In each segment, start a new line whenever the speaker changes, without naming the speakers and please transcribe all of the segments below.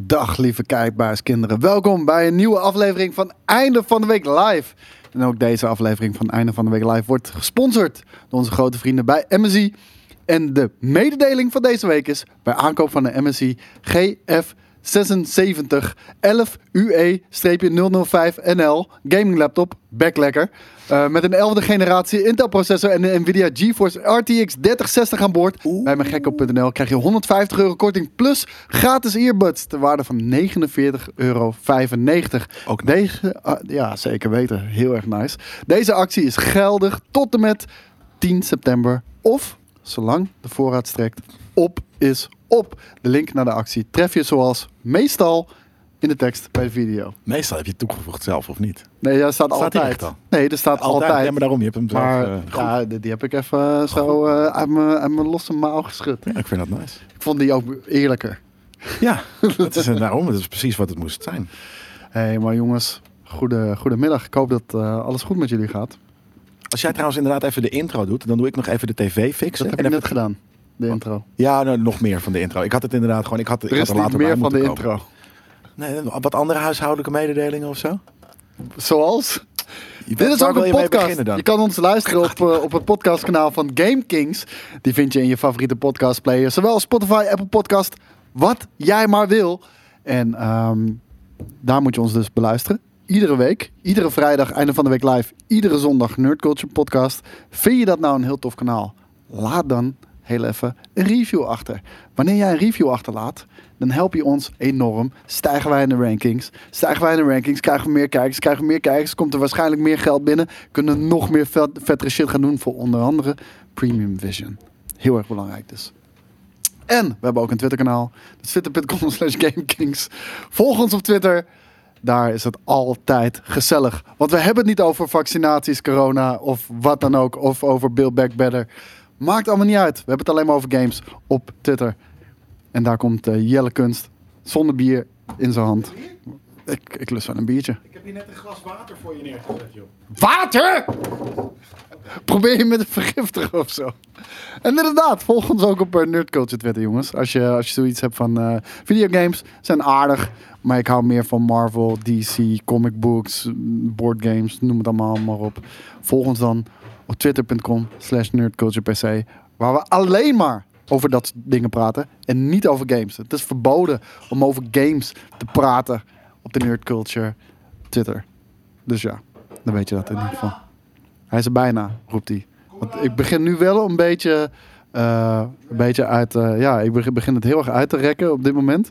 Dag lieve kijkbaarskinderen. Welkom bij een nieuwe aflevering van Einde van de Week Live. En ook deze aflevering van Einde van de Week Live wordt gesponsord door onze grote vrienden bij MSI. En de mededeling van deze week is bij aankoop van de MSI GF 76 11 E UE-005NL gaming laptop, backlekker. eh, met een 11e generatie Intel processor en een Nvidia GeForce RTX 3060 aan boord. Bij mijngekko.nl krijg je 150 euro korting plus gratis earbuds ter waarde van 49,95 euro.
Ook
Deze, ah, ja, zeker weten. Heel erg nice. Deze actie is geldig tot en met 10 september. Of, zolang de voorraad strekt, op is op. De link naar de actie tref je zoals meestal in de tekst bij de video.
Meestal heb je het toegevoegd zelf, of niet?
Nee, daar staat,
Staat die
altijd.
echt al?
Nee, er staat altijd.
Ja, maar daarom, je hebt hem zelf.
maar
eh, goed.
ja, die, die heb ik even eh, zo eh, uit mijn- uit mijn losse mouw geschud.
Ja, ik vind dat nice.
Ik vond die ook eerlijker.
Ja, dat is, eh, daarom, dat is precies wat het moest zijn.
Hé, hey, maar jongens, goede, goedemiddag. Ik hoop dat eh, alles goed met jullie gaat.
Als jij trouwens inderdaad even de intro doet, dan doe ik nog even de tv fixen.
Dat heb
En
ik
even-
net gedaan, de intro.
Ja, nou, nog meer van de intro. Ik had het inderdaad gewoon, ik had, ik
Er
had
is
er
niet
later
meer
bij
van de
moeten komen.
intro.
Nee, wat andere huishoudelijke mededelingen of zo?
Zoals? Dit is
Waar
ook
wil
een
je mee
podcast.
beginnen dan?
Je kan ons luisteren op, eh, op het podcastkanaal van Game Kings. Die vind je in je favoriete podcastplayer. Zowel Spotify, Apple Podcast, wat jij maar wil. En ehm, daar moet je ons dus beluisteren. Iedere week, iedere vrijdag, einde van de week live. Iedere zondag Nerd Culture Podcast. Vind je dat nou een heel tof kanaal? Laat dan heel even een review achter. Wanneer jij een review achterlaat, dan help je ons enorm. Stijgen wij in de rankings. Stijgen wij in de rankings, krijgen we meer kijkers. Krijgen we meer kijkers, komt er waarschijnlijk meer geld binnen. Kunnen we nog meer vet, vettere shit gaan doen voor onder andere Premium Vision. Heel erg belangrijk dus. En we hebben ook een Twitterkanaal. Dat is twitter.com slash gamekings. Volg ons op Twitter. Daar is het altijd gezellig. Want we hebben het niet over vaccinaties, corona of wat dan ook. Of over Build Back Better. Maakt allemaal niet uit. We hebben het alleen maar over games op Twitter. En daar komt eh, Jelle Kunst zonder bier in zijn hand. Ik, ik lust wel een biertje.
Ik heb hier net een glas water voor je neergezet, joh.
Water! Probeer je met een vergiftiger of zo. En inderdaad, volg ons ook op eh, Nerd Culture Twitter, jongens. Als je, als je zoiets hebt van eh, videogames, zijn aardig. Maar ik hou meer van Marvel, DC, comic books, mm, board games, noem het allemaal maar op. Volg ons dan op twitter.com slash nerdculturepc. Waar we alleen maar over dat soort dingen praten en niet over games. Het is verboden om over games te praten op de Nerd Culture Twitter. Dus ja, dan weet je dat in ieder geval. Hij is er bijna, roept hij. Want ik begin nu wel een beetje, eh, een beetje uit... eh, ja, ik begin- begin het heel erg uit te rekken op dit moment.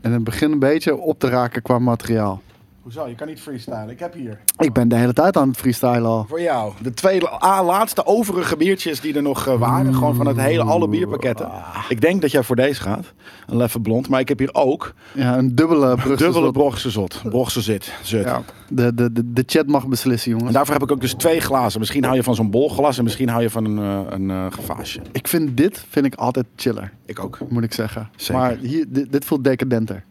En het begint een beetje op te raken qua materiaal.
Hoezo? Je kan niet freestylen. Ik heb hier.
Ik ben de hele tijd aan het freestylen al.
Voor jou. De twee ah, laatste overige biertjes die er nog eh, waren. Gewoon van het hele alle bierpakketten. Ik denk dat jij voor deze gaat. Een Leffe Blond. Maar ik heb hier ook
Ja, een dubbele brug.
dubbele Brochse Zot. Brochse Zit. Zut.
Ja. De, de, de, de chat mag beslissen,
En
jongens.
daarvoor heb ik ook dus twee glazen. Misschien hou je van zo'n bolglas en misschien hou je van een, eh een eh, gevaasje.
Ik vind dit vind ik altijd chiller,
Ik ook. Kan
moet ik zeggen.
Zeker.
Maar hier, dit, dit voelt decadenter.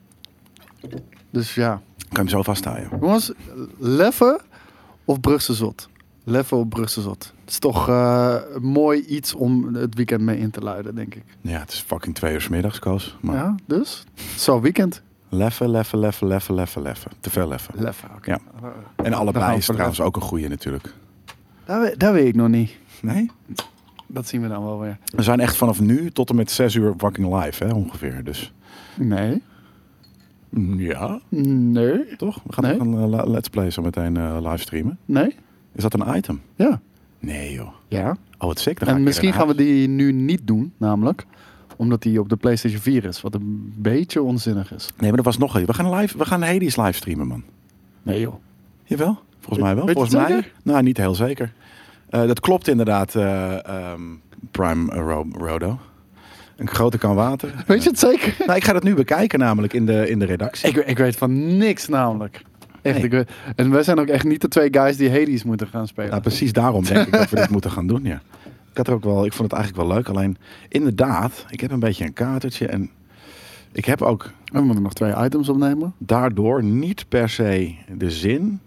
Dus ja.
je hem zo vasthouden.
Jongens, Leffe of Brugse Zot? Leffe of Brugse Zot? Het is toch eh, mooi iets om het weekend mee in te luiden, denk ik.
Ja, het is fucking twee uur 's middags, Koos. Maar
Ja, dus? Zo, weekend.
leffen, leffen, leffen, leffen, leffen, leffen. Te veel leffen.
Leffe, oké.
Ja. En
Dan gaan
allebei
we
is
Nou, voor
trouwens ook een goeie natuurlijk.
Dat, we- dat weet ik nog niet.
Nee?
Dat zien we dan wel weer.
We zijn echt vanaf nu tot en met zes uur fucking live, hè, ongeveer. Dus
Nee.
mm, ja,
Nee.
toch? We gaan
Nee.
ook een eh, la- let's play zo meteen eh livestreamen.
Nee?
Is dat een item?
Ja.
Nee, joh.
Ja.
Oh, wat sick. Dan ga ik
En
weer
misschien
naar
gaan we
huis.
die nu niet doen, namelijk omdat die op de PlayStation 4 is, wat een beetje onzinnig is.
Nee, maar er was nog een. We gaan, live, we gaan Hades live streamen, man.
Nee joh.
Jawel, volgens mij wel.
weet je
volgens
het
mij.
zeker?
Nou, niet heel zeker. Eh, dat klopt inderdaad, eh, ehm, Prime eh, Ro- Rodo. Een grote kan water.
Weet je het zeker?
Nou, ik ga dat nu bekijken namelijk in de, in de redactie.
Ik, ik weet van niks namelijk. Echt,
Nee.
ik weet- en wij zijn ook echt niet de twee guys die Hades moeten gaan spelen.
Nou, precies daarom denk ik dat we dit moeten gaan doen, ja. Ik, had er ook wel, ik vond het eigenlijk wel leuk. Alleen, inderdaad, ik heb een beetje een katertje. En ik heb ook
We moeten nog twee items opnemen.
daardoor niet per se de zin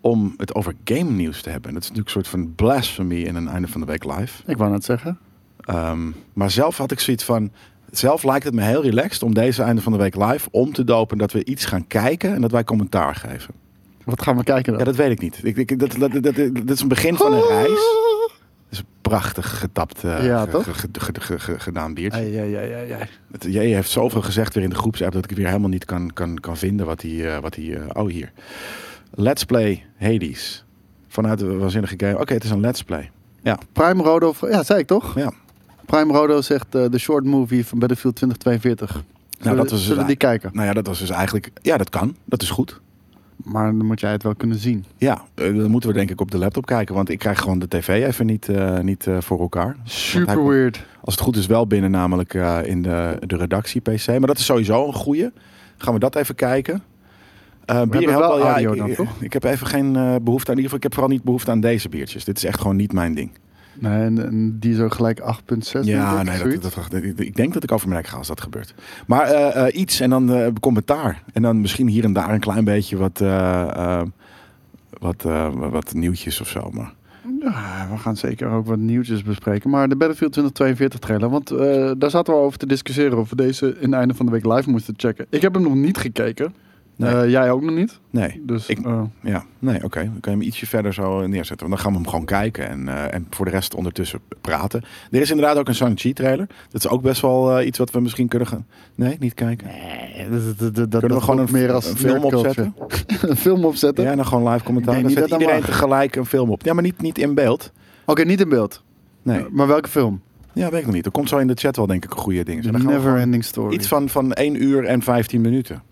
om het over game nieuws te hebben. En dat is natuurlijk een soort van blasphemy in een einde van de week live.
Ik wou net zeggen.
Ehm, maar zelf had ik zoiets van. Zelf lijkt het me heel relaxed om deze einde van de week live om te dopen. Dat we iets gaan kijken en dat wij commentaar geven.
Wat gaan we kijken
Ja,
dan? Oh!
dat weet ik niet. Ik, ik, dat, dat, dat, dat, dat is een begin van een reis. Dat is een prachtig getapt, eh,
Ja,
ge-
toch?
ge- ge- ge- ge- ge- gedaan biertje.
Ai, ai, ai, ai, ai.
Het- Jij heeft zoveel gezegd weer in de groepsapp dat ik weer helemaal niet kan, kan, kan vinden wat hij... eh, wat hij eh, oh, hier. Let's Play Hades. Vanuit de waanzinnige game. Oké, het is een Let's Play. Nou,
Prime Rodo, ja, zei ik toch?
Ja.
Prime Rodo zegt eh, de short movie van Battlefield 2042. Zullen,
Nou, dat was het
zullen die kijken?
Nou ja, dat was dus eigenlijk... Ja, dat kan. Dat is goed.
Maar dan moet jij het wel kunnen zien.
Ja, eh, dan moeten we denk ik op de laptop kijken. Want ik krijg gewoon de tv even niet, eh, niet eh, voor elkaar. Want hij-
Super weird.
Als het goed is wel binnen namelijk eh, in de, de redactie PC. Maar dat is sowieso een goeie. Gaan we dat even kijken. Eh, bier
hebben
helpt
wel audio
ik,
dan,
ik-
toch?
Ik heb even geen eh, behoefte aan, in ieder geval, ik heb vooral niet behoefte aan deze biertjes. Dit is echt gewoon niet mijn ding.
Nee, en, en die is ook gelijk 8.6.
Ja,
denk ik,
nee, dat,
zoiets.
dat, dat- ik denk dat ik over mijn nek ga als dat gebeurt. Maar eh, eh, iets en dan eh, commentaar. En dan misschien hier en daar een klein beetje wat, eh, eh, wat, eh, wat nieuwtjes of zo. Maar
Ja, we gaan zeker ook wat nieuwtjes bespreken. Maar de Battlefield 2042 trailer. Want eh, daar zaten we over te discussiëren of we deze in het einde van de week live moesten checken. Ik heb hem nog niet gekeken.
Nee.
Eh, jij ook nog niet.
nee,
Dus
Ik-
eh,
ja, nee, oké. Dan kan je hem ietsje verder zo eh, neerzetten. Want dan gaan we hem gewoon kijken en, eh, en voor de rest ondertussen praten. Er is inderdaad ook een Shang-Chi trailer. Dat is ook best wel eh, iets wat we misschien kunnen gaan... Nee, niet kijken.
dat, dat, dat,
Kunnen we gewoon een,
meer als
een film
nerdculture.
opzetten?
een film opzetten?
Ja, en dan nou gewoon live commentaar.
Ik
Dan
denk niet
zet
dat dat
iedereen
mag.
tegelijk een film op. Ja, maar niet, niet in beeld.
Oké, niet in beeld. Eh,
Nee.
Maar welke film?
Ja, weet ik nog niet. Er komt zo in de chat wel denk ik een goede ding.
The
Dan gaan we
Never
gewoon
Ending Story.
Iets van, van 1 uur en 15 minuten.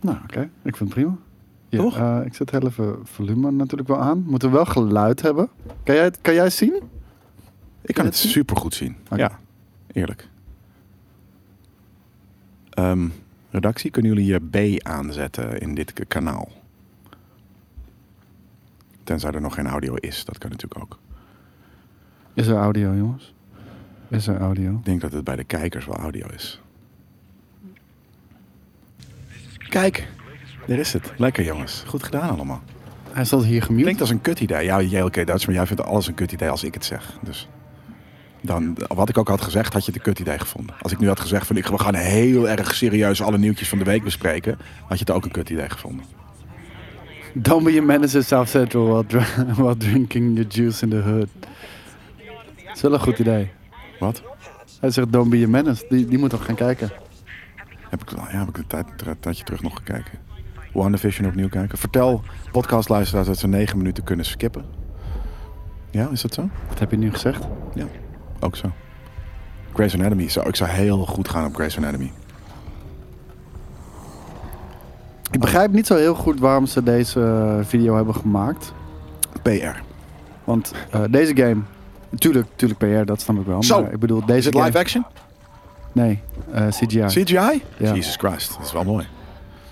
Nou, oké. Ik vind het prima. Ja,
Toch?
eh, ik zet heel even volume natuurlijk wel aan. Moeten we wel geluid hebben. Kan jij, het- kan jij het zien?
Ik kan
je
het
dat zien?
supergoed zien.
Oké.
Ja, eerlijk. Ehm, redactie, kunnen jullie je B aanzetten in dit k- kanaal? Tenzij er nog geen audio is, dat kan natuurlijk ook.
Is er audio, jongens? Is er audio?
Ik denk dat het bij de kijkers wel audio is. Kijk, daar is het. Lekker jongens, goed gedaan allemaal.
Hij staat hier gemute.
Klinkt als een kut idee. Ja, jij oké Dutch, maar jij vindt alles een kut idee als ik het zeg. Dus dan, wat ik ook had gezegd, had je het een kut idee gevonden. Als ik nu had gezegd van ik, we gaan heel erg serieus alle nieuwtjes van de week bespreken, had je het ook een kut idee gevonden.
Don't be a menace in South Central while, dr- while drinking your juice in the hood. Dat is wel een goed idee.
Wat?
Hij zegt don't be a menace. Die, die moet toch gaan kijken.
Heb ik, nou ja, heb ik een tijd, tra- tijdje terug nog gekeken. WandaVision opnieuw kijken. Vertel podcastluisteraars dat ze negen minuten kunnen skippen. Ja, is dat zo?
Wat heb je nu gezegd?
Ja, ook zo. Grey's Anatomy. Zou, ik zou heel goed gaan op Grey's Anatomy.
Ik begrijp niet zo heel goed waarom ze deze eh, video hebben gemaakt.
PR.
Want eh, deze game... Tuurlijk, tuurlijk PR, dat snap ik wel.
Zo,
maar ik bedoel, deze
Is het
game-
live action?
Nee, eh, CGI.
CGI?
Ja.
Jesus Christ, dat is wel mooi.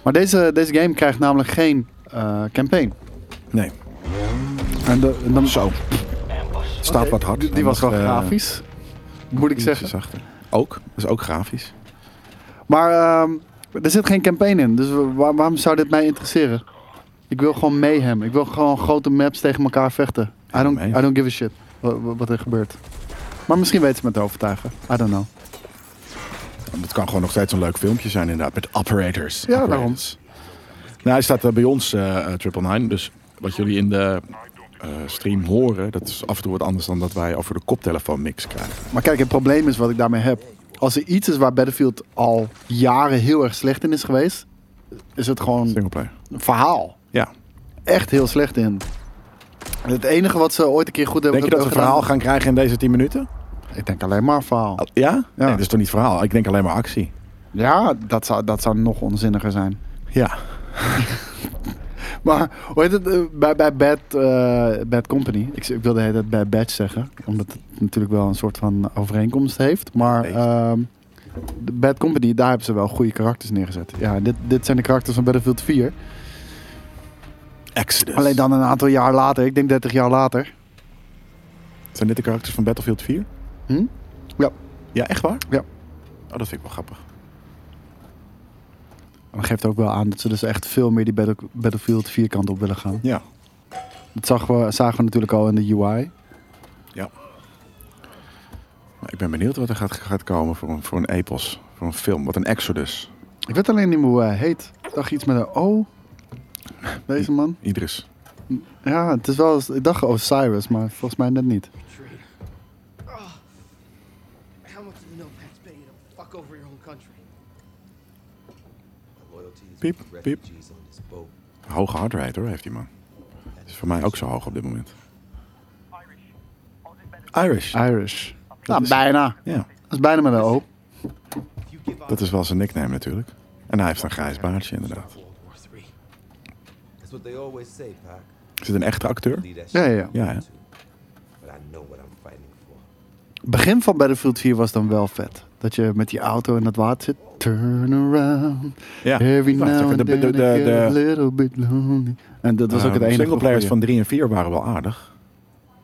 Maar deze, deze game krijgt namelijk geen eh, campaign.
Nee,
En de, en dan,
zo. Staat wat hard.
Die, die was wel
Eh,
grafisch, moet ik
ietsje
zeggen.
zachter. Ook, dat is ook grafisch.
Maar ehm, er zit geen campaign in, dus wa- waar- waarom zou dit mij interesseren? Ik wil gewoon mayhem. Ik wil gewoon grote maps tegen elkaar vechten. I don't,
mayhem.
I don't give a shit wa- wa- wat er gebeurt. Maar misschien weten ze me te overtuigen. I don't know.
Het kan gewoon nog steeds een leuk filmpje zijn inderdaad, met operators.
Ja,
Operators.
daarom.
Nou, hij staat eh, bij ons, eh Triple Nine, dus wat jullie in de eh, stream horen, dat is af en toe wat anders dan dat wij over de koptelefoon mix krijgen.
Maar kijk, het probleem is wat ik daarmee heb. Als er iets is waar Battlefield al jaren heel erg slecht in is geweest, is het gewoon
Singleplayer.
een verhaal.
Ja.
echt heel slecht in. Het enige wat ze ooit een keer goed hebben
Denk je dat we een verhaal gaan krijgen in deze 10 minuten?
gaan? Ik denk alleen maar verhaal.
Ja? Nee, dat is toch niet verhaal? Ik denk alleen maar actie.
Ja, dat zou, dat zou nog onzinniger zijn.
Ja.
Maar hoe heet het? eh, Bij, bij Bad, eh, Bad Company. Ik, ik wilde het bij Bad zeggen. Omdat het natuurlijk wel een soort van overeenkomst heeft. Maar
Beetje.
ehm, de Bad Company, daar hebben ze wel goede karakters neergezet. Ja, dit, dit zijn de karakters van Battlefield 4.
Exodus.
Alleen dan een aantal jaar later. Ik denk 30 jaar later.
Zijn dit de karakters van Battlefield 4?
Hm? Ja.
Ja, echt waar?
Ja.
Oh, dat vind ik wel grappig.
Dat geeft ook wel aan dat ze dus echt veel meer die Battle- Battlefield 4 kant op willen gaan.
Ja.
Dat zagen we, zagen we natuurlijk al in de UI.
Ja. Maar Nou, Ik ben benieuwd wat er gaat, gaat komen voor een, voor een epos. Voor een film. Wat een exodus.
Ik weet alleen niet meer hoe hij heet. Ik dacht iets met een O. Deze man.
Idris.
Ja, het is wel... Ik dacht Osiris, maar volgens mij net niet.
Traitor. Oh. How much do you know Pat's paying to fuck over your whole country?
My loyalty is
Piep,
with the
piep.
refugees on this boat.
Hoge hard rate hoor, heeft die man. Het is voor mij ook zo hoog op dit moment. Irish.
Irish. nou, bijna.
Ja,
Dat is bijna met een O.
If you give up
dat is wel zijn nickname natuurlijk. En hij heeft een grijs baardje inderdaad.
World War III.
That's what they always say, Pac.
Is het een echte acteur?
Leave that
Ja,
shit
ja, ja.
to
Ja, hè?
you. But I know what I'm fighting for.
begin van Battlefield 4 was dan wel vet. Dat je met die auto in dat water zit. Turn around.
Ja.
Every
Ja,
now
de-
and
de-
then
de-
I
de-
get a
de-
little bit lonely. En dat was ook het
De
enige
singleplayers Ah, van
goeie.
3 en 4 waren wel aardig.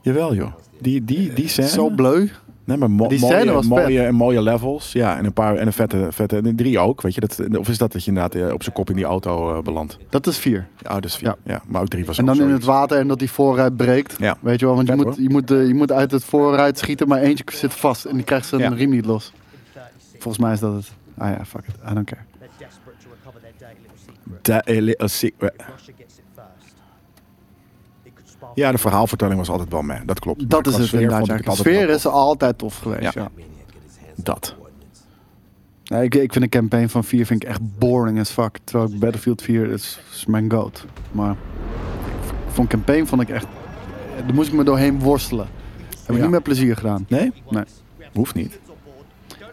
Jawel joh. Die, die, die scène.
Zo bleu.
Nee, maar mo-
Die
mooie,
scène was
mooie, en mooie levels. Ja, en een paar en een vette, vette en een drie ook. Weet je, dat, of is dat dat je inderdaad eh, op zijn kop in die auto eh, belandt?
Dat is 4.
Ja, oh, dat is vier. Ja. maar ook drie was
En
ook
dan in
zoiets.
het water en dat die voorruit breekt.
Ja.
Weet je wel, want je
Vet,
moet,
hoor.
je, moet, eh, je moet uit het voorruit schieten, maar eentje zit vast en die krijgt zijn
Ja.
riem niet los. Volgens mij is dat het. Ah ja, fuck it. I don't care.
They're desperate to recover their daily little secret.
Da- eh, little secret.
If Russia gets it first, it could spark
Ja, de verhaalvertelling was altijd wel mee. Dat klopt. Maar
Dat
qua
is het
sfeer
inderdaad.
vond ik
ja.
het
De
altijd
sfeer
wel
is altijd tof
Ja.
geweest. Ja.
Maniac get his hands on
Dat.
the coordinates.
Nee, ik, ik vind de campaign van 4 vind ik echt boring as fuck. Terwijl ik Battlefield 4 is, is mijn goat. Maar van campaign vond ik echt... eh, Daar moest ik me doorheen worstelen. Heb ik
Ja.
niet met plezier gedaan.
Nee?
Nee.
Hoeft niet.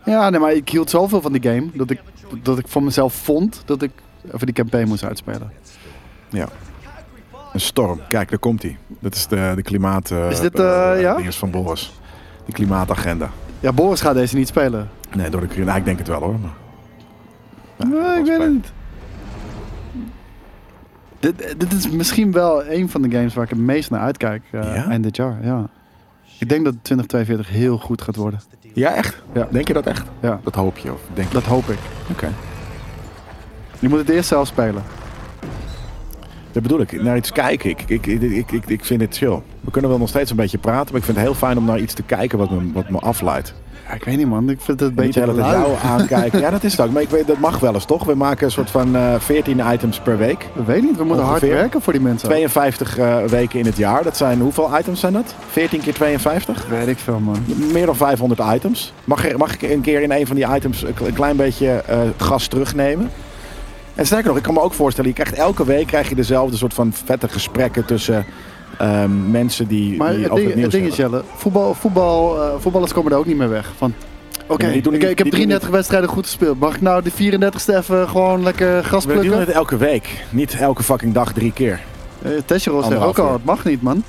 Ja, nee, maar ik hield zoveel van die game dat ik, dat ik van mezelf vond dat ik even die campaign moest uitspelen.
Ja. Een storm. Kijk, daar komt hij. Dat is de, de klimaat... eh,
Is dit, eh,
eh,
ja?
dinges van Boris. De klimaatagenda.
Ja, Boris gaat deze niet spelen.
Nee, door de, kli- nou, ik denk het wel hoor. Maar,
nee, ik weet het
spelen.
niet. Dit, dit is misschien wel een van de games waar ik het meest naar uitkijk eh,
Ja?
eind dit jaar. Ja. Ik denk dat 2042 heel goed gaat worden.
ja, echt?
Ja.
Denk je dat echt?
Ja,
Dat hoop je. Of denk je?
dat hoop ik.
Oké.
Je moet het eerst zelf spelen.
Dat bedoel ik, naar iets kijken. Ik, ik, ik, ik, ik, ik vind het chill. We kunnen wel nog steeds een beetje praten, maar ik vind het heel fijn om naar iets te kijken wat me, wat me afleidt.
Ja, ik weet niet, man. Ik vind het een
Niet
beetje
de hele tijd
lui.
jou aankijken. Ja, dat is het ook. Maar ik weet, dat mag wel eens, toch? We maken een soort van eh 14 items per week.
Ik weet niet, we moeten hard
Ongeveer.
werken voor die mensen.
52 eh, weken in het jaar. Dat zijn, hoeveel items zijn dat? 14 keer 52?
Weet ik veel, man.
Meer dan 500 items. Mag, er- mag ik een keer in een van die items een kle- een klein beetje eh, gas terugnemen? En sterker nog, ik kan me ook voorstellen, je krijgt elke week krijg je dezelfde soort van vette gesprekken tussen ehm, mensen die,
Maar
die
het
over
ding,
het nieuws
het ding is,
hebben.
Jelle, voetbal, voetbal, eh, voetballers komen er ook niet meer weg. Van, oké,
Ja, die
ik,
doen niet-
ik heb
die doen
33 wedstrijden goed gespeeld. Mag ik nou de 34ste even gewoon lekker gas
We doen
plukken?
het elke week, niet elke fucking dag drie keer.
Eh, Tessero zegt
Anderhalf
ook al,
uur.
het mag niet, man.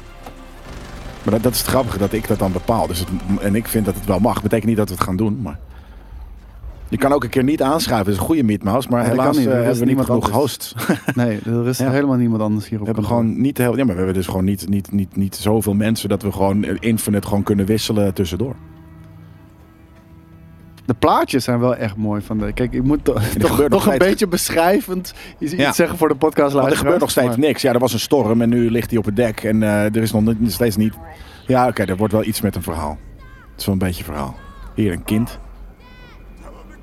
Maar dat, dat is het grappige dat ik dat dan bepaal. Dus het, en ik vind dat het wel mag. Betekent niet dat we het gaan doen, maar... Je kan ook een keer niet aanschuiven. Dat is een goede meetmouse, maar
Ja, dat
helaas
kan niet.
eh,
Er is
hebben we niet
niemand
genoeg
anders.
hosts. We
Nee, er is
Ja.
helemaal niemand anders hier op
hebben
kantoor.
gewoon niet heel... Ja, maar we hebben dus gewoon niet, niet, niet, niet zoveel mensen dat we gewoon eh, infinite gewoon kunnen wisselen tussendoor.
De plaatjes zijn wel echt mooi. Van de, kijk, ik moet to-
gebeurt
toch,
nog
toch een
steeds-
beetje beschrijvend iets
Ja.
iets zeggen voor de podcast.
Maar er gebeurt nog steeds niks. Ja, er was een storm en nu ligt hij op het dek en eh, er is nog niet- nog steeds niet... Ja, oké, er wordt wel iets met een verhaal. Het is wel een beetje verhaal. Hier, een kind.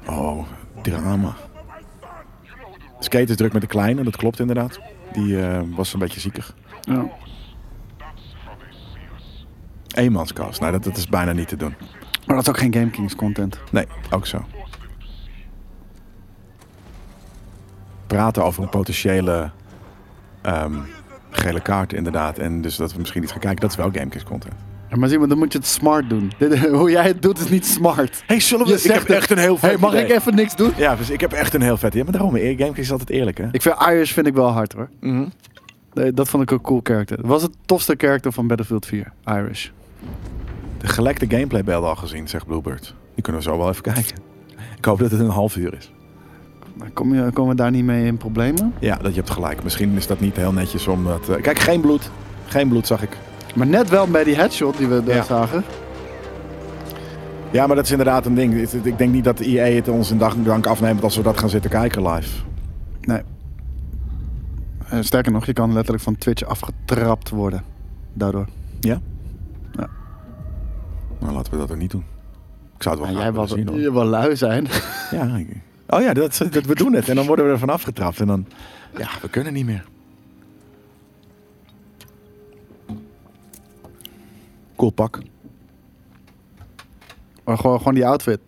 Oh, drama. Skate is druk met de kleine, dat klopt inderdaad. Die eh, was een beetje ziekig.
Ja.
Eenmanskast, nou dat, dat is bijna niet te doen.
Maar dat is ook geen GameKings content.
Nee, ook zo. Praten over een potentiële ehm, gele kaart inderdaad. En dus dat we misschien iets gaan kijken. Dat is wel Gamekings content.
Ja, maar zie maar, dan moet je het smart doen. Dit- Hoe jij het doet is niet smart.
hey, zullen
Je zegt het. hey, mag ik even niks doen?
Ja, dus ik heb echt een heel vet idee. Maar daarom, Gamekings is altijd eerlijk hè.
Ik vind Irish vind ik wel hard hoor.
Mhm.
Nee, dat vond ik een cool character. Dat was het tofste character van Battlefield 4, Irish.
De gelekte gameplaybeelden al gezien, zegt Bluebird. Die kunnen we zo wel even kijken. Ik hoop dat het een half uur is.
Maar Nou, kom je, komen we daar niet mee in problemen?
Ja, dat je hebt gelijk. Misschien is dat niet heel netjes omdat... eh, kijk, geen bloed. Geen bloed zag ik.
Maar net wel bij die headshot die we daar
Ja.
zagen.
Ja, maar dat is inderdaad een ding. Het- Ik denk niet dat EA het ons in dag- dank afneemt als we dat gaan zitten kijken live.
Nee. Eh, sterker nog, je kan letterlijk van Twitch afgetrapt worden. Daardoor.
Ja?
Ja.
Nou, laten we dat ook niet doen. Ik zou het wel
jij
graag
wil
willen zien. hoor.
je wil lui zijn.
Ja. ik- Oh ja, dat, dat, we doen het. En dan worden we ervan afgetrapt. En dan, ja, we kunnen niet meer. Cool pak.
Maar gewoon, gewoon die outfit.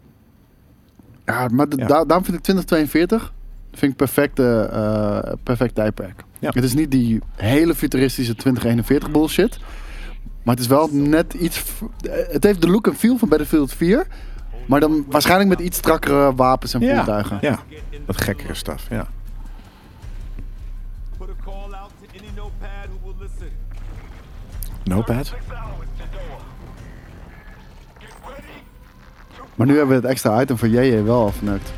Ja, maar de-
Ja.
daar- daarom vind ik 2042 vind ik perfecte, eh perfect tijdperk.
Ja. Mm.
Het is niet die hele futuristische 2041 bullshit. Maar het is wel net iets... v- eh, Het heeft de look en feel van Battlefield 4. Maar dan waarschijnlijk met iets strakkere wapens en voertuigen.
ja, dat gekkere staf. Ja.
Put a call out to any notepad who will listen.
Notepad.
Six hours to door. Get ready
Maar nu hebben we het extra item voor JJ wel afgenukt.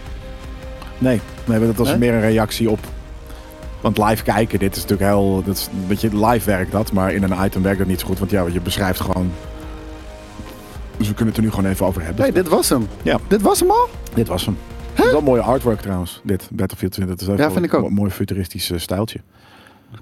Nee, nee maar dat was
Hè?
meer een reactie op. Want live kijken, dit is natuurlijk heel. Dat is, een beetje live werkt dat, maar in een item werkt dat niet zo goed. Want ja, je beschrijft gewoon. Dus we kunnen het er nu gewoon even over hebben.
Nee, dit was hem.
Ja.
Dit was hem al?
Dit was hem. Het is wel mooie artwork trouwens, dit Battlefield 20. Dat is
Ja, vind ik ook.
Een mooi futuristisch eh, stijltje.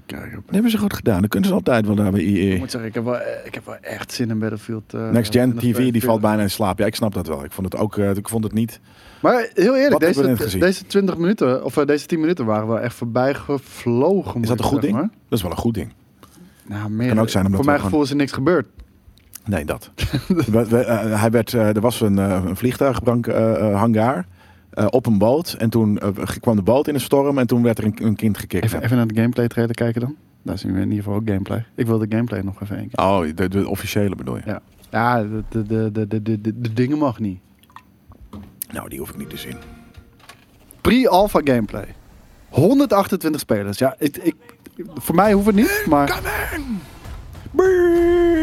Dat hebben ze goed gedaan. Dat kunnen ze altijd wel daar bij EA.
Ik moet zeggen, ik heb wel, eh, ik heb wel echt zin in Battlefield. eh,
Next Gen
2042.
TV, die valt bijna in slaap. Ja, ik snap dat wel. Ik vond het ook, eh, ik vond het niet.
Maar heel eerlijk,
Wat hebben we net
deze,
gezien?
deze 20 minuten, of eh, deze 10 minuten waren wel echt voorbij gevlogen.
Is dat een goed ding?
Maar.
Dat is wel een goed ding.
Nou, meer,
Kan ook zijn omdat
Voor
we
mijn
gewoon-
gevoel is er niks gebeurd.
Nee, dat. We- we- eh, hij werd, eh, er was een, eh, een eh, vliegtuighangar eh, op een boot. En toen eh, kwam de boot in een storm en toen werd er een, een kind gekikt.
Even, even naar de gameplay trailer kijken dan. Daar zien we in ieder geval ook gameplay. Ik wil de gameplay nog even één keer.
Oh, de, de officiële bedoel je?
Ja, ja de, de, de, de, de, de, de dingen mag niet.
Nou, die hoef ik niet te zien.
Pre-alpha gameplay. 128 spelers. Ja, ik, ik, voor mij hoeft het niet, maar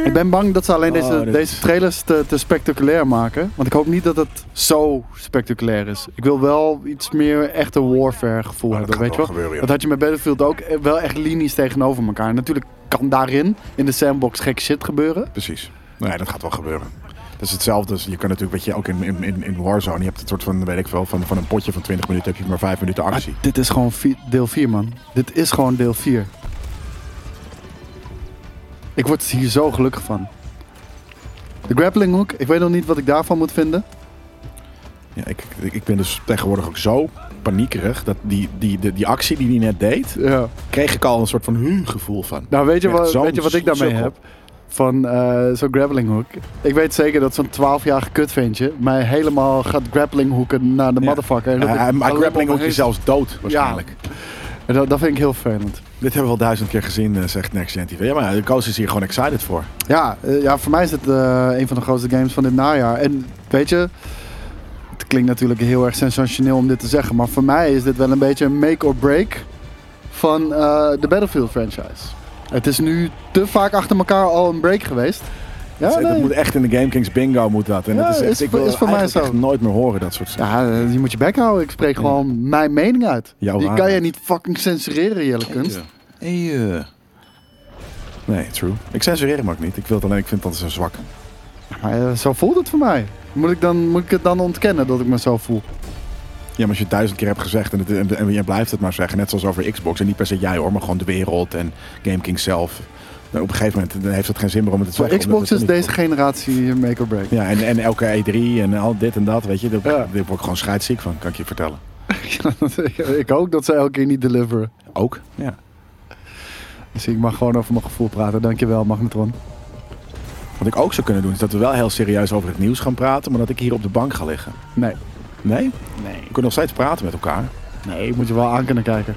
ik ben bang dat ze alleen deze,
Oh, dit
deze trailers te, te spectaculair maken. Want ik hoop niet dat het zo spectaculair is. Ik wil wel iets meer echte warfare gevoel
Oh, dat
hebben, weet
gaat
je wel?
wel gebeuren, ja.
Dat had je met Battlefield ook eh, wel echt linies tegenover elkaar. Natuurlijk kan daarin, in de sandbox, gek shit gebeuren.
Precies. Nee, dat gaat wel gebeuren. Dat is hetzelfde. Dus je kan natuurlijk, weet je, ook in, in, in, in Warzone, je hebt het soort van, weet ik veel, van, van een potje van 20 minuten heb je maar 5 minuten
Maar
actie.
dit is gewoon vi- deel 4, man. Dit is gewoon deel 4. Ik word hier zo gelukkig van. De grappling hook, ik weet nog niet wat ik daarvan moet vinden.
Ja, ik, ik- ik ben dus tegenwoordig ook zo paniekerig dat die, die, die, die actie die hij net deed,
Ja.
kreeg ik al een soort van huh gevoel van.
Nou, weet je,
Echt
wat,
zo'n
weet je wat ik daarmee
sukkel.
heb? Van eh, zo'n grappling hook. Ik weet zeker dat zo'n 12-jarig kutventje mij helemaal gaat grappling hoeken naar de
Ja.
motherfucker. En dat ik
Ja, Eh, maar
alleen
grappling
maar
hoek je
reis-
zelfs dood waarschijnlijk.
En Dat, dat vind ik heel vervelend.
Dit hebben we al duizend keer gezien, eh, zegt Next Gen TV. Ja, maar de coach is hier gewoon excited voor.
Ja, eh, ja, voor mij is het eh, een van de grootste games van dit najaar. En weet je, het klinkt natuurlijk heel erg sensationeel om dit te zeggen, maar voor mij is dit wel een beetje een make or break van eh, de Battlefield franchise. Het is nu te vaak achter elkaar al een break geweest. Ja,
Dus, eh,
nee.
Dat moet echt in de Game Kings bingo moet dat. En
Ja,
dat is echt,
is
ik
voor-
wil
is voor mij
eigenlijk
zo.
echt nooit meer horen dat soort zaken.
ja eh, je moet je bek houden. Ik spreek gewoon mijn mening uit.
Jouw
Die kan
waarheid.
je niet fucking censureren, Jelle Kunst.
Hey, eh. Nee, true. Ik censureer hem ook niet. Ik, wil het alleen, ik vind dat zo zwak.
Maar eh, zo voelt het voor mij. Moet ik, dan, moet ik het dan ontkennen dat ik me zo voel?
Ja, maar als je het duizend keer hebt gezegd en, het, en, en jij blijft het maar zeggen, net zoals over Xbox. En niet per se jij hoor, maar gewoon de wereld en Game King zelf. Nou, op een gegeven moment dan heeft het geen zin meer om het te
Voor
zeggen. omdat
Xbox
het
is
dan niet-
deze generatie make or break.
Ja, en, en elke E3 en al dit en dat, weet je. Daar
Ja.
daar word ik gewoon scheidsziek van, kan ik je vertellen.
ik hoop dat ze elke keer niet deliveren.
Ook? Ja.
Dus ik mag gewoon over mijn gevoel praten. Dankjewel, Magnetron.
Wat ik ook zou kunnen doen, is dat we wel heel serieus over het nieuws gaan praten, maar dat ik hier op de bank ga liggen.
Nee.
Nee?
Nee.
We kunnen nog steeds praten met elkaar.
Nee, ik moet je wel aan kunnen kijken.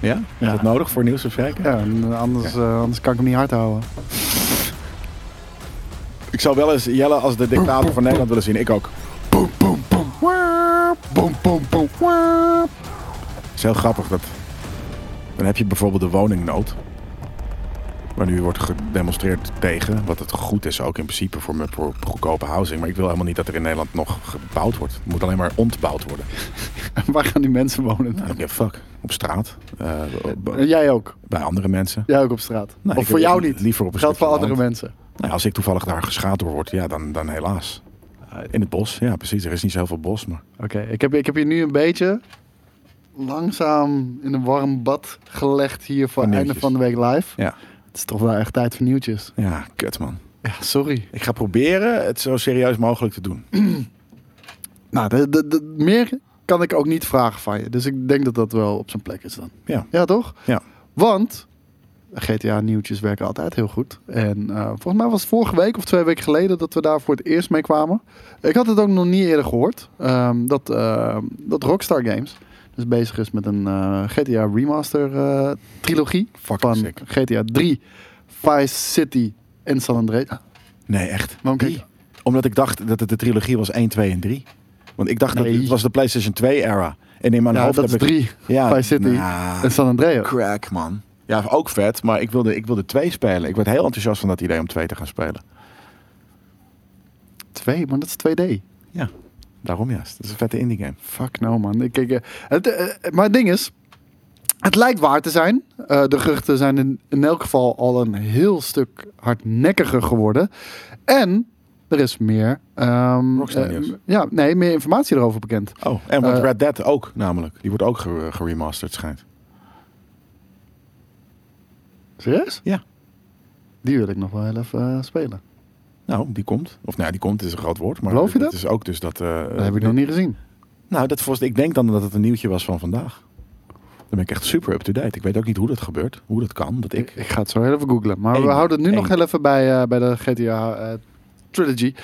Ja? Is
Ja.
dat nodig voor nieuws te kijken?
Ja, en anders, eh, anders kan ik hem niet hard houden.
Ik zou wel eens Jelle als de dictator van Nederland willen zien. Ik ook. Boom, boom, boom. Wap. Boom, boom, boom. Wap. is heel grappig. Dat... Dan heb je bijvoorbeeld de woningnood. Waar nu wordt gedemonstreerd tegen. Wat het goed is ook in principe voor, me- voor goedkope housing. Maar ik wil helemaal niet dat er in Nederland nog gebouwd wordt. Het moet alleen maar ontbouwd worden.
Waar gaan die mensen wonen?
I don't give a fuck. Op straat. eh,
En jij ook.
bij andere mensen.
Jij ook op straat.
Nee,
of
ik
voor
heb
jou
li-
niet.
liever op een
Geldt voor
stukje
andere
land.
mensen.
Nou, ja, als ik toevallig daar geschaad door word, ja, dan, dan helaas. In het bos, ja, precies. Er is niet zoveel bos, maar...
Oké, ik, heb, ik heb je nu een beetje langzaam in een warm bad gelegd hier voor
Van
einde
nieuwtjes.
van de week live.
Ja,
Het is toch wel echt tijd voor nieuwtjes.
ja kut, man.
Ja, sorry.
Ik ga proberen het zo serieus mogelijk te doen.
Nou, de, de, de- meer kan ik ook niet vragen van je. Dus ik denk dat dat wel op zijn plek is dan.
Ja.
Ja, toch?
ja.
Want GTA-nieuwtjes werken altijd heel goed. En eh, volgens mij was het vorige week of twee weken geleden dat we daar voor het eerst mee kwamen. Ik had het ook nog niet eerder gehoord. ehm, dat, ehm, dat Rockstar Games dus bezig is met een eh, GTA Remaster eh, trilogie.
Fucking
van
sick.
GTA 3, Vice City en San Andreas. Ah,
Nee, echt.
Waarom kijk
Die? Omdat ik dacht dat het de trilogie was 1, 2 en 3. Want ik dacht
Nee.
dat het was de PlayStation 2 era. En in mijn
Ja,
hoofd
dat is
heb ik-
3,
Ja,
Vice City
nah.
en San Andreas.
Crack, man. Ja, ook vet, maar ik wilde, ik wilde twee spelen. Ik werd heel enthousiast van dat idee om twee te gaan spelen.
Twee, maar dat is 2D.
Ja, daarom juist. Dat is een vette indie game.
Fuck no, man. Ik, ik, eh, het, eh, maar het ding is, het lijkt waar te zijn. Eh, de geruchten zijn in, in elk geval al een heel stuk hardnekkiger geworden. En er is meer... ehm,
Rockstar
eh,
nieuws.
ja, nee, meer informatie erover bekend.
Oh, en wordt
Eh,
Red Dead ook namelijk. Die wordt ook ge- geremasterd, schijnt.
Serieus?
Ja.
Die wil ik nog wel heel even eh, spelen.
Nou, die komt. Of nou, ja, die komt is een groot woord. Maar
Geloof je
het
dat?
is ook dus dat... eh,
Dat heb ik nog niet gezien.
Nou, dat volgens, ik denk dan dat het een nieuwtje was van vandaag. Dan ben ik echt super up-to-date. Ik weet ook niet hoe dat gebeurt. Hoe dat kan. Dat
Ik,
ik...
ik ga het zo heel even googlen. Maar
Eén.
we houden het nu
Eén.
nog heel even bij, eh, bij de GTA eh, Trilogy.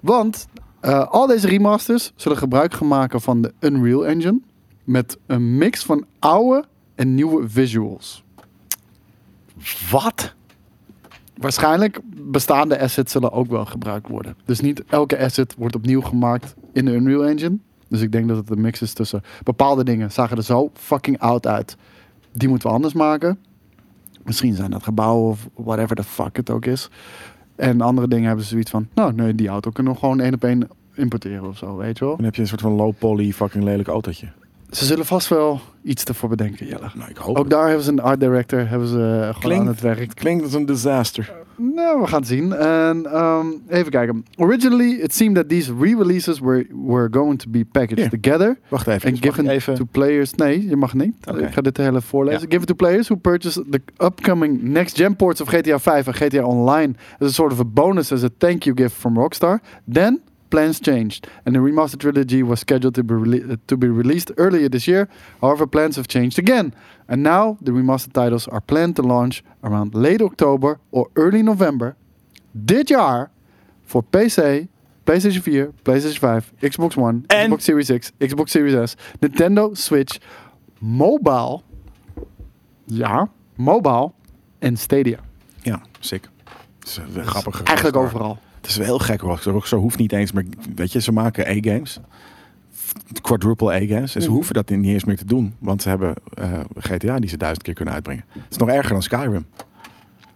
Want eh, al deze remasters zullen gebruik gaan maken van de Unreal Engine. Met een mix van oude en nieuwe visuals.
Wat?
Waarschijnlijk bestaande assets zullen ook wel gebruikt worden. Dus niet elke asset wordt opnieuw gemaakt in de Unreal Engine. Dus ik denk dat het een mix is tussen bepaalde dingen zagen er zo fucking oud uit. Die moeten we anders maken. Misschien zijn dat gebouwen of whatever the fuck het ook is. En andere dingen hebben ze zoiets van, nou nee, die auto kunnen we gewoon één op één importeren of zo, weet je wel.
Dan heb je een soort van low-poly fucking lelijk autootje.
Ze zullen vast wel iets ervoor bedenken, Jelle.
Nou, ik hoop
Ook daar hebben ze een art director, hebben ze eh, gewoon aan het werk.
klinkt als een disaster.
Nou, we gaan het zien. En, ehm, even kijken. Originally, it seemed that these re-releases were, were going to be packaged
Hier.
together
Wacht even.
and
dus mag ik
given
even...
to players. Nee, je mag niet.
Oké.
Ik ga dit hele voorlezen.
Ja.
Given to players who purchase the upcoming next-gen ports of GTA 5 en GTA Online as a sort of a bonus as a thank you gift from Rockstar. Then plans changed, and the remastered trilogy was scheduled to be rele- to be released earlier this year. However, plans have changed again, and now the remastered titles are planned to launch around late October or early November dit jaar voor PC, PlayStation 4, PlayStation 5, Xbox One,
En-
Xbox Series X, Xbox Series S, Nintendo Switch, mobile, ja, mobile en Stadia.
Ja, sick. Het is eh, een grappige
Eigenlijk
Rockstar.
overal.
Het is wel heel gek Rockstar. Rockstar hoeft niet eens meer... Weet je, ze maken A-games. Quadruple A-games. En
Mhm.
ze hoeven dat niet eens meer te doen. Want ze hebben eh, GTA die ze duizend keer kunnen uitbrengen. Het is nog erger dan Skyrim.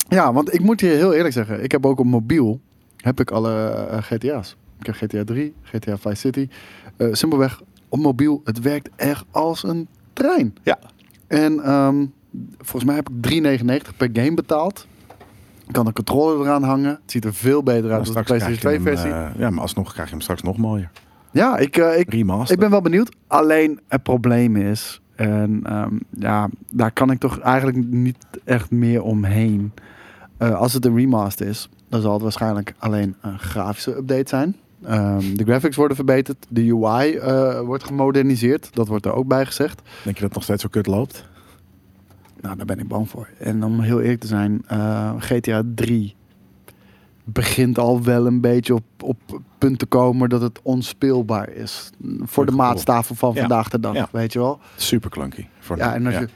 Ja, want ik moet je heel eerlijk zeggen, ik heb ook op mobiel heb ik alle eh, GTA's. Ik heb GTA 3, GTA 5 City. Eh, simpelweg op mobiel, het werkt echt als een trein.
Ja.
En ehm, volgens mij heb ik 3,99 per game betaald. Ik kan een controller eraan hangen. Het ziet er veel beter
Nou,
uit dan de PlayStation 2 versie.
eh, ja, maar alsnog krijg je hem straks nog mooier.
ja, ik, eh, ik,
Remaster.
ik ben wel benieuwd. Alleen het probleem is, en ehm, ja, daar kan ik toch eigenlijk niet echt meer omheen. Eh, als het een remaster is, dan zal het waarschijnlijk alleen een grafische update zijn. Ehm, de graphics worden verbeterd, de UI eh, wordt gemoderniseerd, dat wordt er ook bij gezegd.
Denk je dat het nog steeds zo kut loopt?
Nou, daar ben ik bang voor. En om heel eerlijk te zijn, eh, GTA 3 begint al wel een beetje op, op het punt te komen dat het onspeelbaar is. Voor de
gevoel.
maatstaven van
Ja.
vandaag de dag,
Ja.
weet je wel.
Super clunky. Voor
Ja, en als je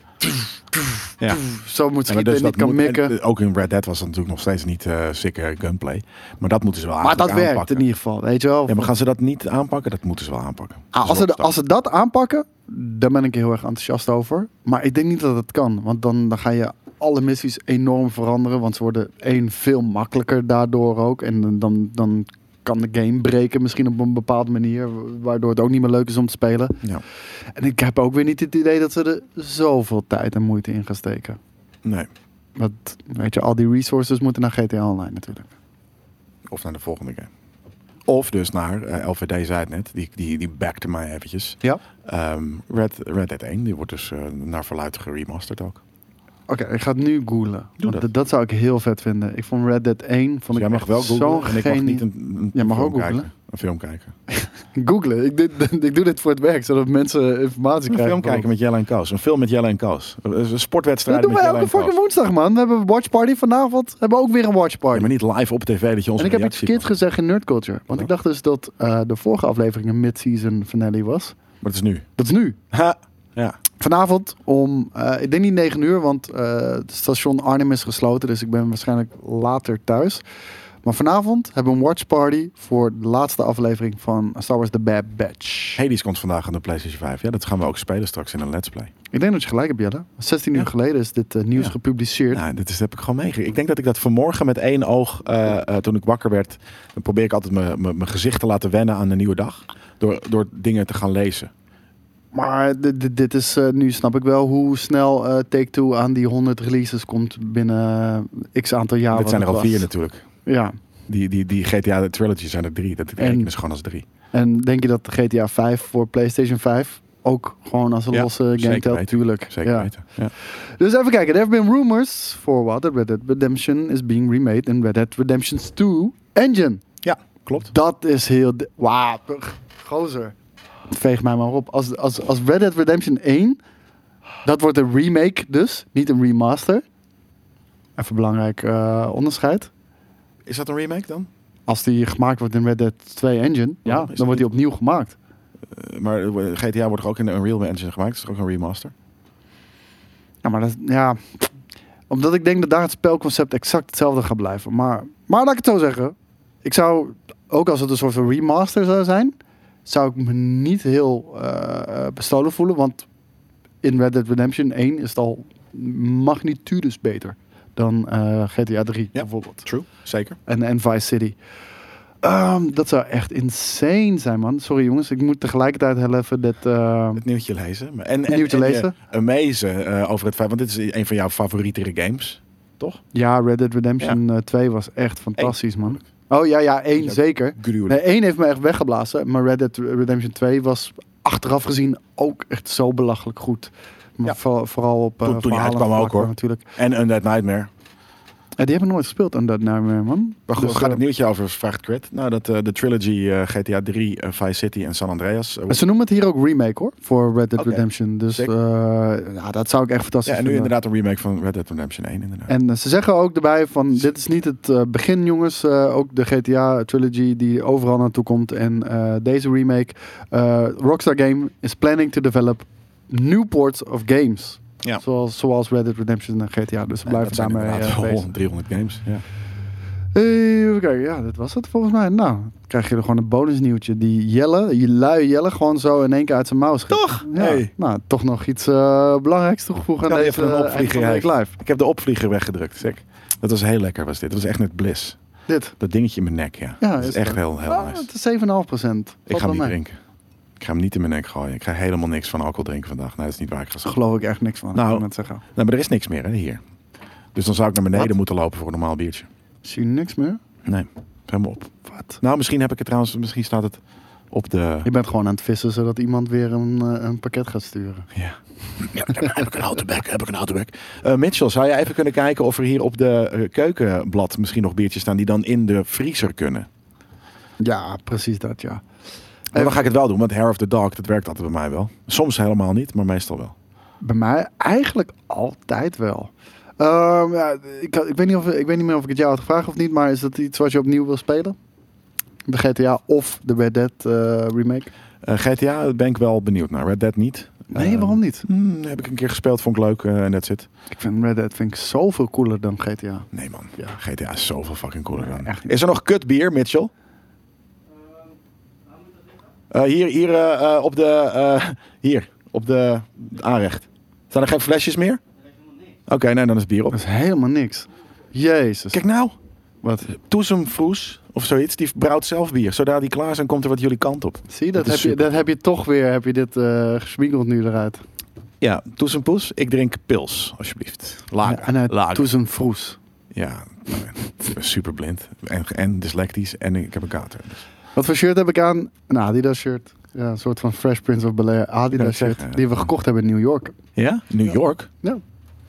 Ja.
zo moet
Ja, maar
schieten en
dat
niet kan
moet-
mikken.
en, eh, ook in Red Dead was dat natuurlijk nog steeds niet eh sikke gunplay. Maar dat moeten ze wel
maar dat
eigenlijk
werkt
aanpakken.
in ieder geval, weet je wel.
Ja, maar gaan ze dat niet aanpakken? Dat moeten ze wel aanpakken.
Ah, als,
Dat
ze,
is
als ze dat aanpakken, daar ben ik heel erg enthousiast over. Maar ik denk niet dat het kan. Want dan, dan ga je alle missies enorm veranderen. Want ze worden één veel makkelijker daardoor ook. En dan, dan kan de game breken misschien op een bepaalde manier. Waardoor het ook niet meer leuk is om te spelen.
Ja.
En ik heb ook weer niet het idee dat ze er zoveel tijd en moeite in gaan steken.
Nee.
Want weet je, al die resources moeten naar GTA Online natuurlijk.
Of naar de volgende game. Of dus naar, eh, LVD zei het net, die, die, die backte mij eventjes.
Ja.
Ehm, Red, Red Dead 1, die wordt dus eh, naar verluid geremasterd ook.
Oké, ik ga het nu googlen. Want
dat.
d- Dat zou ik heel vet vinden. Ik vond Red Dead 1 vond
Dus
ik
jij mag
echt
wel googlen
zo'n
en ik mag
geni-
niet een, een
Jij mag
film
ook googlen.
kijken. Een film kijken.
Googlen. Ik, dit- ik doe dit voor het werk, zodat mensen informatie
Een
krijgen.
film kijken met Jelle en Koos. Een film met Jelle en Koos. Een sportwedstrijd
Dat doen
met
we
Jelle
elke
en
fucking
Koos.
woensdag, man. We hebben een watchparty. Vanavond hebben we ook weer een watchparty.
Ja, maar niet live op tv dat je ons
en ik
een
heb iets
reactie
verkeerd
mag-
gezegd in Nerd Culture. Want ik dacht dus dat eh, de vorige aflevering een mid-season finale was.
Maar het is nu.
Dat is nu.
Ha. Ja.
Vanavond om, eh, ik denk niet 9 uur, want eh, het station Arnhem is gesloten. Dus ik ben waarschijnlijk later thuis. Maar vanavond hebben we een watchparty voor de laatste aflevering van Star Wars The Bad Batch.
Hades komt vandaag aan de PlayStation 5. Ja, dat gaan we ook spelen straks in een Let's Play.
Ik denk dat je gelijk hebt, Jelle. 16 uur
Ja.
geleden is dit eh, nieuws
Ja.
gepubliceerd.
Nou, dit is, dat heb ik gewoon meegekregen. Ik denk dat ik dat vanmorgen met één oog, eh, eh, toen ik wakker werd, dan probeer ik altijd mijn- mijn mijn gezicht te laten wennen aan een nieuwe dag. Door, door dingen te gaan lezen.
Ah, Maar dit, dit- dit is, eh, nu snap ik wel hoe snel eh, Take-Two aan die 100 releases komt binnen eh, x aantal jaar.
dat
wat
zijn er
het
al vier
was.
natuurlijk.
Ja.
Die, die, die GTA Trilogy zijn er drie. Dat rekenen ze gewoon als drie.
En denk je dat GTA 5 voor PlayStation 5 ook gewoon als een
Ja,
losse game
zeker
telt?
weten.
Tuurlijk.
Zeker
ja.
weten. Ja.
Dus even kijken. There have been rumors for what? That Red Dead Redemption is being remade in Red Dead Redemption 2 engine.
ja, klopt.
Dat is heel... de- Wauw, pff, gozer. Veeg mij maar op. Als, als, als Red Dead Redemption 1, dat wordt een remake dus, niet een remaster. Even belangrijk eh, onderscheid.
Is dat een remake dan?
Als die gemaakt wordt in Red Dead 2 engine,
Ja,
ja,
is dat
dan wordt die opnieuw gemaakt.
Eh, Maar eh, GTA wordt toch ook in de Unreal Engine gemaakt? Is toch ook een remaster?
Ja, Nou, maar dat, ja, omdat ik denk dat daar het spelconcept exact hetzelfde gaat blijven. Maar, maar laat ik het zo zeggen. Ik zou, ook als het een soort van remaster zou zijn, zou ik me niet heel eh, eh, bestolen voelen. Want in Red Dead Redemption 1 is het al magnitudes beter dan eh, GTA 3 bijvoorbeeld.
True. Zeker.
En, en Vice City. Ehm, dat zou echt insane zijn, man. Sorry jongens, ik moet tegelijkertijd heel even dit... ehm,
Het nieuwtje lezen. Maar- En,
Het nieuwtje
en je
lezen.
Amazen eh, over het feit, want dit is een van jouw favorietere games, toch?
Ja, Red Dead Redemption eh, 2 was echt fantastisch, man. Oh ja, ja, één
Ja,
zeker. Nee,
Gruwelijk.
één heeft me echt weggeblazen. Maar Red Dead Redemption 2 was achteraf gezien ook echt zo belachelijk goed. Maar
Ja.
voor- vooral op eh
Toen- toen die
verhalen
uitkwam
vlak
ook, hoor.
Natuurlijk.
En Undead Nightmare.
En die hebben nooit gespeeld aan dat naam meer, man.
Maar
Dus,
goed, waar gaat
eh,
het nieuwtje over, vraagt Crit. Nou, dat eh, de trilogy eh, GTA 3, eh, Vice City en San Andreas. eh,
maar ze noemen het hier ook remake hoor, voor Red Dead
Oké.
Redemption. Dus
Zeker.
eh, ja, dat zou ik echt fantastisch
ja, en nu
vinden.
inderdaad een remake van Red Dead Redemption 1, inderdaad.
En eh, ze zeggen ook erbij van, dit is niet het eh, begin jongens. Eh, ook de GTA trilogy die overal naartoe komt. En eh, deze remake. eh, Rockstar Game is planning to develop new ports of games.
Ja.
Zoals, zoals Red Dead Redemption en GTA. Dus ze
En
blijven
dat zijn
daarmee eh,
inderdaad wel
bezig.
300 games. Ja.
Eh, Even kijken, ja, dat was het volgens mij. Nou, dan krijg je er gewoon een bonusnieuwtje. Die Jelle, je lui Jelle, gewoon zo in één keer uit zijn mouw schiet. Toch? Ja.
Hey.
Nou, toch nog iets eh, belangrijks toegevoegd aan
Kan
deze
even een
eh, eind
opvlieger.
van de week
ja.
live.
Ik heb de opvlieger weggedrukt, Sek. Dat was heel lekker, was dit. Dat was echt net bliss.
Dit.
Dat dingetje in mijn nek, ja.
Ja,
dat is
is
echt
het.
heel, heel
Ah,
nice.
het is 7,5 procent.
Ik ga hem niet drinken. Ik ga hem niet in mijn nek gooien. Ik ga helemaal niks van alcohol drinken vandaag. Nee, dat is niet waar ik ga zeggen.
geloof ik echt niks van.
Nou.
Nou, ik net zeggen.
Nou, maar er is niks meer, hè, hier. Dus dan zou ik naar beneden
Wat?
moeten lopen voor een normaal biertje.
Zie je niks meer?
Nee, helemaal op.
Wat?
Nou, misschien heb ik het trouwens... Misschien staat het op de...
Je bent gewoon aan het vissen zodat iemand weer een, eh, een pakket gaat sturen.
Ja. Ja, heb ik een autobek, heb ik een autobek. Eh Mitchell, zou jij even kunnen kijken of er hier op de eh, keukenblad misschien nog biertjes staan die dan in de vriezer kunnen?
Ja, precies dat, ja.
Maar dan ga ik het wel doen, want Hair of the Dog, dat werkt altijd bij mij wel. Soms helemaal niet, maar meestal wel.
Bij mij eigenlijk altijd wel. Ehm, ja, ik, ik, weet niet of, ik weet niet meer of ik het jou had gevraagd of niet, maar is dat iets wat je opnieuw wil spelen? De GTA of de Red Dead eh, remake?
Eh, GTA daar ben ik wel benieuwd naar. Red Dead niet.
Nee,
Eh,
waarom niet?
hmm, heb ik een keer gespeeld, vond ik leuk eh, en dat zit.
Ik vind Red Dead vind ik zoveel cooler dan GTA.
Nee man,
Ja.
GTA is zoveel fucking cooler dan.
echt niet.
Is er nog kut bier, Mitchell? Eh, hier, hier, eh, eh, op de, eh, hier, op de aanrecht. Zijn er geen flesjes meer? Oké, nee, dan is bier op.
Dat is helemaal niks. Jezus.
Kijk nou,
wat?
Toesem Vroes of zoiets, die brouwt zelf bier. Zodra die klaar zijn, komt er wat jullie kant op.
Zie je, dat,
Dat is
heb je,
super.
dat heb je toch weer, heb je dit eh gespiegeld nu eruit.
Ja, Toesem Poes, ik drink pils, alsjeblieft. Lager,
En uit
lager.
Toes en Vroes.
Ja, ik ben super blind en, en dyslectisch en ik heb een kater. Dus
Wat voor shirt heb ik aan? Een Adidas shirt. Ja, een soort van Fresh Prince of Bel-Air Adidas
het
shirt.
zeggen, ja.
Die we gekocht hebben in New York.
Ja? New York?
Ja.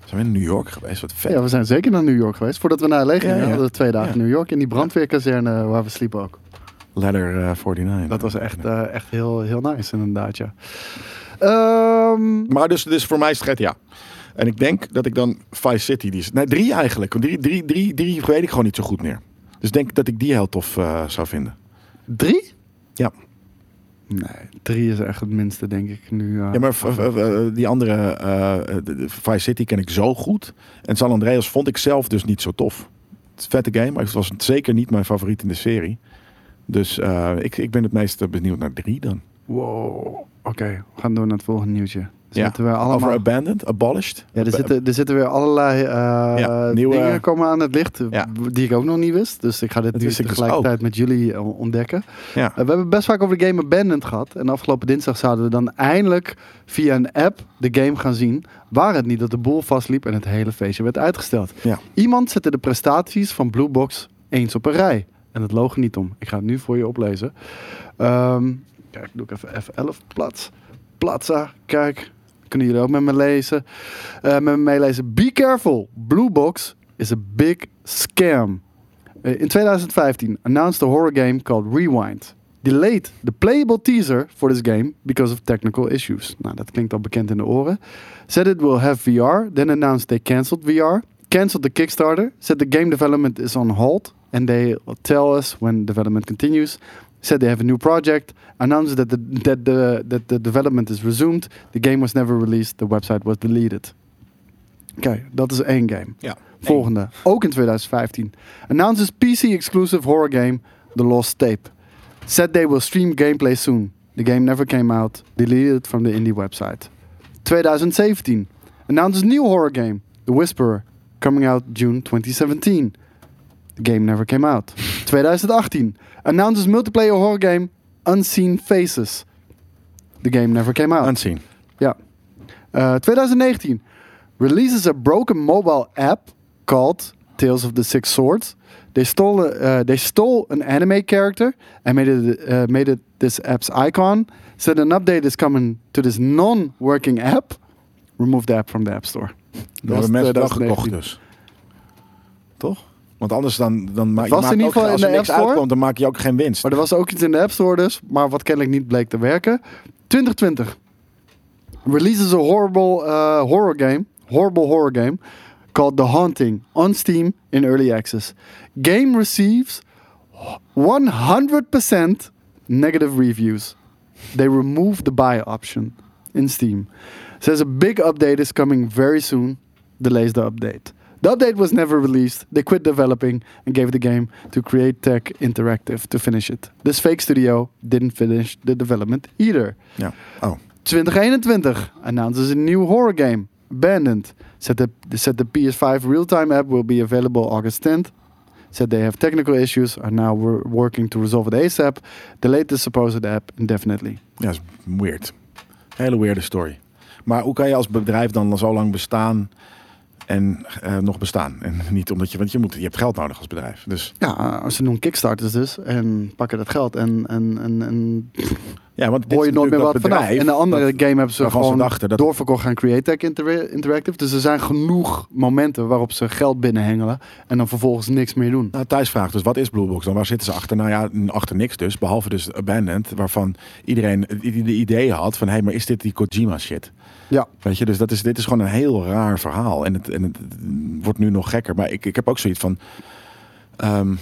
Zijn we in New York geweest? Wat vet.
Ja, we zijn zeker naar New York geweest. Voordat we naar LA gingen,
Ja, ja.
hadden we twee dagen
Ja.
in New York. In die brandweerkazerne waar we sliepen ook.
Ladder eh, 49.
Dat was echt, eh, echt heel, heel nice inderdaad, ja. Ehm,
Maar dus, dus voor mij is het GTA. En ik denk dat ik dan Vice City, die is, nee drie eigenlijk. Want Drie, drie, drie, drie weet ik gewoon niet zo goed meer. Dus ik denk dat ik die heel tof eh, zou vinden.
drie?
Ja,
Nee, drie is echt het minste, denk ik. Nu, eh.
ja maar v- v- v- die andere, eh, de- de Vice City ken ik zo goed. En San Andreas vond ik zelf dus niet zo tof. Het is een vette game, maar het was zeker niet mijn favoriet in de serie. Dus eh, ik, ik ben het meest benieuwd naar drie dan.
Wow. Oké, we gaan door naar het volgende nieuwtje. Er zitten weer
Over
allemaal...
Abandoned, Abolished.
Ja, er zitten, er zitten weer allerlei eh,
Ja, nieuwe-
dingen komen aan het licht,
Ja.
die ik ook nog niet wist. Dus ik ga dit
Dat
nu
wist ik dus
tegelijkertijd met jullie eh, ontdekken.
Ja.
Eh, we hebben best vaak over de game Abandoned gehad. En afgelopen dinsdag zouden we dan eindelijk via een app de game gaan zien. Waar het niet dat de boel vastliep en het hele feestje werd uitgesteld.
Ja.
Iemand zette de prestaties van Blue Box eens op een rij. En het loog er niet om. Ik ga het nu voor je oplezen. Ehm, kijk, doe ik even F11 plaats. Platza, kijk. Kunnen jullie ook met me lezen? Eh, met me meelezen. Be careful. Blue Box is a big scam. Eh, in 2015 announced a horror game called Rewind. Delayed the playable teaser for this game because of technical issues. Nou, dat klinkt al bekend in de oren. Said it will have VR, then announced they cancelled VR. Cancelled the Kickstarter. Said the game development is on hold. And they tell us when development continues. Said they have a new project. Announced that the, that the, that the development is resumed. The game was never released. The website was deleted. Oké, dat is één game.
Ja.
Volgende, ook in 2015. Announces PC-exclusive horror game The Lost Tape. Said they will stream gameplay soon. The game never came out. Deleted from the indie website. 2017. Announces new horror game The Whisperer. Coming out June 2017. The game never came out. 2018. Announces multiplayer horror game Unseen Faces. The game never came out.
Aanzien.
Ja. Eh, 2019 releases a broken mobile app called Tales of the Six Swords. They stole, uh, they stole an anime character and made it, uh, made it this app's icon. Said an update is coming to this non-working app. Remove the app from the App Store.
We hebben
was
mensen wel
2019.
gekocht dus. Toch? Want anders dan, dan maak je
dus. was
maakt
in ieder
ook-
geval
als
in
er
de
niks
App Store.
uitkomt, dan maak je ook geen winst.
Maar er was ook iets in de App Store dus, maar wat kennelijk niet bleek te werken. 2020. Releases a horrible eh, horror game. Horrible horror game. Called The Haunting. On Steam in early access. Game receives 100% negative reviews. They remove the buy option in Steam. Says a big update is coming very soon. Delays the update. The update was never released. They quit developing and gave the game to Create Tech Interactive to finish it. This fake studio didn't finish the development either.
Ja. Oh.
2021 announces a new horror game, Abandoned. Said the, said the PS5 real time app will be available August 10th. Said they have technical issues, are now wor- working to resolve it ASAP. Delayed the supposed app indefinitely.
ja, is weird. Hele weirde story. Maar hoe kan je als bedrijf dan al zo lang bestaan en eh, nog bestaan? En niet omdat je, want je, moet, je hebt geld nodig als bedrijf. Dus
Ja, ze doen kickstarters dus en pakken dat geld en, en, en, en
ja, want dit
hoor je
is
nooit meer wat
natuurlijk dat
vanaf.
bedrijf
En de andere
dat-
game hebben ze
waarvan ze
gewoon
dachten dat-
doorverkocht aan Createch Inter- Interactive. Dus er zijn genoeg momenten waarop ze geld binnenhengelen en dan vervolgens niks meer doen.
Nou, Thijs vraagt dus, wat is Blue Box dan? Waar zitten ze achter? Nou ja, n- achter niks dus. Behalve dus Abandoned, waarvan iedereen het i- de idee had van... hé, hey, maar is dit die Kojima shit?
Ja.
Weet je, dus dat is, dit is gewoon een heel raar verhaal. En het, en het wordt nu nog gekker. Maar ik, ik heb ook zoiets van... ehm,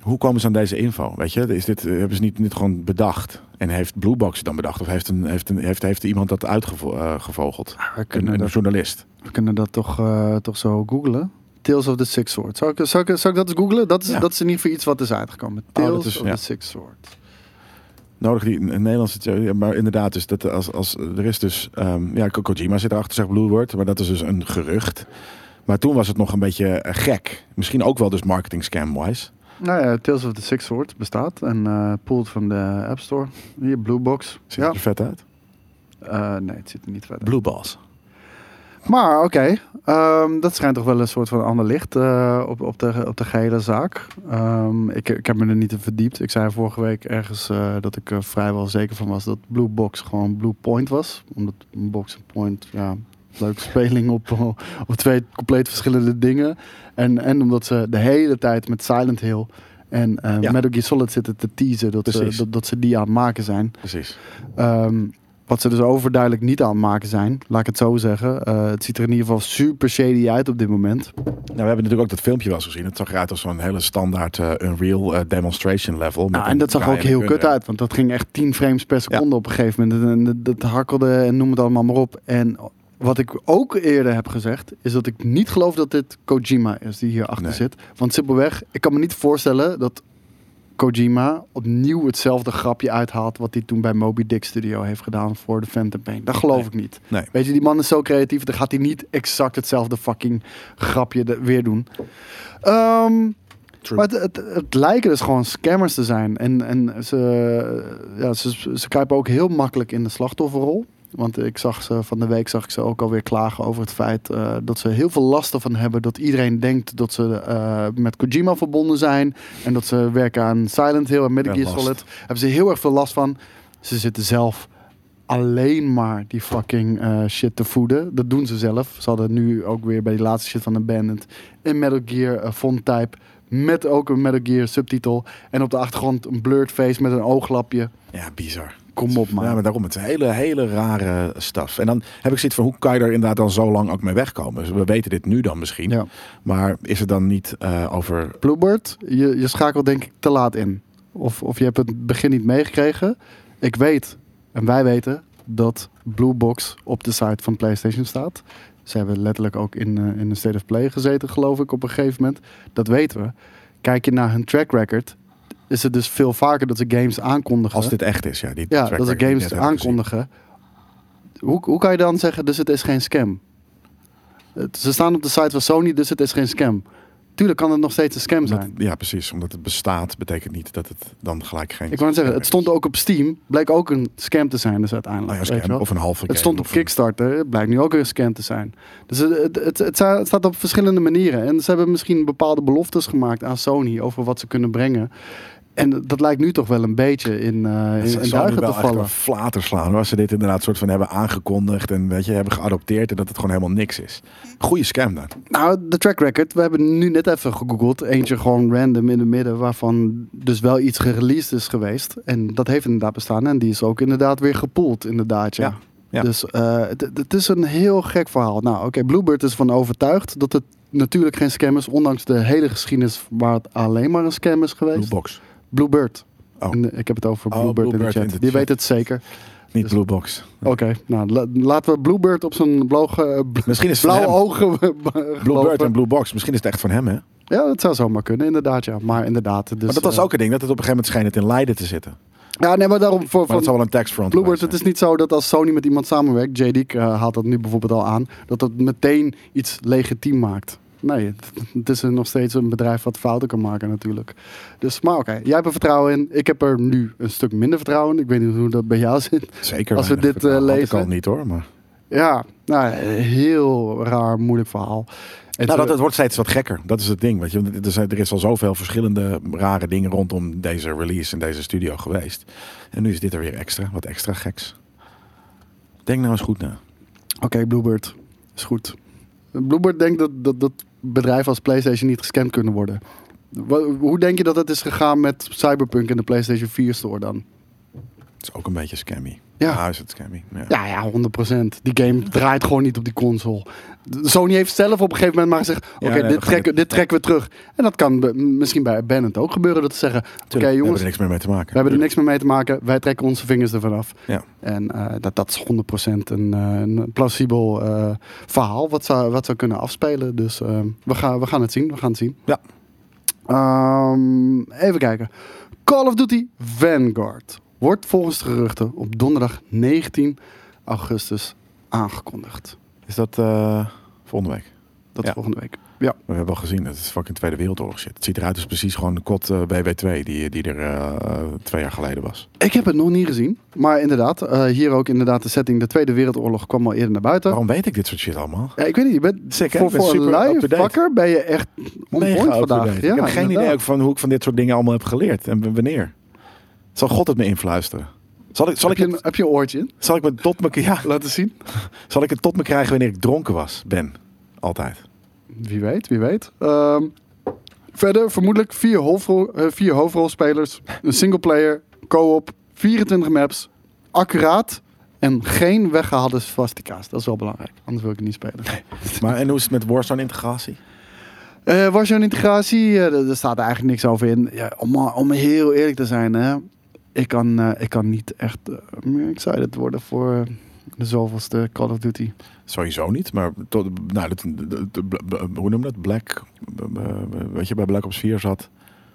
hoe komen ze aan deze info? Weet je, is dit, eh, hebben ze niet, niet gewoon bedacht? En heeft Blue Box het dan bedacht? Of heeft, een, heeft, een, heeft, heeft iemand dat uitgevogeld?
We
Een,
kunnen,
een
dat,
journalist.
we kunnen dat toch, eh, toch zo googlen. Tales of the Six Swords. Zou ik, zou ik, zou ik dat eens googlen? Dat is,
Ja.
dat is in ieder geval iets wat is uitgekomen. Tales
dat is-
of
ja.
the Six Swords.
Nodig die een Nederlandse. tje- ja, Maar inderdaad, dus dat als, als, er is dus. ehm, ja, Ko- Kojima zit erachter, zegt Blue Word. Maar dat is dus een gerucht. Maar toen was het nog een beetje eh, gek. Misschien ook wel dus marketing scam-wise.
Nou ja, Tales of the Six Swords bestaat en eh pooled van de App Store. Hier, Blue Box.
Ziet
ja.
het er vet uit?
Eh, nee, het zit er niet verder.
Blue Balls.
Maar oké, ehm, dat schijnt toch wel een soort van ander licht eh, op, op, de, op de gehele zaak. Ehm, ik, ik heb me er niet in verdiept. Ik zei vorige week ergens eh, dat ik er vrijwel zeker van was dat Blue Box gewoon Blue Point was. Omdat een box en point, ja, Leuke speling op, eh, op twee compleet verschillende dingen. En, en omdat ze de hele tijd met Silent Hill en eh
Ja.
Metal Gear Solid zitten te teasen dat ze,
Precies.
dat, dat ze die aan het maken zijn.
Precies.
Ehm, wat ze dus overduidelijk niet aan het maken zijn, laat ik het zo zeggen. Eh, het ziet er in ieder geval super shady uit op dit moment.
Nou, we hebben natuurlijk ook dat filmpje wel eens gezien. Het zag eruit als zo'n hele standaard eh, Unreal eh, demonstration level.
Nou, en dat zag ook heel kut uit, want dat ging echt 10 frames per seconde op een gegeven moment. En dat, dat hakkelde en noem het allemaal maar op. En wat ik ook eerder heb gezegd, is dat ik niet geloof dat dit Kojima is die hierachter
Nee.
zit. Want simpelweg, ik kan me niet voorstellen dat Kojima opnieuw hetzelfde grapje uithaalt wat hij toen bij Moby Dick Studio heeft gedaan voor de Phantom Pain. Dat geloof ik niet.
Nee.
Weet je, die man is zo creatief, dan gaat hij niet exact hetzelfde fucking grapje de- weer doen. Ehm,
True.
maar het, het, het lijken dus gewoon scammers te zijn. En, en ze, ja, ze, ze kruipen ook heel makkelijk in de slachtofferrol. Want ik zag ze van de week zag ik ze ook alweer klagen over het feit eh, dat ze heel veel last ervan hebben. Dat iedereen denkt dat ze eh, met Kojima verbonden zijn. En dat ze werken aan Silent Hill en Metal
Ja,
Gear
last.
Solid. Hebben ze heel erg veel last van. Ze zitten zelf alleen maar die fucking eh, shit te voeden. Dat doen ze zelf. Ze hadden nu ook weer bij die laatste shit van Abandoned een Metal Gear eh, font type met ook een Metal Gear subtitel en op de achtergrond een blurred face met een ooglapje.
Ja, bizar.
Kom op man.
Ja, maar daarom, het is een hele, hele rare staf. En dan heb ik zoiets van, hoe kan je er inderdaad dan zo lang ook mee wegkomen? Dus we weten dit nu dan misschien.
Ja.
Maar is het dan niet eh, over...
Bluebird, je, je schakelt denk ik te laat in. Of, of je hebt het begin niet meegekregen. Ik weet, en wij weten, dat Blue Box op de site van PlayStation staat. Ze hebben letterlijk ook in, eh, in een State of Play gezeten, geloof ik, op een gegeven moment. Dat weten we. Kijk je naar hun track record, is het dus veel vaker dat ze games aankondigen.
Als dit echt is, ja. Die
ja,
track
dat ze
record die ik net
games
heb gezien.
aankondigen. Hoe, hoe kan je dan zeggen, dus het is geen scam? Het- ze staan op de site van Sony, dus het is geen scam. Tuurlijk kan het nog steeds een scam
Omdat-
zijn.
ja, precies. Omdat het bestaat, betekent niet dat het dan gelijk geen...
Ik wou net zeggen, het
is.
stond ook op Steam. Bleek ook een scam te zijn dus uiteindelijk.
Nou ja,
weet
scam,
je wel.
of een halve
het stond op Kickstarter. Het blijkt nu ook een scam te zijn. Dus het, het, het, het sta- het staat op verschillende manieren. En ze hebben misschien bepaalde beloftes gemaakt aan Sony... over wat ze kunnen brengen. En dat lijkt nu toch wel een beetje in, eh in, in
Het zou nu
duigen
wel
te
echt
vallen.
een flater slaan. hoor, Als ze dit inderdaad soort van hebben aangekondigd en weet je, hebben geadopteerd en dat het gewoon helemaal niks is. Goeie scam dan.
Nou, de track record. We hebben nu net even gegoogeld. Eentje gewoon random in het midden. Waarvan dus wel iets gereleased is geweest. En dat heeft inderdaad bestaan. En die is ook inderdaad weer gepoeld. Inderdaad, ja.
Ja, ja.
Dus eh, het het is een heel gek verhaal. Nou, oké. Bluebird is van overtuigd dat het natuurlijk geen scam is. Ondanks de hele geschiedenis waar het alleen maar een scam is geweest.
Blue Box.
Bluebird.
Oh.
En, eh, ik heb het over
Oh,
Bluebird, in de
Bluebird
chat.
in de
Die
chat.
weet het zeker.
Niet
Dus-
Blue Box.
Oké, nou la- laten we Bluebird op zijn blauwe, eh,
Misschien is het
blauwe
van hem.
ogen
Bluebird
gelopen.
en Blue Box. Misschien is het echt van hem, hè?
Ja, dat zou zomaar kunnen, inderdaad. Ja. Maar inderdaad. Dus,
maar dat was
eh,
ook een ding, dat het op een gegeven moment scheen het in Leiden te zitten. Maar
ja, nee, maar daarom voor.
dat
Van,
zou wel een taxfront
Bluebird,
geweest
het is niet zo dat als Sony met iemand samenwerkt, JD eh, haalt dat nu bijvoorbeeld al aan, dat dat meteen iets legitiem maakt. Nee, het, het is nog steeds een bedrijf wat fouten kan maken natuurlijk. Dus, maar oké, jij hebt er vertrouwen in. Ik heb er nu een stuk minder vertrouwen in. Ik weet niet hoe dat bij jou zit.
zijn. Zeker.
Als we
weinig.
dit, eh,
Had ik
lezen-
al niet, hoor. Maar...
Ja, nou, heel raar, moeilijk verhaal. Het,
Nou, dat,
eh,
het wordt steeds wat gekker. Dat is het ding. Weet je. want Er, zijn, er is al zoveel verschillende rare dingen rondom deze release en deze studio geweest. En nu is dit er weer extra, wat extra geks. Denk nou eens goed na.
Oké, Bluebird. Is goed. Bluebird denkt dat, dat, dat bedrijven als PlayStation niet gescamd kunnen worden. Wa- hoe denk je dat het is gegaan met Cyberpunk in de PlayStation 4 store dan?
Het is ook een beetje scammy.
Ja.
Nou is het scammy. Ja.
Ja, ja, 100%. Die game draait gewoon niet op die console. De- Sony heeft zelf op een gegeven moment maar gezegd: Oké,
Ja, nee, we
dit,
gaan
trekken-
dit-
dit trekken we terug. En dat kan be- m- misschien bij Bennett ook gebeuren: dat ze zeggen: Oké,
Tuurlijk,
jongens,
We hebben er niks meer mee te maken.
we hebben er niks meer mee te maken. Wij trekken onze vingers ervan af.
Ja.
En eh, dat, dat is 100% een, eh, een plausibel eh, verhaal wat zou, wat zou kunnen afspelen. Dus eh, we, gaan, we gaan het zien. We gaan het zien.
Ja.
Ehm, even kijken. Call of Duty Vanguard wordt volgens de geruchten op donderdag 19 augustus aangekondigd.
Is dat eh, volgende week?
Dat is
Ja.
volgende week. Ja,
We hebben al gezien, het is fucking Tweede Wereldoorlog shit. Het ziet eruit als precies gewoon de kot eh, WW2 die, die er eh, twee jaar geleden was.
ik heb het nog niet gezien. Maar inderdaad, eh, hier ook inderdaad de setting. De Tweede Wereldoorlog kwam al eerder naar buiten.
Waarom weet ik dit soort shit allemaal?
Ja, ik weet niet, je bent
Sick, hè?
voor,
Ik ben
voor een
super
lui
up-to-date.
vakker ben je echt on
Mega
point vandaag.
up-to-date. ik heb geen idee ook van hoe ik van dit soort dingen allemaal heb geleerd en w- wanneer. Zal God het me influisteren? Zal ik, zal
Heb
ik,
je, een,
het,
heb je een oortje in?
zal ik me tot me, ja,
Laten zien.
zal ik het tot me krijgen wanneer ik dronken was, ben? Altijd.
Wie weet, wie weet. Ehm, verder vermoedelijk vier, hoofdrol, eh, vier hoofdrolspelers, een singleplayer, co-op, 24 maps, accuraat en geen weggehaalde swastikas. Dat is wel belangrijk, anders wil ik het niet spelen.
Maar en hoe is het met Warzone integratie?
Eh was zo'n integratie, eh, daar daar staat er eigenlijk niks over in. Ja, om, eh, om heel eerlijk te zijn, hè, ik, kan, eh, ik kan niet echt eh, meer excited worden voor eh, de zoveelste Call of Duty.
Sowieso niet, maar tot, nou, dat, dat- dat- bl- bl- hoe noem je dat? Black, eh, weet je, bij Black Ops 4 zat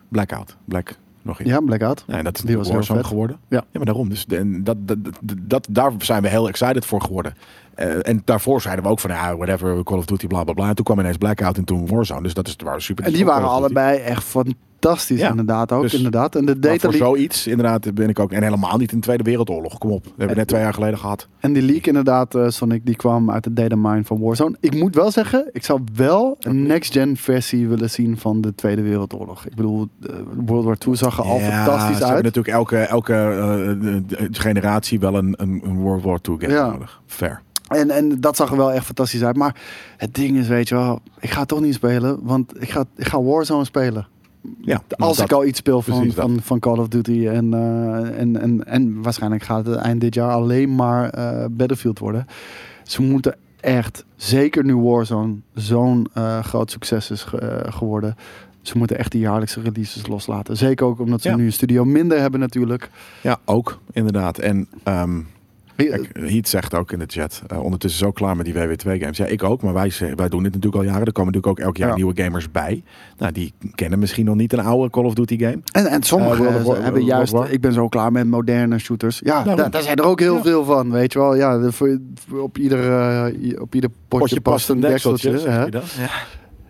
Blackout. Black, nog iets.
Ja, Blackout.
Ja, en dat is
Die was heel
Warzone
vet.
geworden.
Ja.
maar daarom. Dus, de- en dat, dat, dat, dat- daar zijn we heel excited voor geworden. Eh, en daarvoor zeiden we ook van, ja, whatever, Call of Duty, bla bla bla. En toen kwam ineens Blackout en toen Warzone. Dus dat is waar super.
En die waren allebei echt fantastisch,
Ja,
inderdaad ook.
dus-
inderdaad. En de
Maar
data
voor
leak,
zoiets, inderdaad, ben ik ook. En helemaal niet in de Tweede Wereldoorlog. Kom op. We hebben we net twee jaar geleden gehad.
en die leak inderdaad, eh, Sonic, die kwam uit de datamine van Warzone. Ik moet wel zeggen, ik zou wel een next-gen versie willen zien van de Tweede Wereldoorlog. Ik bedoel, eh, World War II zag er al
Ja,
fantastisch
ze hebben
uit.
natuurlijk elke, elke eh, eh, generatie wel een, een, een World War II game
Ja.
nodig. Fair.
En, en dat zag er wel echt fantastisch uit. Maar het ding is, weet je wel, ik ga het toch niet spelen. Want ik ga, ik ga Warzone spelen.
Ja,
Als
dat-
ik al iets speel van,
precies dat.
van, van Call of Duty. En, eh, en, en, en waarschijnlijk gaat het eind dit jaar alleen maar eh, Battlefield worden. Ze moeten echt, zeker nu Warzone zo'n eh, groot succes is ge- eh, geworden. Ze moeten echt die jaarlijkse releases loslaten. Zeker ook omdat ze
Ja.
nu een studio minder hebben natuurlijk.
Ja, ook inderdaad. En ehm
Eh,
kijk, Heat zegt ook in de chat, eh, ondertussen zo klaar met die WW2-games. Ja, ik ook, maar wij, z- wij doen dit natuurlijk al jaren. Er komen natuurlijk ook elk jaar
Ja.
nieuwe gamers bij. Nou, die kennen misschien nog niet een oude Call of Duty-game.
En, en
Eh,
sommigen
World of War-
eh, hebben
World of
juist,
War.
ik ben zo klaar met moderne shooters. Ja,
Daarom.
daar, daar zijn er ook heel
Ja.
veel van, weet je wel. Ja, de- voor, voor- op ieder, eh, i- op ieder potje, past een dekseltje. hè.
zeg je dat? Ja.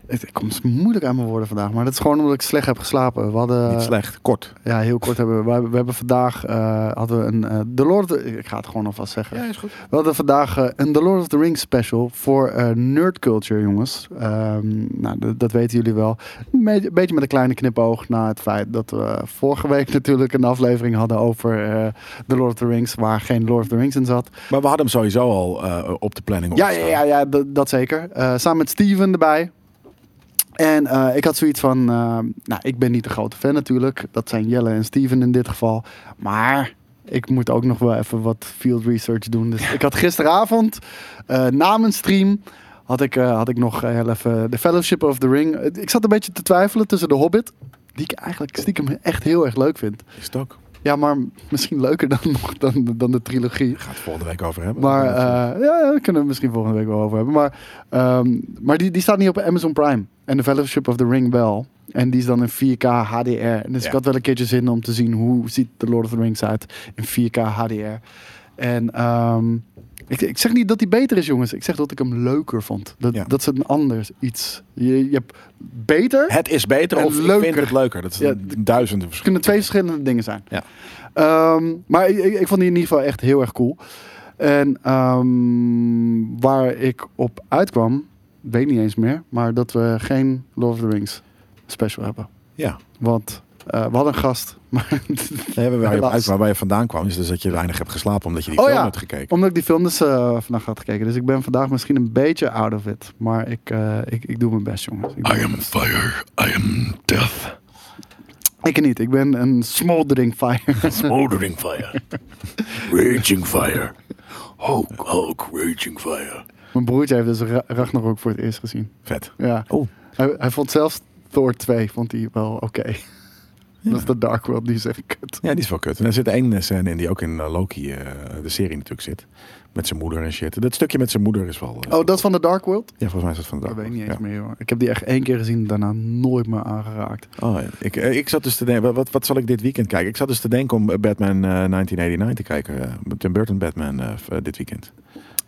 Het- Ik kom moeilijk aan mijn woorden vandaag, maar dat is gewoon omdat ik slecht heb geslapen. We hadden,
Niet slecht, kort.
Ja, heel kort hebben we, we, we hebben vandaag eh, hadden we een eh, The Lord, of the- ik ga het gewoon alvast zeggen.
is goed.
We hadden vandaag eh, een The Lord of the Rings special voor eh nerd culture, jongens. Ehm, nou, d- dat weten jullie wel. Een beetje- beetje met een kleine knipoog naar het feit dat we vorige week natuurlijk een aflevering hadden over eh The Lord of the Rings, waar geen Lord of the Rings in zat.
Maar we hadden hem sowieso al eh, op de planning.
Ja, ja,
opstaan.
ja, ja dat, dat zeker. Eh, samen met Steven erbij. En eh, ik had zoiets van, eh, nou, ik ben niet de grote fan natuurlijk. Dat zijn Jelle en Steven in dit geval. Maar ik moet ook nog wel even wat field research doen. Dus ik had gisteravond, eh, na mijn stream, had ik, eh, had ik nog heel even The Fellowship of the Ring. Eh, Ik zat een beetje te twijfelen tussen The Hobbit, die ik eigenlijk stiekem echt heel erg leuk vind.
Is het ook.
Ja, maar misschien leuker dan, nog- dan, dan de trilogie.
Gaat het volgende week over hebben.
Maar eh, ja, daar kunnen we misschien volgende week wel over hebben. Maar, ehm, maar die, die staat niet op Amazon Prime. En The Fellowship of the Ring wel. En die is dan in 4K HDR. En dus
Ja.
ik had wel een keertje zin om te zien hoe ziet The Lord of the Rings uit in 4K HDR. En ehm, ik, ik zeg niet dat die beter is, jongens. Ik zeg dat ik hem leuker vond. Dat,
Ja.
dat is een anders iets. Je, je hebt beter. Het
het is beter
en
of ik vind
leuker.
het leuker. Dat is
Ja,
een duizenden verschillen.
kunnen twee verschillende dingen zijn.
Ja.
Ehm, maar ik, ik, ik vond die in ieder geval echt heel erg cool. En ehm, waar ik op uitkwam, weet ik niet eens meer, maar dat we geen Lord of the Rings special hebben.
Ja.
Want eh, we hadden een gast, maar
Nee, waar, waar, je op
Helaas.
uit, waar je vandaan kwam is dus dat je weinig hebt geslapen omdat je die
Oh
film
ja.
hebt gekeken.
omdat ik die film dus eh, vannacht had gekeken. Dus ik ben vandaag misschien een beetje out of it. Maar ik, eh, ik, ik doe mijn best, jongens. Ik, doe mijn best.
fire, I am death.
ik niet. Ik ben een smoldering fire.
Smoldering fire. Raging fire. Hulk, Hulk, raging fire.
mijn broertje heeft dus Ra- Ragnarok voor het eerst gezien.
Vet.
Ja.
Oh.
Hij, hij vond zelfs Thor 2 vond hij wel oké. Dat is de Dark World, die is echt kut.
Ja, die is wel kut. En er zit één eh, scène in die ook in eh, Loki, eh, de serie natuurlijk, zit. Met zijn moeder en shit. Dat stukje met zijn moeder is wel... eh,
Oh, dat is van de Dark World?
Ja, volgens mij is dat van de
Dat weet ik niet eens
Ja.
meer, hoor. Ik heb die echt één keer gezien, daarna nooit meer aangeraakt.
Oh, ja. ik, eh, ik zat dus te denken, wat- wat, wat zal ik dit weekend kijken? Ik zat dus te denken om eh, Batman eh, 1989 te kijken. eh, Tim Burton Batman eh, v- eh, dit weekend.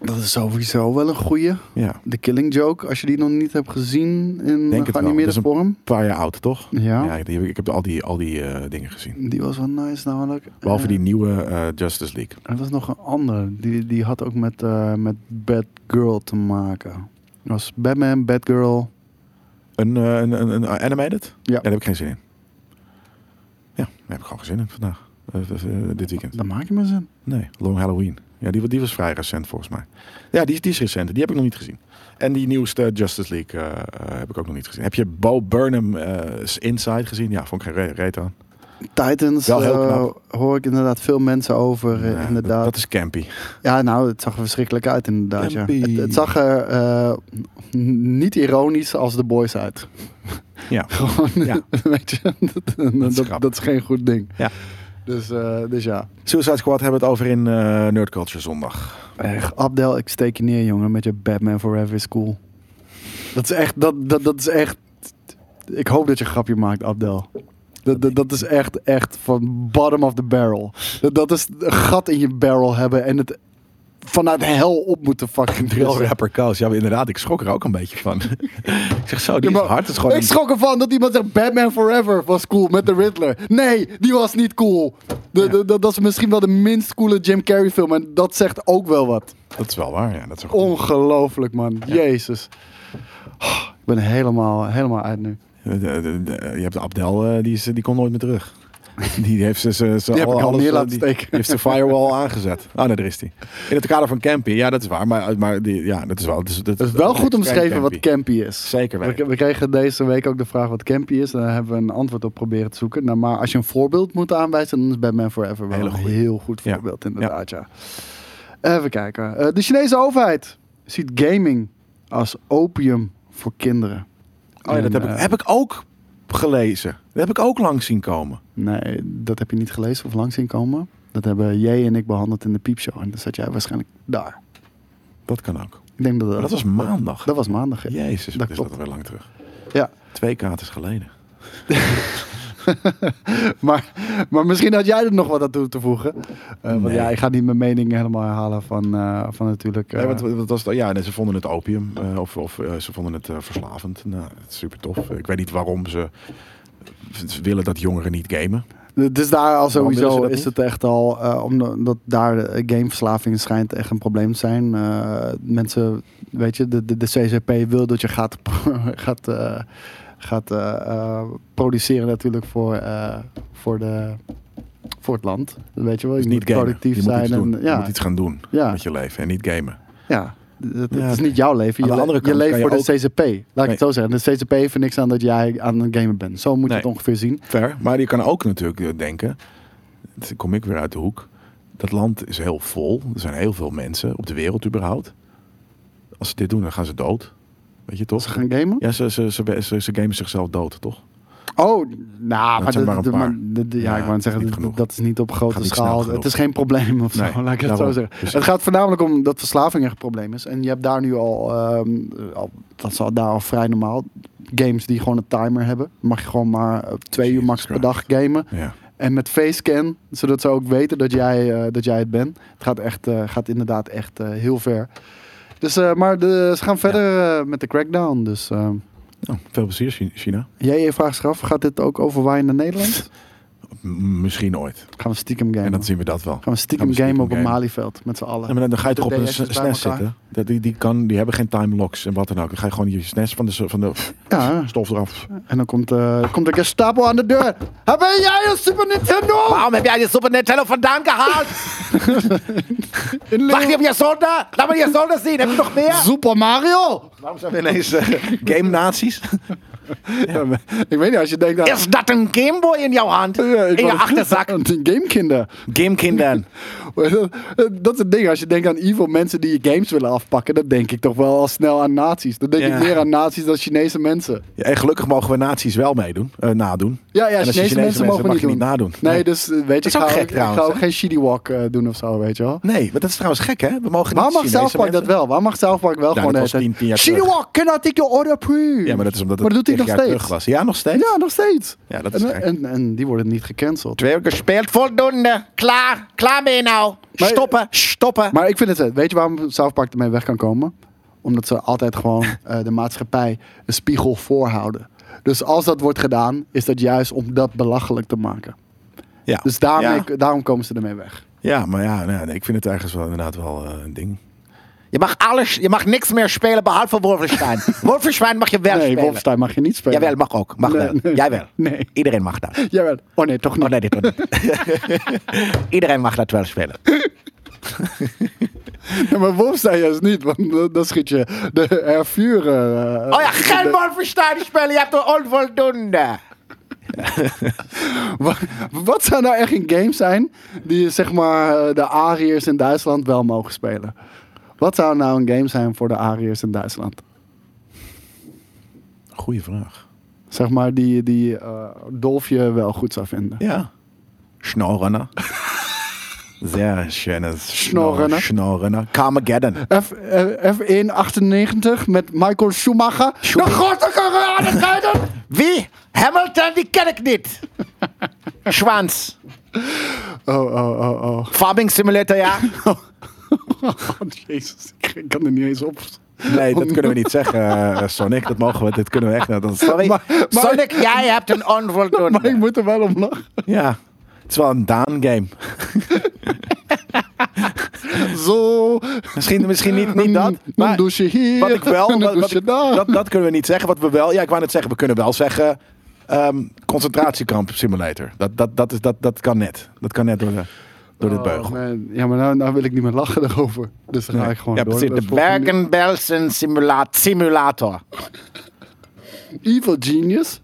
Dat is sowieso wel een goeie.
Ja,
The Killing Joke, als je die nog niet hebt gezien in
Denk het wel. Dat
geanimeerde
is een-
vorm.
een paar jaar oud, toch?
Ja.
ja die heb ik, ik heb al die, al die eh, dingen gezien.
Die was wel nice namelijk.
Behalve
Eh,
die nieuwe eh, Justice League.
Er was nog een andere. Die, die had ook met, eh met Batgirl te maken. Dat was Batman, Batgirl.
Een, eh, een, een, een animated?
Ja.
Daar heb ik geen zin in. Ja, daar heb ik gewoon geen zin in vandaag. Eh, eh, dit weekend.
Dan maak je maar zin.
Nee, Long Halloween. Ja, die, die was vrij recent volgens mij. Ja, die, is- die is recent. Die heb ik nog niet gezien. En die nieuwste Justice League eh, eh, heb ik ook nog niet gezien. Heb je Bo Burnham eh, Inside gezien? Ja, vond ik geen re- reet aan.
Titans
Wel heel
eh,
knap.
hoor ik inderdaad veel mensen over. eh,
Ja,
inderdaad.
Dat, dat is campy.
Ja, nou, het zag er verschrikkelijk uit inderdaad. Ja.
Campy.
Het, het zag er eh, n- niet ironisch als de boys uit.
Ja.
Gewoon,
Ja.
weet je, dat, dat,
is
dat,
grappig.
is geen goed ding.
Ja.
Dus, eh, dus ja.
Suicide Squad hebben we het over in eh Nerd Culture zondag.
Echt, Eh, Abdel, ik steek je neer, jongen, met je Batman Forever is cool. Dat is echt, dat, dat, dat is echt... Ik hoop dat je een grapje maakt, Abdel. Dat, dat, dat is echt, echt van bottom of the barrel. Dat, dat is een gat in je barrel hebben en het vanuit hel op moeten fucking
Real
drill
rapper Koos. Ja, maar inderdaad. Ik schrok er ook een beetje van. ik zeg zo, die
Ja,
is
maar
hard. Het is gewoon
ik
een-
schrok ervan dat iemand zegt Batman Forever was cool met de Riddler. Nee, die was niet cool. De, de- dat- dat is misschien wel de minst coole Jim Carrey film. En dat zegt ook wel wat.
Dat is wel waar. Ja, dat is wel goed.
Ongelooflijk, man. Jezus. Oh, ik ben helemaal, helemaal uit nu.
De- de- de- Je hebt de Abdel, eh, die, is, die komt nooit meer terug. Die heeft ze, ze, ze
Die heb ik al neer
eh,
laten
die-
steken.
die heeft de firewall aangezet. Ah, nee, daar is die. In het kader van camping, ja, dat is waar. Maar, maar die, ja, dat is wel. Dat is, dat
Het is wel goed
extreem
omschreven wat
campy.
campy is.
Zeker
We,
weten.
we kregen deze week ook de vraag wat campy is. En daar hebben we een antwoord op proberen te zoeken. Nou, maar als je een voorbeeld moet aanwijzen, dan is Batman Forever wel
Hele
een
goeie.
heel goed
Ja.
voorbeeld, inderdaad. Ja. Even kijken. Eh, de Chinese overheid ziet gaming als opium voor kinderen.
Oh ja, dat heb ik,
En, eh,
heb ik ook gelezen. Dat heb ik ook lang zien komen.
Nee, dat heb je niet gelezen of langs zien komen. Dat hebben jij en ik behandeld in de piepshow. En dan zat jij waarschijnlijk daar.
Dat kan ook.
Ik denk dat dat,
Maar dat was maandag.
dat was maandag. ja.
Jezus,
dat
dat is
klopt.
dat weer lang terug.
Ja.
Twee katers geleden.
maar, maar misschien had jij er nog wat aan toe te voegen. Eh, Want
Nee.
ja, ik ga niet mijn mening helemaal herhalen van, eh, van natuurlijk. eh,
Ja, want, wat was het? ja nee, ze vonden het opium eh, of, of eh, ze vonden het eh, verslavend. Nou, het is super tof. Ik weet niet waarom ze ze willen dat jongeren niet gamen.
dus daar al
willen ze
sowieso
dat
is
niet?
het echt al, eh, omdat daar eh, gameverslaving schijnt echt een probleem te zijn. Eh, mensen, weet je, de, de, de CCP wil dat je gaat, gaat, eh, gaat eh, eh, produceren natuurlijk voor, eh, voor, de, voor het land. Weet je wel,
Dus
je
niet
moet
gamen.
productief
je
zijn.
Moet iets doen.
en, ja,
Je moet iets gaan doen
Ja.
met je leven en niet gamen.
Ja, d- dat,
Ja,
het is
oké.
niet jouw leven.
Aan
Je,
de
le-
andere
je
kant
leeft
kan
voor
je
de CCP. Laat ik
Nee.
het zo zeggen. De CCP heeft er niks aan dat jij aan het gamen bent. Zo moet je
Nee.
het ongeveer zien.
Ver. Maar je kan ook natuurlijk eh, denken, dan kom ik weer uit de hoek. Dat land is heel vol. Er zijn heel veel mensen op de wereld überhaupt. Als ze dit doen, dan gaan ze dood. Weet
Ze
je toch?
gaan gamen?
Ja, ze, ze, ze, ze, ze gamen zichzelf dood, toch?
Oh, nou, maar dat-
zijn maar
dat-
een paar.
maar dat- ja, ik
Ja,
wou net
niet
zeggen, dat,
genoeg.
dat is niet op grote
Gaat niet snel
schaal. Het
genoeg.
is geen probleem of zo,
Nee,
laat ik het zo
daarom. Dus-
zeggen.
Precies.
Het gaat voornamelijk om dat verslaving echt een probleem is. En je hebt daar nu al, ehm, al dat is al, daar al vrij normaal, games die gewoon een timer hebben. Mag je gewoon maar eh, twee uur
Jesus
max per dag
Christ.
gamen.
Ja.
En met facescan, zodat ze ook weten dat jij, eh, dat jij het bent. Het gaat, echt, eh, gaat inderdaad echt eh, heel ver. Dus, eh, maar de, ze gaan verder eh, met de crackdown. Dus eh,
Nou, veel plezier, Chi- China.
jij je vraagt zich af, gaat dit ook overwaaien naar Nederland?
M- misschien ooit.
Gaan we stiekem gamen.
En dan zien we dat wel.
Gaan we stiekem
gaan we
gamen
stiekem
op een
gamen.
Malieveld met z'n allen.
Ja, maar dan ga je toch op
De
een
DS's bij
SNES
elkaar.
zitten. Dat- Die, die, kan, die hebben geen time locks en wat dan ook. Dan ga je gewoon je SNES van de, van de
Ja,
stof eraf.
en dan komt, eh komt de Gestapo aan de deur. Hebben jij een Super Nintendo?
Waarom heb jij die Super Nintendo vandaan gehaald? Wacht je op je zolder? Laat maar je zolder zien. Heb je nog meer?
Super Mario?
Waarom zijn we ineens
eh,
game nazies?
Ik weet niet, als je denkt... aan
Is dat een Gameboy in jouw hand? in je achterzak?
Gamekinderen.
Gamekinderen.
Dat is het ding. Als je denkt aan evil mensen die je games willen afpakken, dan denk ik toch wel al snel aan nazi's. Dan denk
Ja.
ik meer aan nazi's dan Chinese mensen.
Ja, en gelukkig mogen we nazi's wel meedoen, eh, nadoen.
Ja,
En
ja,
als je
Chinese, mensen mogen
mag
niet,
je
doen.
niet nadoen.
Nee, dus eh, weet je,
is ook
ik ga,
gek
ook, ik ga
trouwens,
ook
hè?
geen shitty walk eh, doen of zo, weet je wel.
Nee, maar dat is trouwens gek, hè? We mogen
Waarom
niet
mag
Chinese
Zelfpark dat
mensen-
wel? Waarom mag Zelfpark wel gewoon...
dat
eh,
was
zeggen,
10, 10 jaar
Shitty
terug.
walk, can I take your order, please?
Ja, maar dat is omdat het
Maar dat doet hij
tig
nog
jaar terug
steeds.
was. Ja, nog steeds?
Ja, nog steeds.
Ja, dat is
en,
gek.
en, en die worden niet gecanceld.
Twee uur gespeeld, voldoende. Klaar. Klaar ben je nou.
Maar-
stoppen, stoppen.
Maar ik vind het, eh, weet je waarom South Park ermee weg kan komen? Omdat ze altijd gewoon eh, de maatschappij een spiegel voorhouden. Dus als dat wordt gedaan, is dat juist om dat belachelijk te maken.
Ja.
Dus daarmee,
Ja.
daarom komen ze ermee weg.
Ja, maar ja, nou ja, nee, ik vind het ergens wel inderdaad wel eh, een ding.
Je mag, alles, je mag niks meer spelen behalve Wolfenstein. Wolfenstein mag je wel
Nee,
spelen.
Wolfenstein mag je niet spelen.
Jawel, mag ook. Mag
Nee,
wel.
nee.
Jij wel.
Nee.
Iedereen mag dat.
Jawel. Oh nee, toch niet.
Oh nee, dit wordt niet. Iedereen mag dat wel spelen.
Ja, maar Wolfenstein juist niet, want dan- dan schiet je de hervuren. eh,
Oh ja, geen Wolfenstein spelen. Je hebt er onvoldoende.
wa- Wat zou nou echt een game zijn die zeg maar eh, de Ariërs in Duitsland wel mogen spelen? Wat zou nou een game zijn voor de Ariërs in Duitsland?
Goeie vraag.
Zeg maar die, die eh, Dolfje wel goed zou vinden.
Ja. Schnorrenner. Sehr schönes
Schnorrenner.
Schnorrenner. Carmageddon.
F, eh, F1 98 met Michael Schumacher.
De grote coronatijden. Wie? Hamilton, die ken ik niet. Schwanz.
Oh, oh, oh, oh.
Farming Simulator, ja.
Oh, jezus, ik kan er niet eens op.
Nee, dat kunnen we niet zeggen, eh, Sonic. Dat mogen we, dit kunnen we echt niet. Dat is-
Sorry.
Maar- maar-
Sonic, jij hebt een
Maar ik
onvoldoende.
moet er wel om lachen.
Ja, het is wel een Daan-game.
Zo,
Misschien, misschien niet, niet dat,
dan
maar
doe je hier,
wat ik wel...
dan
Wat,
doe
wat
je
ik-
daar.
dat, dat kunnen we niet zeggen. Wat we wel... Ja, ik wou net zeggen, we kunnen wel zeggen... ehm, concentratiekamp simulator. Dat, dat, dat, is, dat, dat kan net. Dat kan net door, de, door dit
Oh,
beugel.
man. Ja, maar nou, nou wil ik niet meer lachen daarover. Dus dan ga ik gewoon
Ja,
door.
precies.
Dat
De
is volgende-
Bergen-Belsen simula- simulator.
Evil Genius.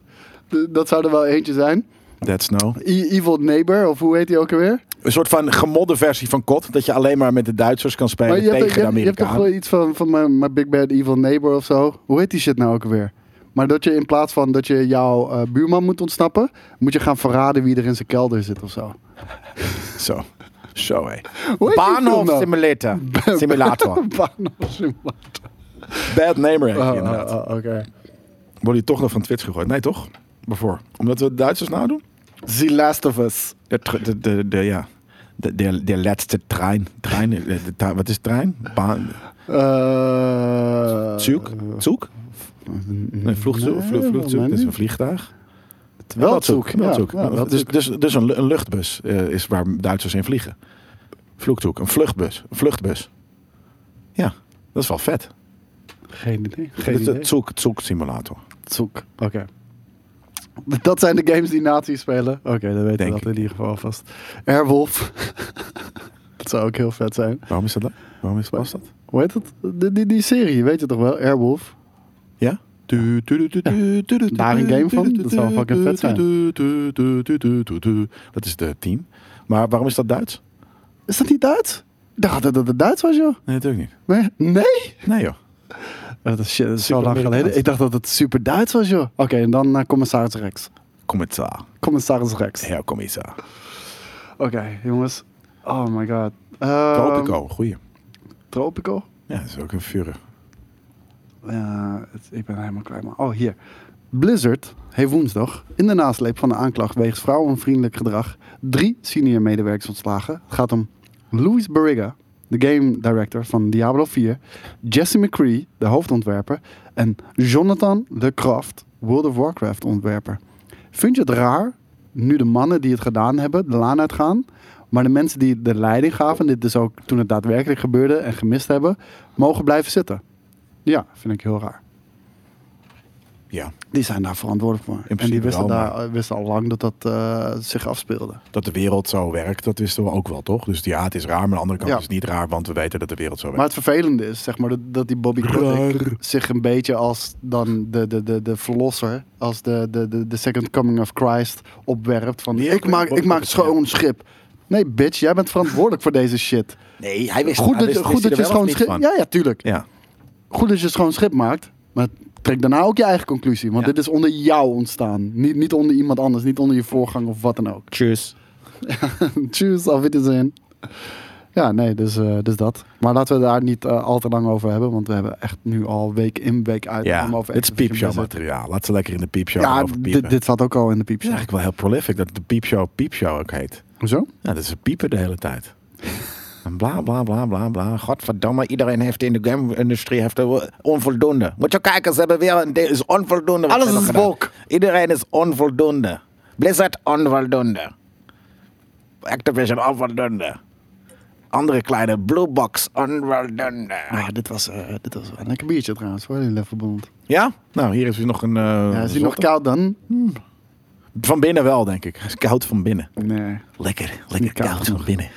De- dat zou er wel eentje zijn.
That's no.
E- Evil Neighbor, of hoe heet die ook alweer?
Een soort van gemodde versie van COD. Dat je alleen maar met de Duitsers kan spelen
Maar je
tegen
hebt, je,
de
hebt, je hebt toch
Amerikanen.
wel iets van, van mijn, mijn Big Bad Evil Neighbor of zo? Hoe heet die shit nou ook alweer? Maar dat je in plaats van dat je jouw eh, buurman moet ontsnappen, moet je gaan verraden wie er in zijn kelder zit of zo.
Zo. Zo, hé.
Hoe heet die film
Bahnhof
nou?
simulator. simulator.
Bahnhof Simulator.
Bad namer heb je
Oh,
inderdaad.
oh, oh, Oké.
Worden je toch nog van Twitch gegooid? Nee, toch? Waarvoor? Omdat we de Duitsers nadoen?
The Last of Us.
De, tr- de, de, de, ja. De, de, de laatste trein. trein de, de- de- wat is trein? Baan.
Eh,
Zoek? Zoek? Nee, vloegzoek.
nee,
vlo- vloegzoek.
man,
Dit is een
niet.
vliegtuig.
Weltzoek, ja,
Weltzoek.
ja, weltzoek.
dus dus, dus een, lu- een luchtbus eh, is waar Duitsers in vliegen. Vloekzoek. Een vluchtbus. Een vluchtbus. Ja, dat is wel vet.
Geen idee. Geen
Dit is
idee.
het zoek, het zoek simulator.
Zoek. Oké. Dat zijn de games die nazi's spelen. Oké, dan weten
Denk
we dat
ik.
in ieder geval vast. Airwolf. dat zou ook heel vet zijn.
Waarom is dat? dan? Waarom is was dat?
Hoe heet het? Die, die, die serie, weet je toch wel? Airwolf.
Ja? Daar
een game van? Dat zou fucking vet zijn.
Dat is de team. Maar waarom is dat Duits?
Is dat niet Duits? Ik dacht dat dat het Duits was, joh.
Nee, natuurlijk niet.
Nee? nee? Oh,
Nee joh.
Dat is, shit, dat is zo
Super
lang geleden.
Amerikaans.
Ik dacht dat het super Duits was, joh. Oké, en dan naar commissaris Rex.
Commissar.
Commissaris Rex.
Herr Commissar.
Oké, jongens. Oh my god. Ehm,
Tropico, goeie.
Tropico?
Ja, dat is ook een vuur.
Ja, het- ik ben helemaal kwijt. Maar. Oh, hier. Blizzard heeft woensdag in de nasleep van de aanklacht wegens vrouwenvriendelijk gedrag drie senior medewerkers ontslagen. Het gaat om Louis Barriga, de game director van Diablo 4, Jesse McCree, de hoofdontwerper, en Jonathan Le Croft, World of Warcraft ontwerper. Vind je het raar nu de mannen die het gedaan hebben de laan uitgaan, maar de mensen die de leiding gaven, en dit is ook toen het daadwerkelijk gebeurde en gemist hebben, mogen blijven zitten? Ja, vind ik heel raar.
Ja,
Die zijn daar verantwoordelijk voor. en die
principe
wisten,
wel, maar-
daar, wisten al lang dat dat eh, zich afspeelde.
dat de wereld zo werkt, dat wisten we ook wel, toch? Dus ja, het is raar, maar aan de andere kant
Ja.
is het niet raar, want we weten dat de wereld zo
Maar
werkt.
het vervelende is, zeg maar, dat, dat die Bobby Kotick
Raar.
zich een beetje als dan de, de, de, de verlosser, als de, de, de, de second coming of Christ opwerpt. Van,
Die
ik
ook-
maak,
Bobby
ik maak
Kotick, ja.
schoon schip. Nee, bitch, jij bent verantwoordelijk voor deze shit.
Nee, hij wist
Goed
hij
dat,
wist-
goed
wist
dat je
hij er wel of
schoon
niet
schip...
van?
Ja, ja, tuurlijk.
Ja,
Goed dat je schoon schip maakt, maar trek daarna ook je eigen conclusie. Want
Ja.
dit is onder jou ontstaan. Niet, niet onder iemand anders, niet onder je voorgang of wat dan ook.
tjus.
Tjus, auf Wiedersehen. Ja, nee, dus, eh, dus dat. Maar laten we daar niet eh, al te lang over hebben, want we hebben echt nu al week in, week uit.
Ja,
allemaal over
dit is
Activision
piepshow
Blizzard.
materiaal. Laat ze lekker in de piepshow
Ja,
over
dit,
piepen.
dit zat ook al in de
Het
piepshow.
is eigenlijk wel heel prolific dat de piepshow piepshow ook heet.
Hoezo?
Ja, dat is piepen de hele tijd. En bla bla bla bla bla.
Godverdomme, iedereen heeft in de game-industrie heeft er onvoldoende. Moet je kijken, ze hebben weer een deel is onvoldoende. wat
Alles
ze hebben
is
gedaan.
wolk.
Iedereen is onvoldoende. Blizzard onvoldoende. Activision onvoldoende. andere kleine Blue Box. Unrolden.
Ah, dit was, eh, dit was wel een lekker biertje trouwens, hoor, die Leffelbond.
Ja? Nou, hier is hij nog een... eh,
Ja, is die
zotte.
nog koud dan?
Van binnen wel, denk ik. Hij is koud van binnen.
Nee.
Lekker, lekker
koud
koud van
genoeg.
binnen.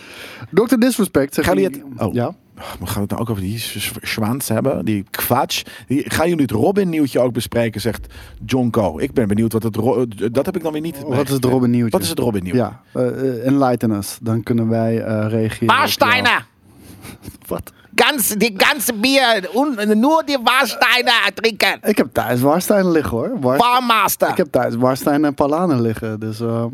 Dr. Disrespect. zegt
Gaan
hij-
jullie het- oh.
Ja.
We gaan het nou ook over die Schwaans hebben, die kwatsch. Die, gaan jullie het Robin-nieuwtje ook bespreken, zegt John Co. Ik ben benieuwd wat het... Ro- Dat heb ik dan weer niet...
Wat is het Robin-nieuwtje?
Wat is het Robin-nieuwtje?
Ja, eh, eh, enlighten us. Dan kunnen wij eh, reageren.
Warsteiner.
Wat?
Ganz, die ganze bier. Un, nur die Warsteiner drinken.
Ik heb thuis Warsteiner liggen hoor. War-
Barmaster.
Ik heb thuis Warsteiner en Palanen liggen. Dus eh,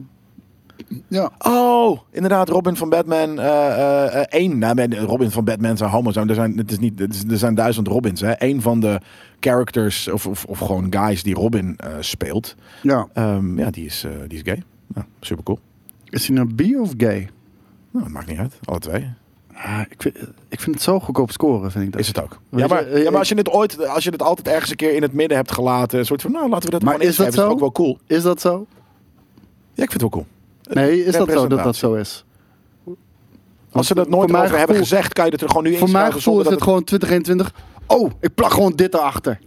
ja.
Oh, inderdaad, Robin van Batman eh, eh, eh, één. Nou, ben- Robin van Batman zijn homo. zijn. Er zijn, het is niet, het is- er zijn duizend Robins. Hè. Eén van de characters of, of, of gewoon guys die Robin eh, speelt.
ja.
Ehm, ja, die is, eh, die is gay. Nou, super cool.
Is hij nou bi of gay?
Nou, dat maakt niet uit. Alle twee.
Ah, ik, vind, ik vind het zo goedkoop scoren, vind ik dat.
Is het ook.
Weet
Ja maar,
je, eh,
ja, maar als je het ooit, als je het altijd ergens een keer in het midden hebt gelaten. Een soort van, nou, laten we dat
Maar
gewoon
is dat
inschrijven.
zo?
is toch ook wel cool.
Is dat zo?
Ja, ik vind het wel cool.
Eh,
Nee, is dat zo dat dat
representatie.
zo is?
Als ze dat nooit
voor
over
mijn
hebben
gevoel-
gezegd, kan je het er gewoon nu
Voor mijn
inschrijven.
gevoel
zonder
is
dat
het gewoon 2021. Oh, ik plak gewoon dit erachter.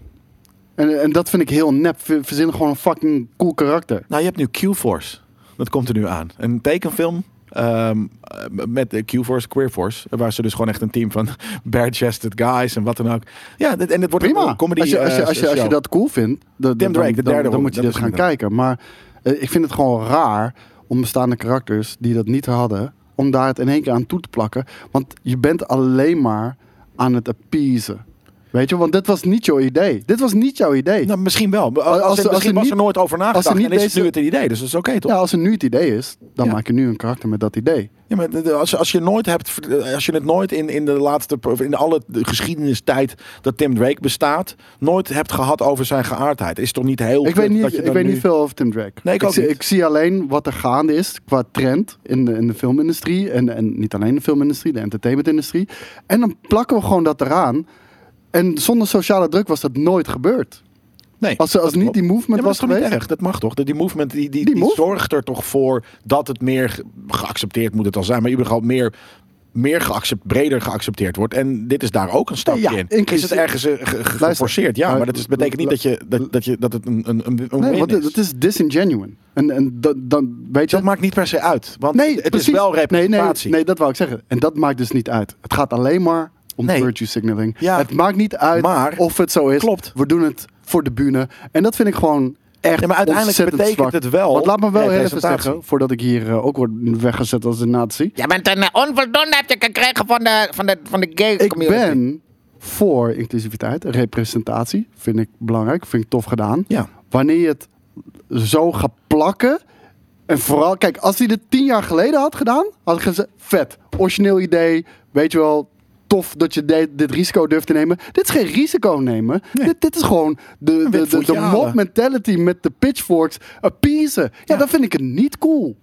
En, en dat vind ik heel nep. Ver- Verzinnen gewoon een fucking cool karakter.
Nou, je hebt nu Q-Force. Dat komt er nu aan. Een tekenfilm ehm, eh, met de Q-Force, Queer Force. Waar ze dus gewoon echt een team van bare-chested guys en wat dan ook. Ja, dit- en het wordt
Prima.
een comedy
als, je, als, je,
eh,
als, je, als je
show.
dat cool vindt, dan,
Tim
dan-
Drake, de
dan-
derde
dan,
Robin,
moet je
dat
dit
is
gaan
inderdaad.
kijken. Maar eh, ik vind het gewoon raar om bestaande karakters die dat niet hadden, om daar het in één keer aan toe te plakken. Want je bent alleen maar aan het appeasen. Weet je, want dit was niet jouw idee. Dit was niet jouw idee.
Nou, misschien wel. Als,
als
misschien
er- als er
was
niet-
er nooit over nagedacht.
als er niet
en is het
deze-
nu het idee, dus dat is oké toch?
ja, als er nu het idee is, dan
Ja.
maak je nu een karakter met dat idee.
Ja, maar de- de- als, als je nooit hebt, ver- eh, als je het nooit in, in de laatste, of in alle de geschiedenistijd dat Tim Drake bestaat, nooit hebt gehad over zijn geaardheid, is toch niet
Ik
heel.
weet,
kut dat
niet,
je
ik
dan
weet
nu-
niet veel over Tim Drake.
Nee, ik ook
zie,
niet.
ik zie alleen wat er gaande is qua trend in de, in de filmindustrie. En, en niet alleen de filmindustrie, de entertainmentindustrie. En dan plakken we gewoon dat eraan. En zonder sociale druk was dat nooit gebeurd.
Nee.
Als, als niet die movement
Ja,
was
maar dat is toch
geweest.
niet erg? Dat mag toch? Dat Die movement die, die,
Die
die,
move?
zorgt er toch voor dat het meer ge- geaccepteerd moet het al zijn. Maar überhaupt meer, meer geaccept, breder geaccepteerd wordt. En dit is daar ook een stapje
Ja,
in. Is
inclusief-
het ergens eh, ge- ge-
Luister.
geforceerd? Ja,
Maar-
maar dat is, betekent niet dat, je, dat, dat, je, dat het een, een, een, een
Nee,
win
want
is.
het is disingenuine. En, en dat, dan, weet je...
Dat maakt niet per se uit. Want
nee,
het
precies.
is wel
Nee, nee,
representatie.
nee, dat wou ik zeggen. En dat maakt dus niet uit. Het gaat alleen maar om
Nee.
virtue signaling.
Ja.
Het maakt niet uit
Maar-
of het zo is.
Klopt.
We doen het voor de bühne. En dat vind ik gewoon echt
Ja, maar uiteindelijk
ontzettend
betekent
zwak.
het wel
Want laat me wel heel even
representatie.
zeggen, voordat ik hier eh, ook word weggezet als een nazi.
Je bent een eh, onvoldoende heb je gekregen van de, van de, van de gay
Ik
community.
ben voor inclusiviteit, representatie. Vind ik belangrijk, vind ik tof gedaan.
Ja.
Wanneer je het zo gaat plakken. En vooral, kijk, als hij dit tien jaar geleden had gedaan, had ik gezegd: vet, origineel idee. Weet je wel, tof dat je de- dit risico durft te nemen. Dit is geen risico nemen. Dit, dit is gewoon de, de, de,
voetje
de
halen.
mob mentality met de pitchforks appeasen. Ja, dan vind ik het niet cool.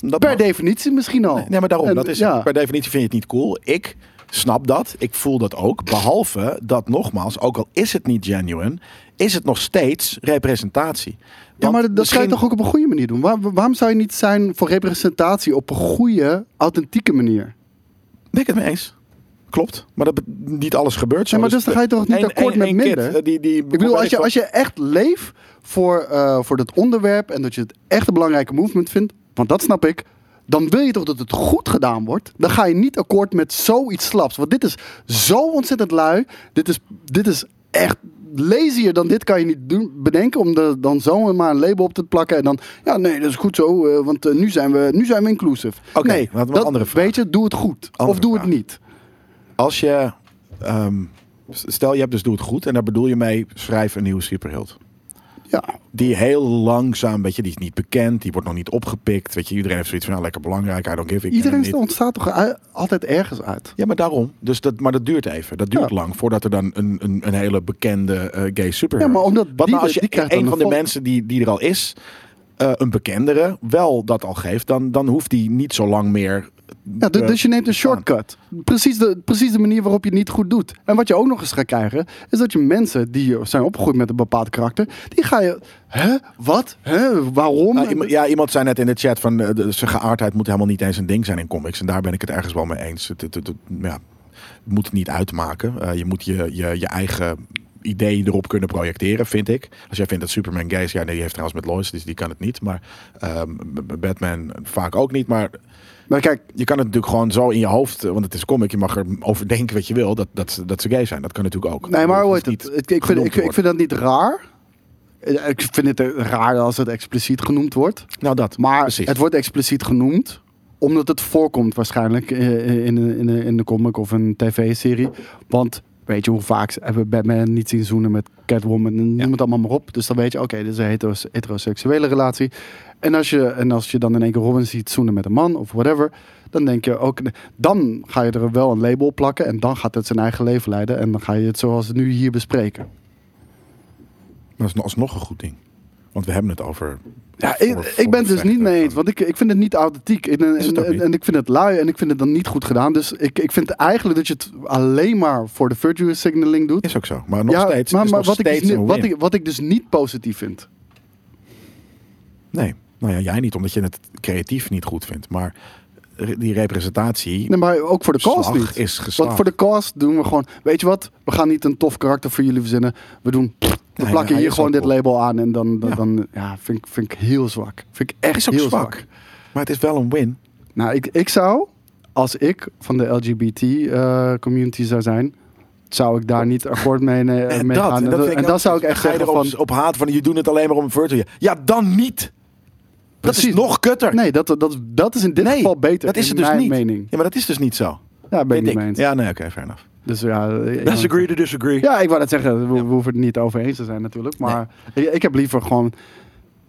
Dat
Per
mag.
definitie misschien al.
Nee, maar daarom.
En,
dat is,
ja.
Per definitie vind je het niet cool. Ik snap dat. Ik voel dat ook. Behalve dat nogmaals, ook al is het niet genuine, is het nog steeds representatie.
Ja,
Want
maar dat dat zou je
misschien-
toch ook op een goede manier doen? Waar- waarom zou je niet zijn voor representatie op een goede, authentieke manier?
Ben ik het mee eens? Klopt. Maar dat be- niet alles gebeurt zo.
Ja, maar dus dan ga je toch niet
Oh, Eén-
akkoord
één-
met
één
minder?
kid, eh, die, die,
Ik bedoel, als je, als je echt leeft voor, eh, voor dat onderwerp en dat je het echt een belangrijke movement vindt, want dat snap ik, dan wil je toch dat het goed gedaan wordt? Dan ga je niet akkoord met zoiets slaps. Want dit is zo ontzettend lui. Dit is, dit is echt lazier dan dit kan je niet doen, bedenken om er dan zo maar een label op te plakken en dan ja nee dat is goed zo eh, want eh, nu zijn we nu zijn we inclusive.
Oké,
nee,
laten we een
dat-
andere vraag.
Weet je, doe het goed
Andere
of doe
vraag.
het niet.
Als je ehm, stel, je hebt dus Doe het Goed. En daar bedoel je mee, schrijf een nieuwe superheld.
Ja,
Die heel langzaam, weet je, die is niet bekend. Die wordt nog niet opgepikt. Weet je, iedereen heeft zoiets van, nou, lekker belangrijk. I don't give a
iedereen
niet.
ontstaat toch ui- altijd ergens uit.
Ja, maar daarom. Dus dat, maar dat duurt even. Dat duurt
Ja.
lang voordat er dan een, een, een hele bekende eh, gay superhero
Ja, maar omdat
is. Wat
die-
nou als je
die krijgt dan
een van
een
de
vol-
mensen die, die er al is, eh, een bekendere, wel dat al geeft, dan, dan hoeft die niet zo lang meer
Ja, du-
eh,
dus je neemt een shortcut. Precies de, precies de manier waarop je het niet goed doet. En wat je ook nog eens gaat krijgen, is dat je mensen die zijn opgegroeid met een bepaald karakter, die ga je. Hè? Wat? Hè? Waarom?
Nou, iemand- ja, iemand zei net in de chat van eh, de- zijn geaardheid moet helemaal niet eens een ding zijn in comics. En daar ben ik het ergens wel mee eens. Het, het, het- het- ja, het moet het niet uitmaken. Eh, je moet je, je, je eigen idee erop kunnen projecteren, vind ik. Als jij vindt dat Superman gay is, ja, nee, die heeft trouwens met Lois, dus die kan het niet. Maar ehm, B- B- Batman vaak ook niet. Maar
Maar kijk,
je kan het natuurlijk gewoon zo in je hoofd, eh, want het is comic, je mag erover denken wat je wil, dat, dat, ze- dat ze gay zijn. Dat kan natuurlijk ook.
Nee, maar
Dat
hoe
hoeft
heet het?
niet
Ik, ik, vind,
genoemd
ik,
te
ik
worden.
vind dat niet raar. Eh, Ik vind het eh, raar als het expliciet genoemd wordt.
Nou, dat.
Maar
precies.
het wordt expliciet genoemd omdat het voorkomt waarschijnlijk eh, in, een- in, een- in de comic of een tv-serie. Want weet je hoe vaak ze- hebben we Batman niet zien zoenen met Catwoman en noem het allemaal maar op. Dus dan weet je, oké, dit is een heteros- heteroseksuele relatie. En als, je, en als je dan in één keer Robin ziet zoenen met een man of whatever, dan denk je ook, dan ga je er wel een label op plakken en dan gaat het zijn eigen leven leiden. En dan ga je het zoals het nu hier bespreken.
Maar dat is alsnog een goed ding. Want we hebben het over.
Ja, ik,
voor-
ik
voor
ben het dus niet mee eens,
vechten. eh,
want ik, ik vind het niet authentiek. En, en,
Is het ook
en-
niet?
en ik vind het lui en ik vind het dan niet goed gedaan. Dus ik, ik vind eigenlijk dat je het alleen maar voor de virtue signaling doet.
Is ook zo. Maar nog steeds.
maar,
is
maar
nog
wat, ik
steeds
dus,
een
niet- wat,
win.
ik, wat ik dus niet positief vind.
Nee, nou ja, jij niet, omdat je het creatief niet goed vindt. Maar re- die representatie.
Nee, maar ook voor de cause
Slag
niet.
is geslaagd.
Want voor de cause doen we gewoon... Weet je wat? We gaan niet een tof karakter voor jullie verzinnen. We doen... We
Nee,
plakken
hij
hier
is
gewoon
ook
dit
cool.
label aan. En dan, dan,
Ja.
dan ja, vind, ik, vind ik heel zwak. Vind ik echt
is ook
heel
zwak.
zwak.
Maar het is wel een win.
Nou, ik, ik zou, als ik van de LGBT eh, community zou zijn, zou ik daar niet akkoord mee, nee, eh, mee gaan. En,
vind
dat-
ik
en
ook-
dan zou ik echt
ga je
zeggen
erop-
van...
op haat van je doet het alleen maar om virtue. Ja, dan niet.
Precies.
Dat is nog kutter.
Nee, dat, dat, dat is in dit
Nee,
geval beter,
Dat is
in
het dus
mijn
niet.
mening.
Ja, maar dat is dus niet zo.
Ja, ben ik
Vind
niet mee eens.
Ja, nee, oké, fair enough.
Dus ja, ik-
to disagree.
Ja, ik wou dat zeggen. We, we hoeven het niet over eens te zijn natuurlijk. Maar ik, ik heb liever gewoon...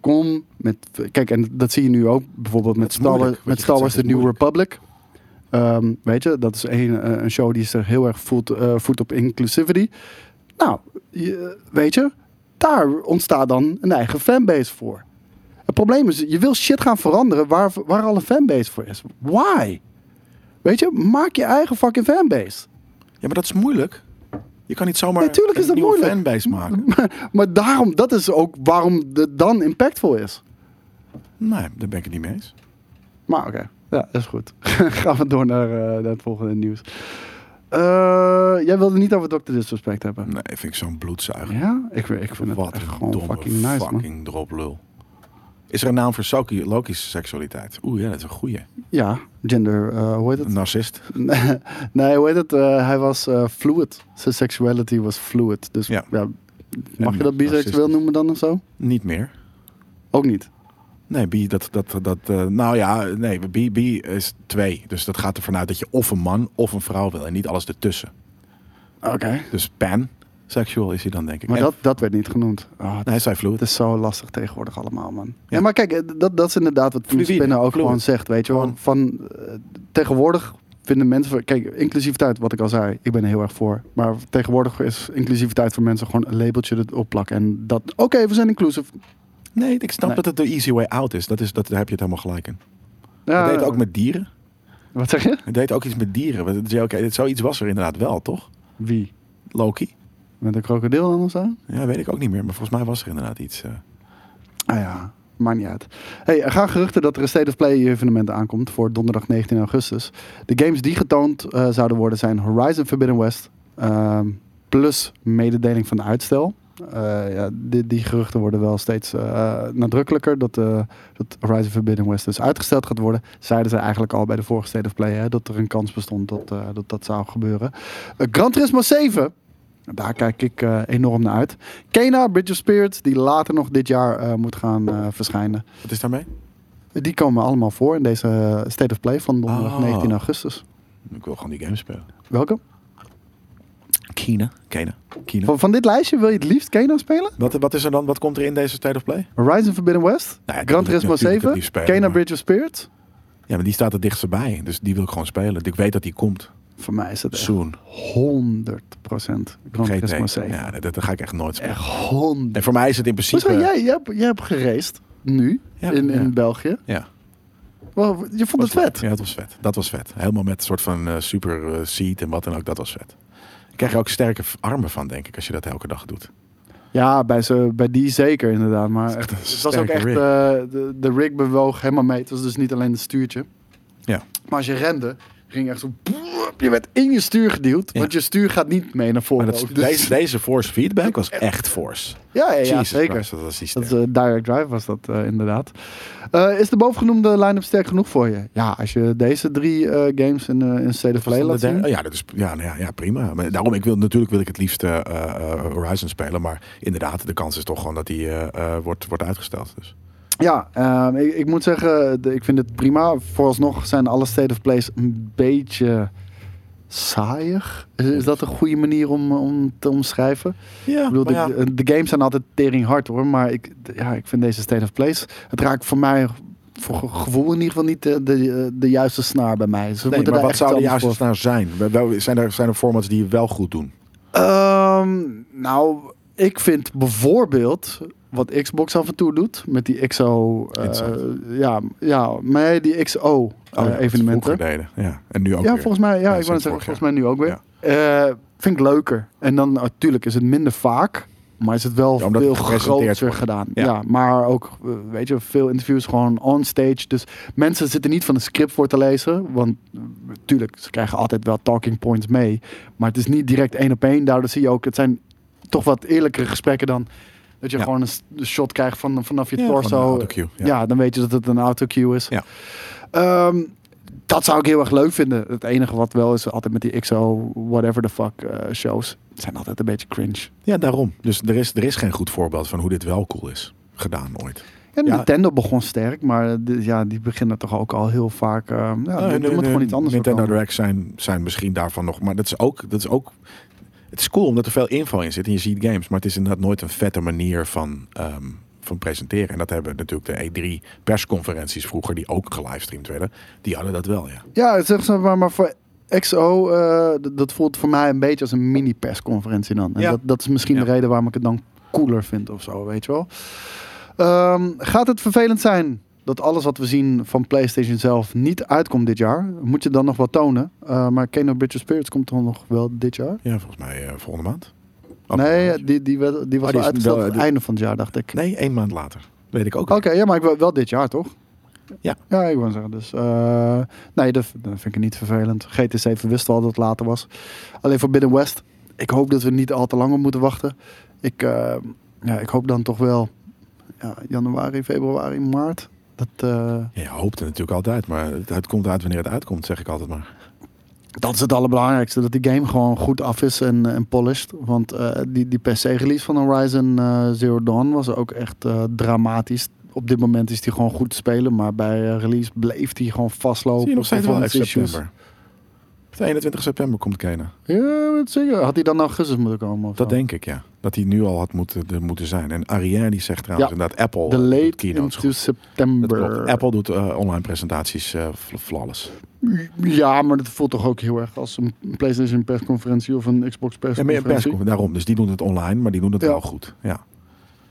Kom met... Kijk, en dat zie je nu ook bijvoorbeeld met
is
Star,
moeilijk,
Wars-
wat
met
je
Star
gaat
Wars The
zeggen,
New
is
Republic. Ehm, weet je, dat is een, eh, een show die zich heel erg voelt, eh, voedt op inclusivity. Nou, je- weet je, daar ontstaat dan een eigen fanbase voor. Het probleem is, je wil shit gaan veranderen waar, waar al een fanbase voor is. Why? Weet je, maak je eigen fucking fanbase.
Ja, maar dat is moeilijk. Je kan niet zomaar
Natuurlijk is
een
dat
nieuwe
moeilijk.
fanbase maken.
Maar, maar daarom, dat is ook waarom het dan impactvol is.
Nee, daar ben ik het niet mee eens.
Maar oké, ja, dat is goed. Gaan we door naar, eh, naar het volgende nieuws. Eh, jij wilde niet over Dr. Disrespect hebben.
Nee, vind ik zo'n bloedzuiger.
Ja? Ik, ik vind het
Wat
echt
een
gewoon
domme
fucking nice, man.
fucking droplul. Is er een naam voor Soki, Loki's seksualiteit? Oeh, ja, dat is een goeie.
Ja, gender, eh, hoe heet
Een
het?
narcist.
nee, hoe heet het? Eh, hij was eh, fluid. Zijn sexuality was fluid. Dus ja,
Ja.
mag
En
je dat biseksueel
narcistisch.
noemen dan of zo?
Niet meer.
Ook niet.
Nee, bi, dat, dat, dat, eh, nou ja, nee, bi, bi is twee. Dus dat gaat ervan uit dat je of een man of een vrouw wil en niet alles ertussen.
Oké.
Dus pansexual is hij dan, denk ik.
Maar
En-
dat, dat werd niet genoemd. Ah,
Nee, hij zei
Het
fluid.
is zo lastig tegenwoordig allemaal, man. Ja,
Ja.
maar kijk, eh, dat, dat is inderdaad wat Tim
Fluïde,
Spinnen ook
fluid.
gewoon zegt, weet je wel.
Gewoon.
Van, eh, tegenwoordig vinden mensen... Kijk, inclusiviteit, wat ik al zei, ik ben er heel erg voor. Maar tegenwoordig is inclusiviteit voor mensen gewoon een labeltje erop plakken. En dat, oké, we zijn inclusief.
Nee, ik snap
Nee.
dat het de easy way out is. Dat is dat, daar heb je het helemaal gelijk in.
Ja,
Hij deed ook met dieren.
Wat zeg je?
Hij deed ook iets met dieren. Want het is- ja, Oké, dit zoiets was er inderdaad wel, toch?
Wie?
Loki?
Met een krokodil dan of zo?
Ja, weet ik ook niet meer. Maar volgens mij was er inderdaad iets. eh,
Ah ja, maakt niet uit. Hey, er gaan geruchten dat er een State of Play evenement aankomt voor donderdag 19 augustus. De games die getoond eh, zouden worden zijn Horizon Forbidden West, ehm, plus mededeling van de uitstel. Eh, ja, die, die geruchten worden wel steeds eh, nadrukkelijker dat, eh, dat Horizon Forbidden West dus uitgesteld gaat worden. Zeiden ze eigenlijk al bij de vorige State of Play hè, dat er een kans bestond dat eh, dat, dat zou gebeuren. Eh, Gran Turismo 7 daar kijk ik eh, enorm naar uit. Kena, Bridge of Spirits, die later nog dit jaar eh, moet gaan eh, verschijnen.
Wat is daarmee?
Die komen allemaal voor in deze eh, State of Play van donderdag
Ah.
19 augustus.
Ik wil gewoon die game spelen.
Welke?
Kina. Kina. Kina.
Van, van dit lijstje wil je het liefst Kena spelen?
Wat, wat is er dan? Wat komt er in deze State of Play?
Horizon Forbidden West,
Nou ja, die wil
Gran
ik
Turismo
natuurlijk het
7,
liefst spelen,
Kena,
maar-
Bridge of Spirits.
Ja, maar die staat er dichtst bij. Dus die wil ik gewoon spelen. Ik weet dat die komt.
Voor mij is het echt 100%
Soon.
Gran
GT.
Turismo 7.
Ja, nee, dat, dat ga ik echt nooit spelen.
Echt 100.
En voor mij is het in
Hoezo?
principe...
Jij, jij, hebt- jij hebt geraced nu
Ja,
in, in
ja.
België.
Ja.
Wel, Je vond het vet.
Ja, dat was vet. Dat was vet. Helemaal met een soort van eh, super eh, seat en wat dan ook. Dat was vet. Ik krijg er ook sterke v- armen van, denk ik, als je dat elke dag doet.
Ja, bij, ze, bij die zeker inderdaad. Maar echt, het was ook
sterke
echt,
rig.
eh, de, de rig bewoog helemaal mee. Het was dus niet alleen het stuurtje.
Ja.
Maar als je rende, ging echt zo... boep, Je werd in je stuur geduwd,
Ja.
want je stuur gaat niet mee naar voren.
Maar dat,
ook. Dus-
deze, deze force feedback was echt force.
ja, ja, ja,
Jesus
zeker.
Christ, dat was die
Dat
sterk.
is, eh, direct drive was dat eh, inderdaad. Eh, is de bovengenoemde line-up sterk genoeg voor je? Ja, als je deze drie eh, games in, eh in State of Play laat
Dat is-
zien.
ja, dat is, ja, nou ja, ja, prima. Maar daarom, ik wil, natuurlijk wil ik het liefst eh, eh, eh, Horizon spelen. Maar inderdaad, de kans is toch gewoon dat die eh, eh, wordt, wordt uitgesteld. Dus.
Ja, ehm, ik, ik moet zeggen, de- ik vind het prima. Vooralsnog zijn alle State of Plays een beetje saaiig. Is, is dat een goede manier om, om te omschrijven?
Ja,
Ik bedoel, de, eh, de, de games zijn altijd tering hard hoor. Maar ik, d- ja, ik vind deze State of Plays... Het raakt voor mij, voor ge- gevoel in ieder geval, niet de, de, de juiste snaar bij mij. Ze
nee,
moeten
maar
daar
wat
echt
zou de
iets anders
juiste
voor
snaar nou zijn? Wel- wel- Zijn er, zijn er formats die je wel goed doen?
Ehm, nou, ik vind bijvoorbeeld wat Xbox af en toe doet met die XO. eh,
Insight.
ja, ja, maar die XO eh,
Oh, ja, dat is
evenementen.
vroeger deden. Ja, en nu ook
Ja,
weer.
volgens mij, ja, ik
sinds
wou net
vorig
zeggen, volgens mij nu ook weer.
Ja.
Eh, vind ik leuker. En dan natuurlijk is het minder vaak, maar is het wel
Ja, omdat
veel
het gepresenteerd
groter
wordt.
gedaan. Ja.
Ja.
maar ook, eh, weet je, veel interviews gewoon on stage. Dus mensen zitten niet van het script voor te lezen, want natuurlijk, ze krijgen altijd wel talking points mee. Maar het is niet direct één op één. Daardoor zie je ook, het zijn toch wat eerlijkere gesprekken dan dat je
Ja.
gewoon een s- een shot krijgt van, vanaf je
Ja,
torso.
van een autocue, ja.
ja, dan weet je dat het een autocue is.
Ja.
Ehm, dat zou ik heel erg leuk vinden. Het enige wat wel is, altijd met die XO, whatever the fuck eh, shows. Het zijn altijd een beetje cringe.
Ja, daarom. Dus er is, er is geen goed voorbeeld van hoe dit wel cool is gedaan ooit.
En
Ja.
Nintendo begon sterk, maar eh, de- ja, die beginnen toch ook al heel vaak. eh ja,
Nou,
er
de-
moet
de
gewoon iets anders voor
Nintendo
komen.
Direct zijn, zijn misschien daarvan nog. Maar dat is ook. Dat is ook het is cool omdat er veel info in zit en je ziet games. Maar het is inderdaad nooit een vette manier van, ehm, van presenteren. En dat hebben natuurlijk de E3 persconferenties vroeger, die ook gelivestreamd werden. Die hadden dat wel, ja.
Ja, zeg ze maar, maar voor XO, eh, d- dat voelt voor mij een beetje als een mini-persconferentie dan. En
Ja.
dat, dat is misschien
Ja.
de reden waarom ik het dan cooler vind of zo, weet je wel. Ehm, gaat het vervelend zijn dat alles wat we zien van PlayStation zelf niet uitkomt dit jaar? Moet je dan nog wat tonen? Eh, maar Kano Bridge of Spirits komt dan nog wel dit jaar?
Ja, volgens mij eh, volgende maand.
nee, die, die, werd- die was
Oh, die
al
is
uitgesteld
wel-
voor het
die-
einde van het jaar, dacht ik.
Nee, één maand later. Weet ik ook.
Oké, ja, maar ik wil wel dit jaar, toch?
Ja.
Ja, ik wou zeggen. Dus eh, nee, dat, dat vind ik niet vervelend. GT7 wist al dat het later was. Alleen voor Binnen West. Ik hoop dat we niet al te lang op moeten wachten. Ik, eh, ja, ik hoop dan toch wel ja, januari, februari, maart. Dat, eh,
Ja, je hoopt het natuurlijk altijd, maar het, het komt uit wanneer het uitkomt, zeg ik altijd maar.
dat is het allerbelangrijkste. Dat die game gewoon goed af is en, eh, en polished. Want eh, die, die PC-release van Horizon eh, Zero Dawn was ook echt eh, dramatisch. Op dit moment is die gewoon goed te spelen. Maar bij eh, release bleef die gewoon vastlopen.
Zie je nog steeds wel uit
performance issues.
september. Op 21 september komt Kena.
Ja, dat zeker. Had hij dan naar augustus moeten komen? Of
Dat
zo?
denk ik, ja. Dat hij nu al had moeten, er moeten zijn. En Ariane die zegt trouwens
Ja.
inderdaad, Apple
De
eh, doet
late
keynotes
into
goed. Dat
september.
klopt. Apple doet eh, online presentaties eh, fl- flawless.
Ja, maar dat voelt toch ook heel erg als een PlayStation persconferentie of een Xbox
Ja, meer pers,
persconferentie.
daarom. Dus die doen het online, maar die doen het
Ja.
wel goed. Ja.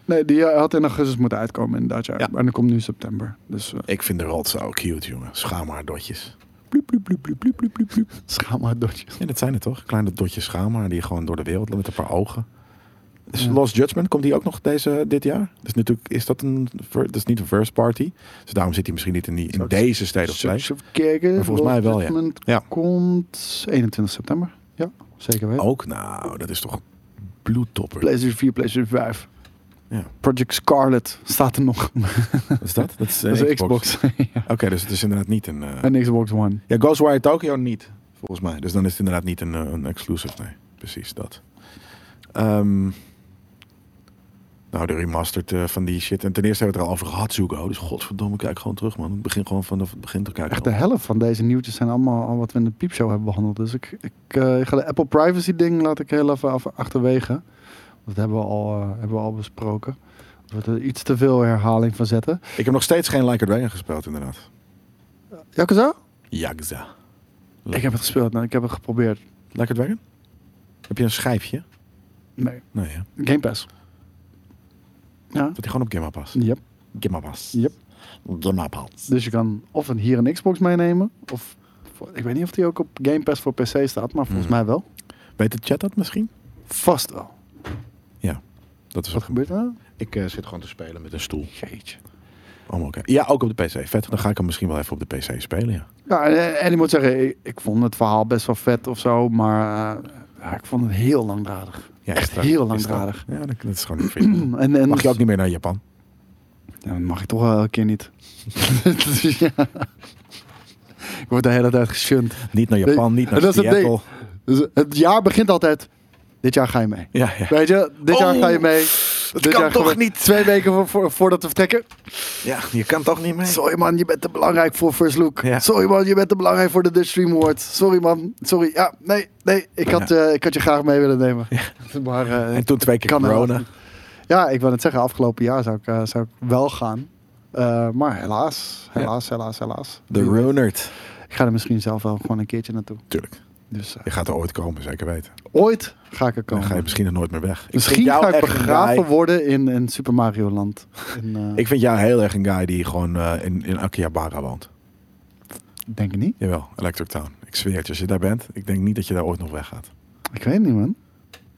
nee, die eh, had in augustus moeten uitkomen inderdaad. Ja.
Ja.
En dan komt nu september. Dus eh
Ik vind de rot zo cute, jongen. Schaamhaardotjes.
schaam maar dotje.
Ja, dat zijn het toch? Kleine dotjes schaamhaar die gewoon door de wereld lopen met een paar ogen. Dus Lost Judgment, komt die ook nog deze, dit jaar? Dus natuurlijk is dat een... ver- Dat is niet een first party. Dus daarom zit hij misschien niet in, die, in
Straks-
deze State of Play.
Search of Kerken.
Maar volgens mij wel, ja.
Judgment
Ja.
komt 21 september. Ja, zeker weten.
Ook? Nou, dat is toch een bloedtopper.
PlayStation 4, PlayStation 5.
Ja.
Project Scarlet staat er nog.
Wat is dat? Dat is, eh,
dat is een Xbox. Ja.
Oké, dus het is inderdaad niet een... eh
En Xbox One.
Ja, Ghostwire Tokyo niet, volgens mij. Dus dan is het inderdaad niet een, eh, een exclusive. Nee, precies dat. Ehm, nou, de remastered eh, van die shit. En ten eerste hebben we het er al over gehad, Zuko. Dus godverdomme, kijk gewoon terug, man. Ik begin gewoon vanaf het begin te kijken.
Echt de helft van deze nieuwtjes zijn allemaal al wat we in de piepshow hebben behandeld. Dus ik, ik, eh, ik ga de Apple privacy ding laat ik heel even af, achterwege. Want Dat hebben we al, eh, hebben we al besproken. Dat we er iets te veel herhaling van zetten.
Ik heb nog steeds geen Like a Dragon gespeeld, inderdaad.
Yakuza?
Yakuza.
Ik heb het gespeeld. Nou, ik heb het geprobeerd.
Like a Dragon? Heb je een schijfje?
Nee.
Nee, hè?
Game Pass. Ja.
Dat hij gewoon op Gamma past.
Yep.
Gamma Pass.
Yep.
de napalm.
Dus je kan of een, hier een Xbox meenemen. Of voor- ik weet niet of die ook op Game Pass voor PC staat, maar
Mhm.
volgens mij wel.
Weet de chat dat misschien?
Vast wel.
Ja. Dat is
Wat gebeurt er nou?
Ik eh, zit gewoon te spelen met een stoel. Jeetje. Oh, oké. Ja, ook op de PC. Vet. Dan ga ik hem misschien wel even op de PC spelen. Ja.
Ja, en, eh, en ik moet zeggen, ik, ik vond het verhaal best wel vet of zo, maar eh, ja, ik vond het heel langdradig.
ja
Echt
is dat-
heel
is dat-
langdradig.
Ja, dat, dat is gewoon niet veel.
En, en
Mag je ook niet meer naar Japan?
Ja, dat mag ik toch wel elke keer niet. Dus ja. Ik word de hele tijd geshunt.
Niet naar Japan, niet naar
En dat is het ding.
Seattle.
Dus het jaar begint altijd. Dit jaar ga je mee.
Ja, ja.
Weet je, dit jaar ga je mee. Dit
Oh, kan
jaar
toch
gewoon
niet?
Twee weken voor, voor, voordat we vertrekken.
ja, je kan toch niet meer?
Sorry man, je bent te belangrijk voor First Look.
Ja.
Sorry man, je bent te belangrijk voor de Dutch Stream Awards. Sorry man, sorry. Ja, nee, nee, ik had, eh, ik had je graag mee willen nemen. Maar, eh,
En toen twee keer
kan
corona.
helaas niet. Ja, ik wil het zeggen, afgelopen jaar zou ik, eh, zou ik wel gaan. Eh, maar helaas,
Ja.
helaas, helaas, helaas.
De
Wie weet.
Ronert.
Ik ga er misschien zelf wel gewoon een keertje naartoe.
Tuurlijk.
Dus eh,
Je gaat er ooit komen, zeker weten.
ooit ga ik er
Dan
komen.
ga je misschien er nooit meer weg. Ik
Oh. Misschien
vind jou
ga ik
echt een
begraven
guy-
worden in, in Super Mario Land. En, eh,
Ik vind jou heel erg een guy die gewoon eh, in, in Akihabara woont.
denk het niet.
Jawel, Electric Town. Ik zweer het, als je daar bent, ik denk niet dat je daar ooit nog weggaat.
Ik weet het niet, man.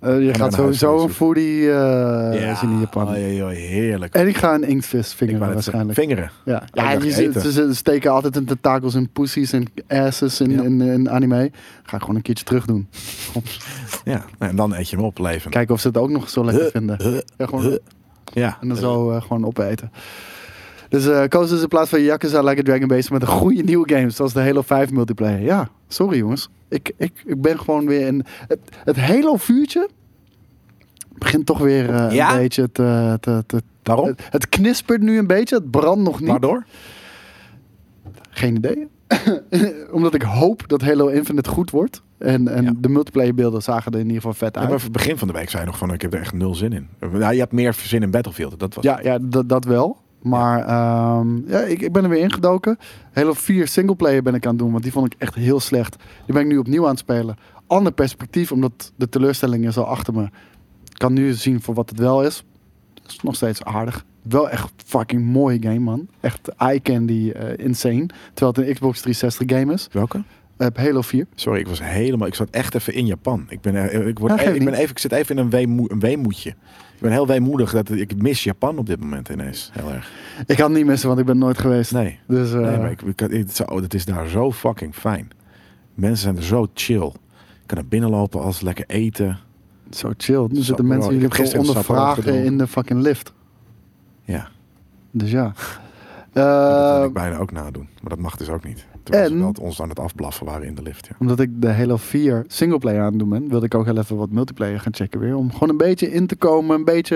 Eh, je
naar
gaat
huis
sowieso
gaan
een foodie eh, zien in Japan.
Oh, joh, joh, heerlijk.
En ik ga een inktvis
Ik wou
vingeren
net
waarschijnlijk.
zeggen, Vingeren.
Ja,
Ja,
ja
ik dacht
je ziet-
eten.
ze ze steken altijd hun tentakels in pussies en asses in,
Ja.
in, in anime. Ga ik gewoon een keertje terug doen.
Ja, nou, en dan eet je hem op, leven.
Kijken of ze het ook nog zo lekker vinden. Ja, gewoon,
Ja.
en dan zo eh, gewoon opeten. Dus eh kozen ze in plaats van Yakuza Like a Dragon bezig met een goede nieuwe game. Zoals de Halo 5 multiplayer. Ja, sorry jongens. Ik, ik, ik ben gewoon weer in... Het, het Halo vuurtje begint toch weer eh,
Ja?
een beetje te... te, te
Daarom?
het, het knispert nu een beetje. Het brandt nog niet.
Waardoor?
Geen idee. Omdat ik hoop dat Halo Infinite goed wordt. En, en
Ja.
de multiplayer beelden zagen er in ieder geval vet
Ja,
uit.
maar voor het begin van de week zei je nog van, ik heb er echt nul zin in. Nou, je hebt meer zin in Battlefield. Dat was
Ja, ja dat, dat wel. Maar ehm, ja, ik, ik ben er weer ingedoken. Halo 4 singleplayer ben ik aan het doen, want die vond ik echt heel slecht. Die ben ik nu opnieuw aan het spelen. Ander perspectief, omdat de teleurstelling is al achter me. Ik kan nu zien voor wat het wel is. Het is nog steeds aardig. Wel echt fucking mooie game, man. Echt eye candy, eh, insane. Terwijl het een Xbox 360 game is.
Welke?
Heb Halo 4.
Sorry, ik was helemaal... Ik zat echt even in Japan. Ik, ben, eh, ik, word,
Ja,
eh,
geeft
ik, ben
niet.
even, ik zit even in een, weemoe, een weemoedje. Ik ben heel weemoedig. Dat, ik mis Japan op dit moment ineens. Heel erg.
Ik kan het niet missen, want ik ben nooit geweest.
Nee.
Dus, eh,
Nee, maar ik, ik, het, zo, het is daar zo fucking fijn. Mensen zijn er zo chill. Ik kan er binnenlopen als lekker eten.
Zo chill. Nu zitten
Sapporo.
mensen
Ik
die
heb
het
gisteren een Sapporo
ondervragen
gedronken.
in de fucking lift.
Ja,
Dus ja.
dat wil
Eh,
ik bijna ook nadoen. Maar dat mag dus ook niet. Terwijl ze
en-
wel het ons aan het afblaffen waren in de lift. Ja.
omdat ik de Halo 4 singleplayer aan het doen ben, wilde ik ook heel even wat multiplayer gaan checken weer. Om gewoon een beetje in te komen, een beetje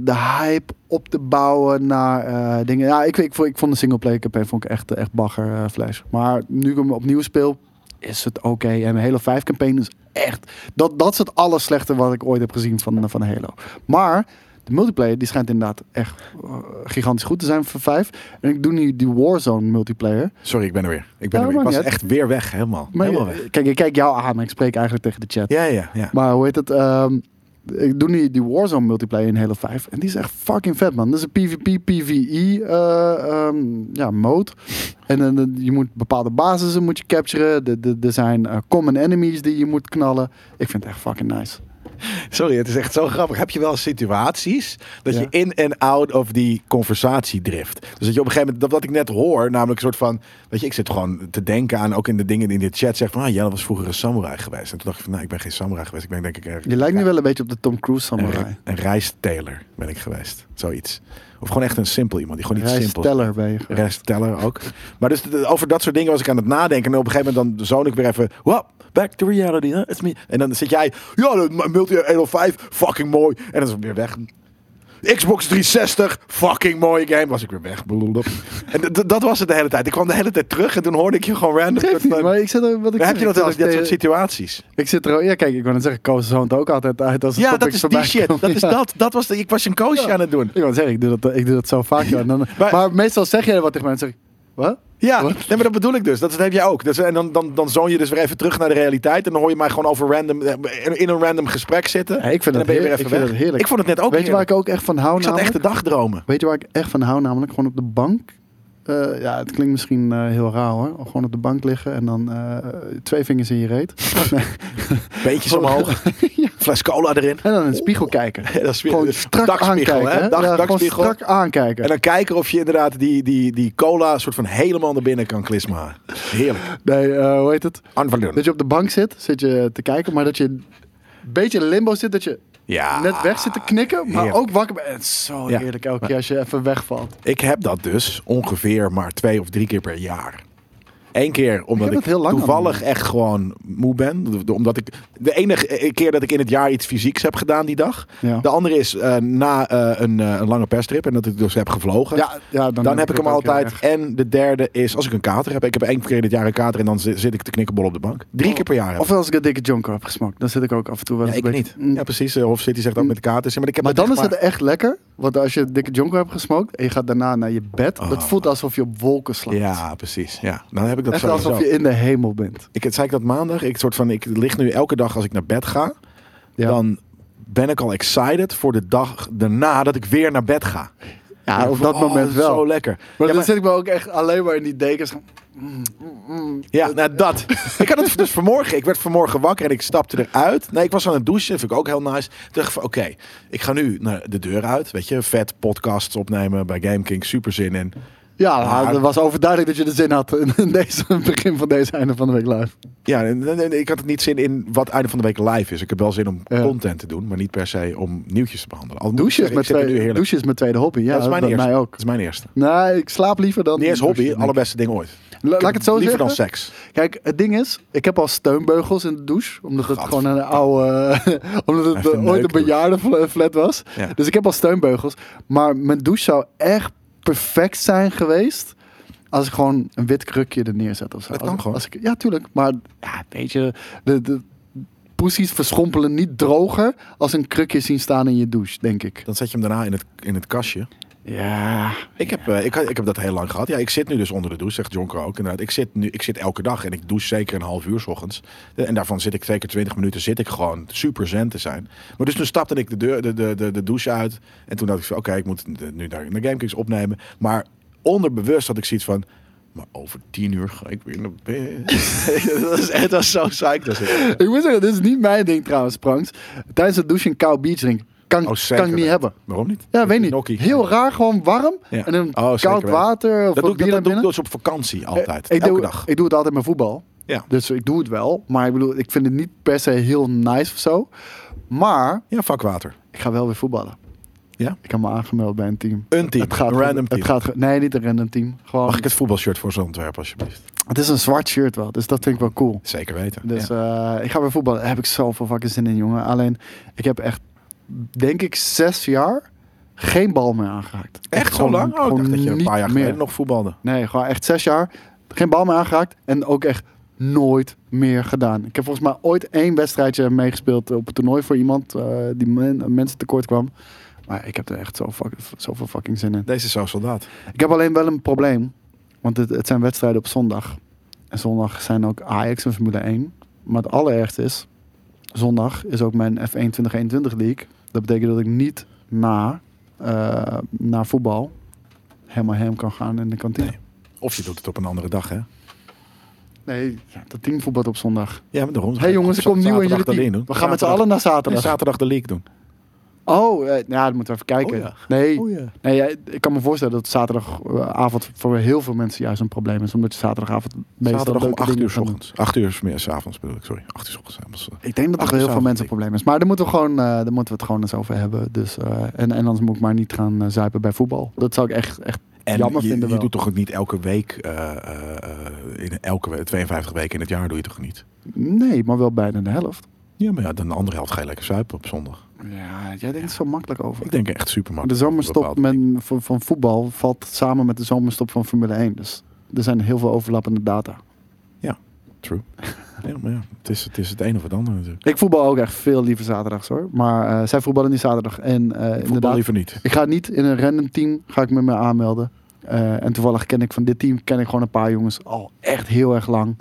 de hype op te bouwen naar eh, dingen. Ja, ik, ik, vond- ik vond de singleplayer campaign vond ik echt, echt bagger eh, flash. Maar nu ik hem opnieuw speel, is het oké. En de Halo 5 campaign is echt... Dat, dat is het aller slechte wat ik ooit heb gezien van, van Halo. Maar de multiplayer die schijnt inderdaad echt eh, gigantisch goed te zijn voor 5. En ik doe nu die Warzone multiplayer.
Sorry, ik ben er weer. Ik ben
Ja,
er weer. Ik
maakt
was
niet uit.
echt weer weg, helemaal.
Oh, Maar
helemaal
je-
weg.
kijk, ik kijk jou aan, maar ik spreek eigenlijk tegen de chat.
Ja, ja, ja.
Maar hoe heet het? ehm, ik doe nu die Warzone multiplayer in Halo 5. En die is echt fucking vet, man. Dat is een PvP, PvE eh, ehm, ja, mode. En dan dan- je moet bepaalde basissen moet je capturen. De- de- Er zijn eh, common enemies die je moet knallen. Ik vind het echt fucking nice.
Sorry, het is echt zo grappig. Heb je wel situaties dat
Ja.
je in en out of die conversatie drift? Dus dat je op een gegeven moment, dat wat ik net hoor, namelijk een soort van, weet je, ik zit gewoon te denken aan, ook in de dingen die in de chat zegt van, ah, Jelle was vroeger een samurai geweest. En toen dacht ik van, nou, ik ben geen samurai geweest. Ik ben denk ik erg.
Je lijkt nu wel een beetje op de Tom Cruise
een,
samurai.
een rijsteler ben ik geweest. Zoiets. Of gewoon echt een simpel iemand die gewoon iets simpels.
Rijsteller ben je. gewoon.
Resteller ook. Maar dus de- over dat soort dingen was ik aan het nadenken. En op een gegeven moment dan zoon ik weer even... Wow, back to reality, hè? It's me. En dan zit jij... Ja, de multi 105, fucking mooi. En dan is het weer weg. Xbox 360, fucking mooie game. Was ik weer weg. Blablabla. En d- d- dat was het de hele tijd. Ik kwam de hele tijd terug en toen hoorde ik je gewoon random.
Geeft niet,
soort van-
maar ik zit er, wat ik
heb
zeg, ik eh,
je
zit
dat wel eens,
ook
dit
tegen-
soort situaties?
Ik zit er ook- ja kijk, ik wou net zeggen, Koos zoont ook altijd uit als het
Ja, dat
topics
is die
voorbij
shit.
komen.
Dat is
Ja.
dat. Dat was de, ik was een coach aan het doen.
Ik wou zeggen, ik doe dat, eh, ik doe dat zo vaak. joh. En dan, maar,
Maar-
meestal zeg jij wat tegen mensen. Zeg ik, Wat?
Ja,
Wat?
nee, maar dat bedoel ik dus. Dat, dat heb jij ook. Dat, is- en dan, dan, dan zoon je dus weer even terug naar de realiteit. En dan hoor je mij gewoon over random, in- in een random gesprek zitten.
Ja, ik vind
en dan
dat
ben je weer
heer-
even
ik vind
weg.
dat heerlijk.
Ik vond het net ook
Weet je waar
heerlijk.
ik ook echt van hou
ik zat
namelijk?
echt de dag dromen.
Weet je waar ik echt van hou namelijk? Gewoon op de bank Eh, ja, het klinkt misschien eh, heel raar hoor. Gewoon op de bank liggen en dan eh, twee vingers in je reet. Nee.
Beetjes omhoog. Fles cola erin.
En dan in de spiegel kijken.
Ja, dat is weer-
Gewoon strak
dagspiegel,
aankijken.
hè?
hè?
Dag-
Ja, gewoon
dagspiegel.
strak aankijken.
En dan kijken of je inderdaad die, die, die cola soort van helemaal naar binnen kan klismaren. Heerlijk.
Nee, eh, hoe heet het?
Anne van
Dat
Leeuwen.
je op de bank zit, zit je te kijken, maar dat je een beetje in limbo zit, dat je
Ja.
net weg zit te knikken, maar
Heerlijk.
ook wakker bent. Het is zo
Ja.
heerlijk elke keer als je even wegvalt.
Ik heb dat dus ongeveer maar twee of drie keer per jaar. Eén keer omdat
heb
ik,
dat heel lang
toevallig
al.
echt gewoon moe ben. Omdat ik de enige keer dat ik in het jaar iets fysieks heb gedaan die dag.
Ja.
De andere is eh, na eh, een, eh, een lange perstrip en dat ik dus heb gevlogen.
Ja, ja, dan
dan,
heb
heb
ik
ik hem
het ook heel
altijd.
erg.
En de derde is als ik een kater heb. Ik heb één keer dit jaar een kater en dan zi- zit ik te knikkenbol op de bank. Drie keer per jaar. heb ik.
Oh. Of als ik een dikke jonker heb gesmokt, dan zit ik ook af en toe wel
Ja,
eens
ik
een
niet.
beetje- Mm.
Ja, precies. Eh, Of City zegt ook met de katers. Maar, ik heb
Maar
dat
dan is
echt
het echt lekker, want als je een dikke jonker hebt gesmokt en je gaat daarna naar je bed, dat voelt alsof je op wolken slaat.
Oh. Ja, precies. Ja. Dan heb ik dat
Echt
sowieso.
alsof je in de hemel bent.
Ik zei ik dat maandag. Ik soort van ik lig nu elke dag als ik naar bed ga,
Ja.
dan ben ik al excited voor de dag daarna dat ik weer naar bed ga.
Ja,
En
op
van,
dat
oh,
moment
is
wel.
Zo lekker.
Maar
ja,
dan
maar-
zit ik me ook echt alleen maar in die dekens.
ja, nou dat. ik had het dus vanmorgen. Ik werd vanmorgen wakker en ik stapte eruit. Nee, ik was aan het douchen. Dat vind ik ook heel nice. Toen dacht ik van oké, ik ga nu naar de deur uit. Weet je, vet podcasts opnemen bij GameKing. Super zin in.
Ja,
Maar-
nou, het was overduidelijk dat je de zin had in in deze, in het begin van deze einde van de week live.
Ja, en- en- en ik had het niet zin in wat einde van de week live is. Ik heb wel zin om
Ja.
content te doen, maar niet per se om nieuwtjes te behandelen. Al moet ik
Douchen is
zeggen,
mijn,
ik zit er nu
tweede,
heerlijk.
douchen is mijn tweede hobby. Ja,
dat is mijn
bij
eerste.
mij ook.
Dat is mijn eerste.
Nee, ik slaap liever dan...
Niet eens hobby,
douchen, denk ik.
allerbeste ding ooit.
La- laat ik het zo
Liever
zeggen.
dan seks.
Kijk, het ding is, ik heb al steunbeugels in de douche. Omdat het
Gadver-
gewoon een oude... omdat het
Even een
ooit een
neukdouche.
bejaardenflat was.
Ja.
Dus ik heb al steunbeugels. Maar mijn douche zou echt perfect zijn geweest... Als ik gewoon een wit krukje er neerzet of zo.
Dat kan
Als ik-
gewoon.
Als ik, ja, tuurlijk. Maar ja, weet je... De, de poesies verschrompelen niet droger... als een krukje zien staan in je douche, denk ik.
Dan zet je hem daarna in het, in het kastje.
Ja.
Ik heb, eh, ik, ik heb dat heel lang gehad. Ja, ik zit nu dus onder de douche, zegt Jonko ook. Inderdaad, ik zit, nu, ik zit elke dag en ik douche zeker een half uur s ochtends. Eh, En daarvan zit ik zeker 20 minuten zit ik gewoon super zen te zijn. Maar dus toen stapte ik de, deur, de, de, de, de douche uit. En toen dacht ik van oké, ik moet de- nu naar, naar Gamekings opnemen. Maar onderbewust had ik zoiets van... Maar over tien uur ga ik weer naar bed. dat is, het was zo saai. Dat is-
Ik moet zeggen, dit is niet mijn ding trouwens, Pranks. Tijdens het douchen een koud bier drinken. Kan,
Oh, zeker
kan ik niet
weten.
hebben.
Waarom niet?
Ja,
Met
weet
die
niet.
nokkie.
Heel raar, gewoon warm.
Ja.
En dan
Oh, zeker
koud
weten.
water of
Dat
wat
doe, ik,
bier
dat,
naar
dat doe ik
binnen. Eh,
dus op vakantie altijd.
ik,
elke
doe,
dag.
ik doe het altijd met voetbal.
Ja.
Dus ik doe het wel. Maar ik bedoel, ik vind het niet per se heel nice of zo. Maar
Ja, vakwater.
ik ga wel weer voetballen.
Ja?
Ik heb me aangemeld bij een team.
Een team.
Het gaat,
een random team.
Het gaat, nee, niet een random team. Gewoon,
Mag ik het voetbalshirt voor zo'n ontwerp alsjeblieft?
Het is een zwart shirt wel, dus dat vind ik wel cool.
Zeker weten.
Dus
Ja.
eh, ik ga weer voetballen. Daar heb ik zoveel fucking zin in, jongen. Alleen, ik heb echt, denk ik, zes jaar geen bal meer aangeraakt.
Echt zo lang? Oh, ik dacht dat je een
eh, niet
paar jaar geleden
meer.
nog voetbalde.
Nee, gewoon echt zes jaar geen bal meer aangeraakt. En ook echt nooit meer gedaan. Ik heb volgens mij ooit één wedstrijdje meegespeeld op een toernooi voor iemand eh, die men- mensen tekort kwam. Maar ik heb er echt zo fuck- zoveel fucking zin in.
Deze is zo'n soldaat.
Ik heb alleen wel een probleem. Want het, het zijn wedstrijden op zondag. En zondag zijn ook Ajax en Formule 1. Maar het allerergste is... Zondag is ook mijn F1 2021 League. Dat betekent dat ik niet na, eh, na voetbal helemaal hem kan gaan in de kantine.
Nee. Of je doet het op een andere dag, hè?
Nee, ja, dat team voetbalt op zondag.
Ja, maar daarom.
Hé hey jongens, ik kom nieuw in jullie
Zaterdag de
team.
league doen.
We gaan met z'n
Zaterdag-
allen naar zaterdag.
Ja, zaterdag de league doen.
Oh, eh, ja, dat moeten we even kijken.
Oh ja.
Nee,
Oh ja.
nee ja, ik kan me voorstellen dat zaterdagavond voor heel veel mensen juist een probleem is. Omdat je zaterdagavond meestal
Zaterdag om
leuke
8
dingen
uur s
kan doen.
ochtends. 8 uur s middags, 's avonds bedoel ik, sorry. 8 uur s ochtends. avonds.
Ik denk dat er
Acht
heel
uur
veel mensen een
s'avonds,
probleem is. Maar daar moeten we, gewoon, eh, daar moeten we het gewoon eens over hebben. Dus, eh, en, en anders moet ik maar niet gaan eh, zuipen bij voetbal. Dat zou ik echt, echt
En
jammer
je,
vinden
je
wel.
doet toch ook niet elke week, eh, eh, eh, in elke we- 52 weken in het jaar doe je toch niet?
Nee, maar wel bijna de helft.
Ja, maar ja, dan de andere helft ga je lekker zuipen op zondag.
Ja, jij denkt zo makkelijk over.
Ik denk echt super
De zomerstop met, van, van voetbal valt samen met de zomerstop van Formule 1. Dus er zijn heel veel overlappende data.
True. Ja, maar ja, het is, het is het een of het ander natuurlijk.
Ik voetbal ook echt veel liever zaterdags hoor. Maar eh, zij voetballen niet zaterdag. En eh,
Voetbal
inderdaad,
liever niet.
ik ga niet in een random team ga ik me mee aanmelden. Eh, en toevallig ken ik van dit team ken ik gewoon een paar jongens al echt heel erg lang.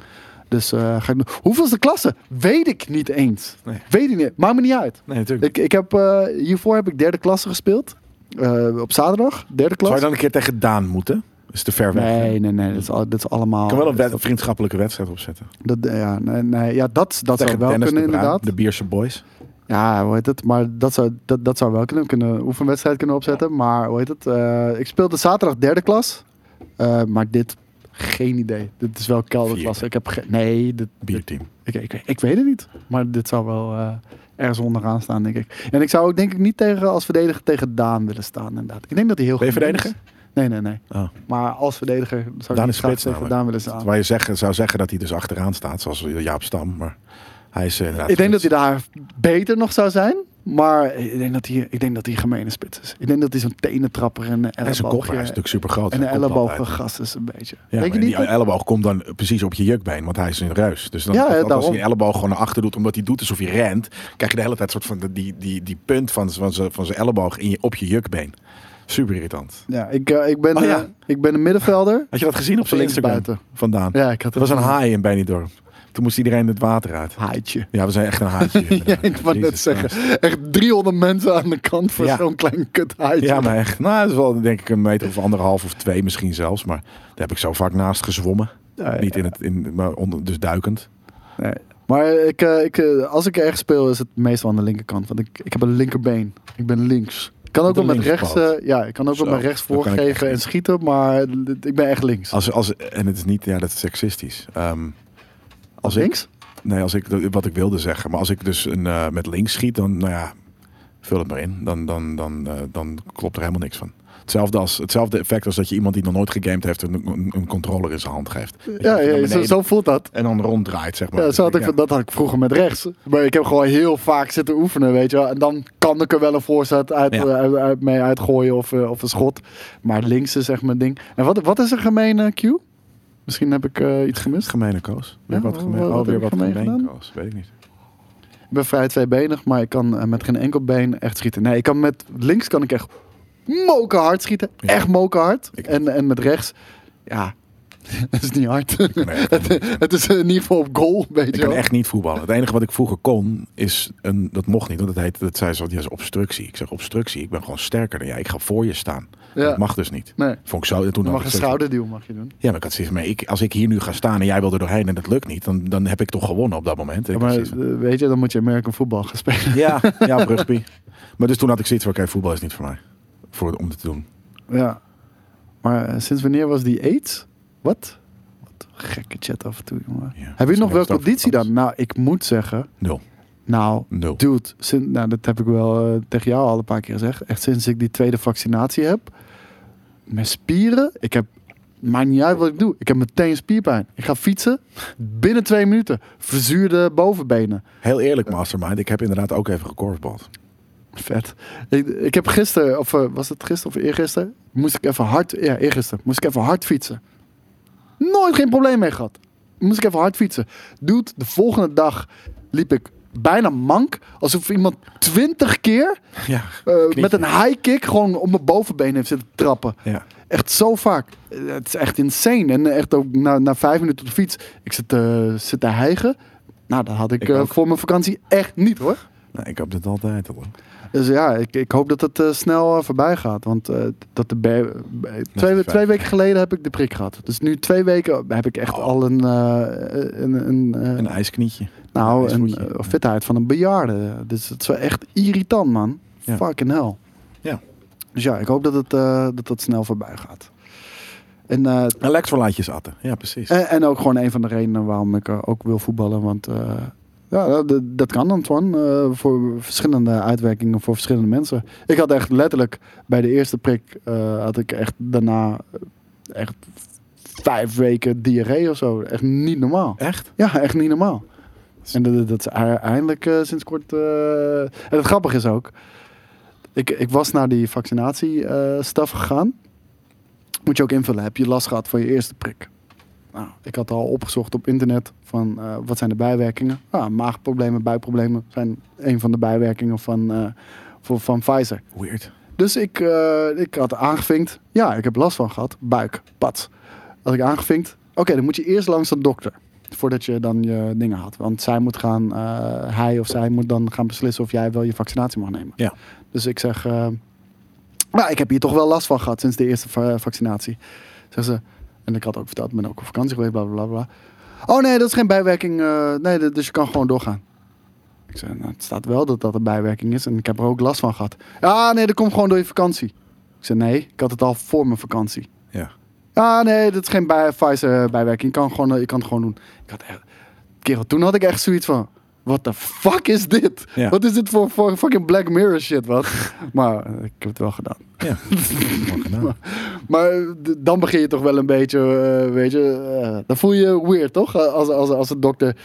Dus eh ga ik... Hoeveel is de klasse? Weet ik niet eens.
Nee.
Weet ik niet. Maakt me niet uit.
Nee, natuurlijk.
Ik, ik heb, eh, hiervoor heb ik derde klasse gespeeld. Eh, op zaterdag, derde
Zou
klasse.
je dan een keer tegen Daan moeten? Is is te ver weg.
Nee, nee, nee. Dat is, al- dat is allemaal...
Ik kan wel een wed- vriendschappelijke wedstrijd opzetten.
Dat, eh, ja, nee, nee, ja, dat, dat zou
Tegen
wel
Dennis
kunnen,
de Bruin,
inderdaad.
De Bierse Boys.
Ja, hoe heet het? Maar dat zou, dat, dat zou wel kunnen. We kunnen een oefenwedstrijd kunnen opzetten. Maar hoe heet het? eh, ik speelde zaterdag derde klas. Eh, maar dit, geen idee. Dit is wel kelderklasse.
Vierde.
Ik heb ge- Nee, dit,
Bierteam.
ik, ik, ik weet het niet. Maar dit zou wel eh, ergens onderaan staan, denk ik. En ik zou ook denk ik niet tegen, als verdediger tegen Daan willen staan, inderdaad. Ik denk dat hij heel
Ben je
goed is.
verdediger?
Nee, nee, nee.
Oh.
Maar als verdediger zou
Daan
ik
is
niet graag
spits
tegen
namelijk.
Daan willen staan.
Waar je zeggen, zou zeggen dat hij dus achteraan staat, zoals Jaap Stam. Maar hij is eh, inderdaad
Ik denk dat
spits.
hij daar beter nog zou zijn. Maar ik denk dat hij, ik denk dat hij een gemene spits is. Ik denk dat hij zo'n tenentrapper en een
Hij is een kop, hij is
elleboogje...
natuurlijk super groot.
En eh, een elleboogengast is een beetje.
Ja,
denk je
maar
niet?
die elleboog komt dan precies op je jukbeen, want hij is een ruis. Dus dan,
Ja, ja,
want als
daarom.
hij een elleboog gewoon naar achter doet, omdat hij doet alsof hij rent, krijg je de hele tijd soort van die, die, die punt van, van, zijn- van zijn elleboog in je, op je jukbeen. Super irritant.
Ja, ik, eh, ik, ben,
Oh, ja.
eh, ik ben een middenvelder.
Had je dat gezien op zijn
Links
Instagram
buiten.
vandaan?
Ja, ik had
Er was een haai in Benidorm. Toen moest iedereen het water uit.
Haaitje.
Ja, we zijn echt een haaitje.
Ja,
inderdaad.
ik wou net
Jezus,
zeggen. Echt 300 mensen aan de kant voor
Ja.
zo'n klein kut haaitje.
Ja, maar echt. Nou, dat is wel denk ik een meter of anderhalf of twee misschien zelfs. Maar daar heb ik zo vaak naast gezwommen.
Ja, ja.
Niet in het, in, maar onder, dus duikend.
Nee. Maar ik, eh, ik, eh, als ik ergens speel, is het meestal aan de linkerkant. Want ik, ik heb een linkerbeen. Ik ben links. Ik kan ook
Met
wel
een
met rechts,
linkspoot.
eh, ja, ik kan ook wel
Zo,
met rechts
dat kan ik echt
voorgeven en
niet.
schieten. Maar d- ik ben echt links.
Als, als, en het is niet, ja, dat is seksistisch. Ehm, als ik,
links?
Nee, als ik wat ik wilde zeggen. Maar als ik dus een, eh, met links schiet, dan, nou ja, vul het maar in. Dan, dan, dan, eh, dan klopt er helemaal niks van. Hetzelfde, als, hetzelfde effect als dat je iemand die nog nooit gegamed heeft een, een, een controller in zijn hand geeft. Dat je
Ja,
naar
ja zo,
beneden
zo voelt dat.
En dan ronddraait, zeg maar.
Ja, zo had ik,
Ja.
Dat had ik vroeger met rechts. Maar ik heb gewoon heel vaak zitten oefenen, weet je wel. En dan kan ik er wel een voorzet uit,
Ja.
eh, uit, uit- mee uitgooien of, eh, of een schot. Maar links is echt mijn ding. En wat, wat is een gemene Q? Misschien heb ik eh, iets gemist.
Gemene koos. Weer
Ja,
wat gemeen,
wat- wat
oh, weer
heb ik
wat
gemeen
gemeen
gedaan?
koos. Weet ik niet.
Ik ben vrij tweebenig, maar ik kan eh, met geen enkel been echt schieten. Nee, ik kan met links kan ik echt mokerhard schieten.
Ja.
Echt mokerhard.
Ik-
En, en met rechts, ja, dat is niet hard.
Nee, dat kan niet.
Het is in ieder geval op goal, weet
Ik
je
kan
wel.
echt niet voetballen. Het enige wat ik vroeger kon, is een, dat mocht niet. Want dat, heet, dat zei ze, ja, is obstructie. Ik zeg obstructie, ik ben gewoon sterker dan jij. Ik ga voor je staan.
Ja.
Dat mag dus niet.
Nee.
Vond ik zo, toen
Je mag
had ik
een
zoiets van-
schouderduw mag je doen.
Ja, maar ik had zoiets van, maar ik, als ik hier nu ga staan en jij wil er doorheen en dat lukt niet, dan, dan heb ik toch gewonnen op dat moment. En ik
maar
had zoiets van,
eh, weet je, dan moet je American voetbal gaan spelen.
Ja, ja, op rugby. Maar dus toen had ik zoiets van, oké, voetbal is niet voor mij. Voor, om dit te doen.
Ja. Maar eh, sinds wanneer was die AIDS? Wat? Wat een gekke chat af en toe, jongen.
Ja,
heb je nog
misschien
wel
hebben we het
conditie
over
dan? Nou, ik moet zeggen...
Nul.
Nou,
Nul.
dude, sinds, nou, dat heb ik wel eh, tegen jou al een paar keer gezegd. Echt sinds ik die tweede vaccinatie heb. Mijn spieren, ik heb... Maakt niet uit wat ik doe. Ik heb meteen spierpijn. Ik ga fietsen. Binnen twee minuten. Verzuurde bovenbenen.
Heel eerlijk, Mastermind, ik heb inderdaad ook even gekorfbald.
Vet. Ik, ik heb gisteren, of eh, was het gisteren of eergisteren, moest ik even hard, ja, eergisteren, moest ik even hard fietsen. Nooit geen probleem mee gehad. Moest ik even hard fietsen. Dude, de volgende dag liep ik bijna mank, alsof iemand twintig keer
Ja,
eh,
knietje.
met een high kick gewoon op mijn bovenbeen heeft zitten trappen.
Ja.
Echt zo vaak. Eh, Het is echt insane. En echt ook na, na vijf minuten op de fiets, ik zit, eh zit te hijgen. Nou, dat had ik,
Ik
eh,
ook.
voor mijn vakantie echt niet hoor.
Nou, ik heb dit altijd al.
Dus ja, ik, ik hoop dat het eh, snel eh, voorbij gaat. Want eh, dat de be- be- twee,
fijn.
twee weken geleden heb ik de prik gehad. Dus nu twee weken heb ik echt al een, eh, een, een, eh,
Een ijsknietje.
nou, een
ijsvoetje.
eh, fitheid van een bejaarde. Dus het is wel echt irritant, man.
Ja.
Fucking hell.
Ja.
Dus ja, ik hoop dat het, eh, dat, dat snel voorbij gaat. En, eh,
Elektrolytjes atten. Ja, precies.
en, en ook gewoon een van de redenen waarom ik eh, ook wil voetballen. Want eh, ja, dat, dat kan, Antoine. eh, voor verschillende uitwerkingen voor verschillende mensen. Ik had echt letterlijk bij de eerste prik... eh, had ik echt daarna echt vijf weken diarree of zo. Echt niet normaal.
Echt?
Ja, echt niet normaal. En dat, dat is e- eindelijk eh, sinds kort... eh, En het grappige is ook... Ik, ik was naar die vaccinatiestaf gegaan. Moet je ook invullen. Heb je last gehad van je eerste prik? Nou, ik had al opgezocht op internet van eh, wat zijn de bijwerkingen. Nou, maagproblemen, buikproblemen zijn een van de bijwerkingen van, eh, voor, van Pfizer.
Weird.
Dus ik, eh, ik had aangevinkt. Ja, ik heb last van gehad. Buik, pad. Had ik aangevinkt. Oké, dan moet je eerst langs de dokter. Voordat je dan je dingen had. Want zij moet gaan, eh, hij of zij moet dan gaan beslissen of jij wel je vaccinatie mag nemen.
Ja.
Dus ik zeg, eh, nou, ik heb hier toch wel last van gehad sinds de eerste va- vaccinatie. Zegt ze, en ik had ook verteld, ik ben ook op vakantie geweest, bla bla bla. bla. Oh nee, dat is geen bijwerking. eh, nee, d- dus je kan gewoon doorgaan. Ik zei, nou, het staat wel dat dat een bijwerking is en ik heb er ook last van gehad. Ja, nee, dat komt gewoon door je vakantie. Ik zei, nee, ik had het al voor mijn vakantie.
Ja.
Ah, nee, dat is geen bij, Pfizer bijwerking. Je kan, gewoon, eh, je kan het gewoon doen. Ik had echt, kerel, toen had ik echt zoiets van... What the fuck is dit?
Ja.
Wat is dit voor, voor fucking Black Mirror shit, wat? maar eh, ik heb het wel gedaan.
Ja. Mooi gedaan.
Maar eh, d- dan begin je toch wel een beetje, eh, weet je... eh, dan voel je je weird, toch? Eh, Als, als, als een dokter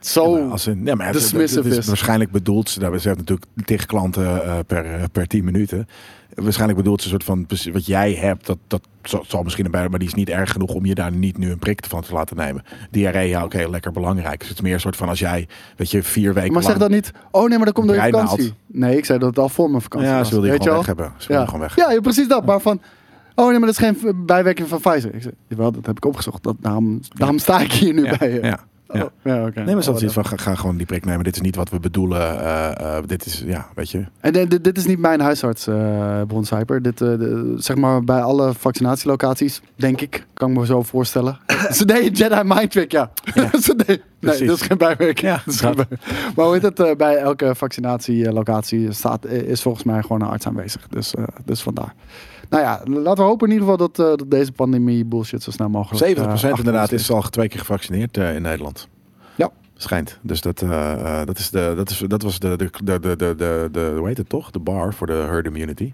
zo...
Maar Nou, Als een, ja, maar het, het-
dismissive
het is
is.
waarschijnlijk bedoeld ze, nou, we zeggen natuurlijk tegen klanten eh, per, eh, per 10 minuten. Waarschijnlijk bedoelt ze een soort van precies wat jij hebt, dat, dat zal, zal misschien een bij, maar die is niet erg genoeg om je daar niet nu een prik van te laten nemen. Diarree, ja, oké, lekker belangrijk. Dus het is meer een soort van als jij, weet je, vier weken.
maar zeg
lang-
dan niet... Oh nee, maar dat komt door je
Breinaald.
vakantie. Nee, ik zei dat het al voor mijn vakantie
Ja,
was.
ze wilde je
weet
gewoon
wel?
weg hebben. Ze wilde
ja.
je gewoon weg.
Ja, ja, precies dat. Maar van, oh nee, maar dat is geen v- bijwerking van Pfizer. Ik zei, jawel, dat heb ik opgezocht. Dat, daarom, daarom sta ik hier nu
Ja,
bij je.
ja, ja.
Oh, ja, oké.
Nee, maar ze
Oh,
had zoiets van, ga, ga gewoon die prik nemen. Dit is niet wat we bedoelen. eh, eh, dit is, ja, weet je.
En eh, dit, dit is niet mijn huisarts, eh Broncyper. Dit, eh, de- zeg maar, bij alle vaccinatielocaties, denk ik, kan ik me zo voorstellen. Ze deden Jedi Mind Trick, ja. Ze deden- nee,
Precies.
dat is geen bijwerking. Dat is geen
dat.
bijwerking. Maar hoe heet het, eh, bij elke vaccinatielocatie staat, eh, is volgens mij gewoon een arts aanwezig. Dus, eh, dus vandaar. Nou ja, laten we hopen in ieder geval dat, eh, dat deze pandemie bullshit zo snel mogelijk...
70%
eh, achter
inderdaad
ons
is al twee keer gevaccineerd eh, in Nederland.
Ja.
Schijnt. Dus dat, eh, eh, dat, is de, dat, is, dat was de, de, de, de, de, de, de- hoe heet het toch? De bar voor de herd immunity.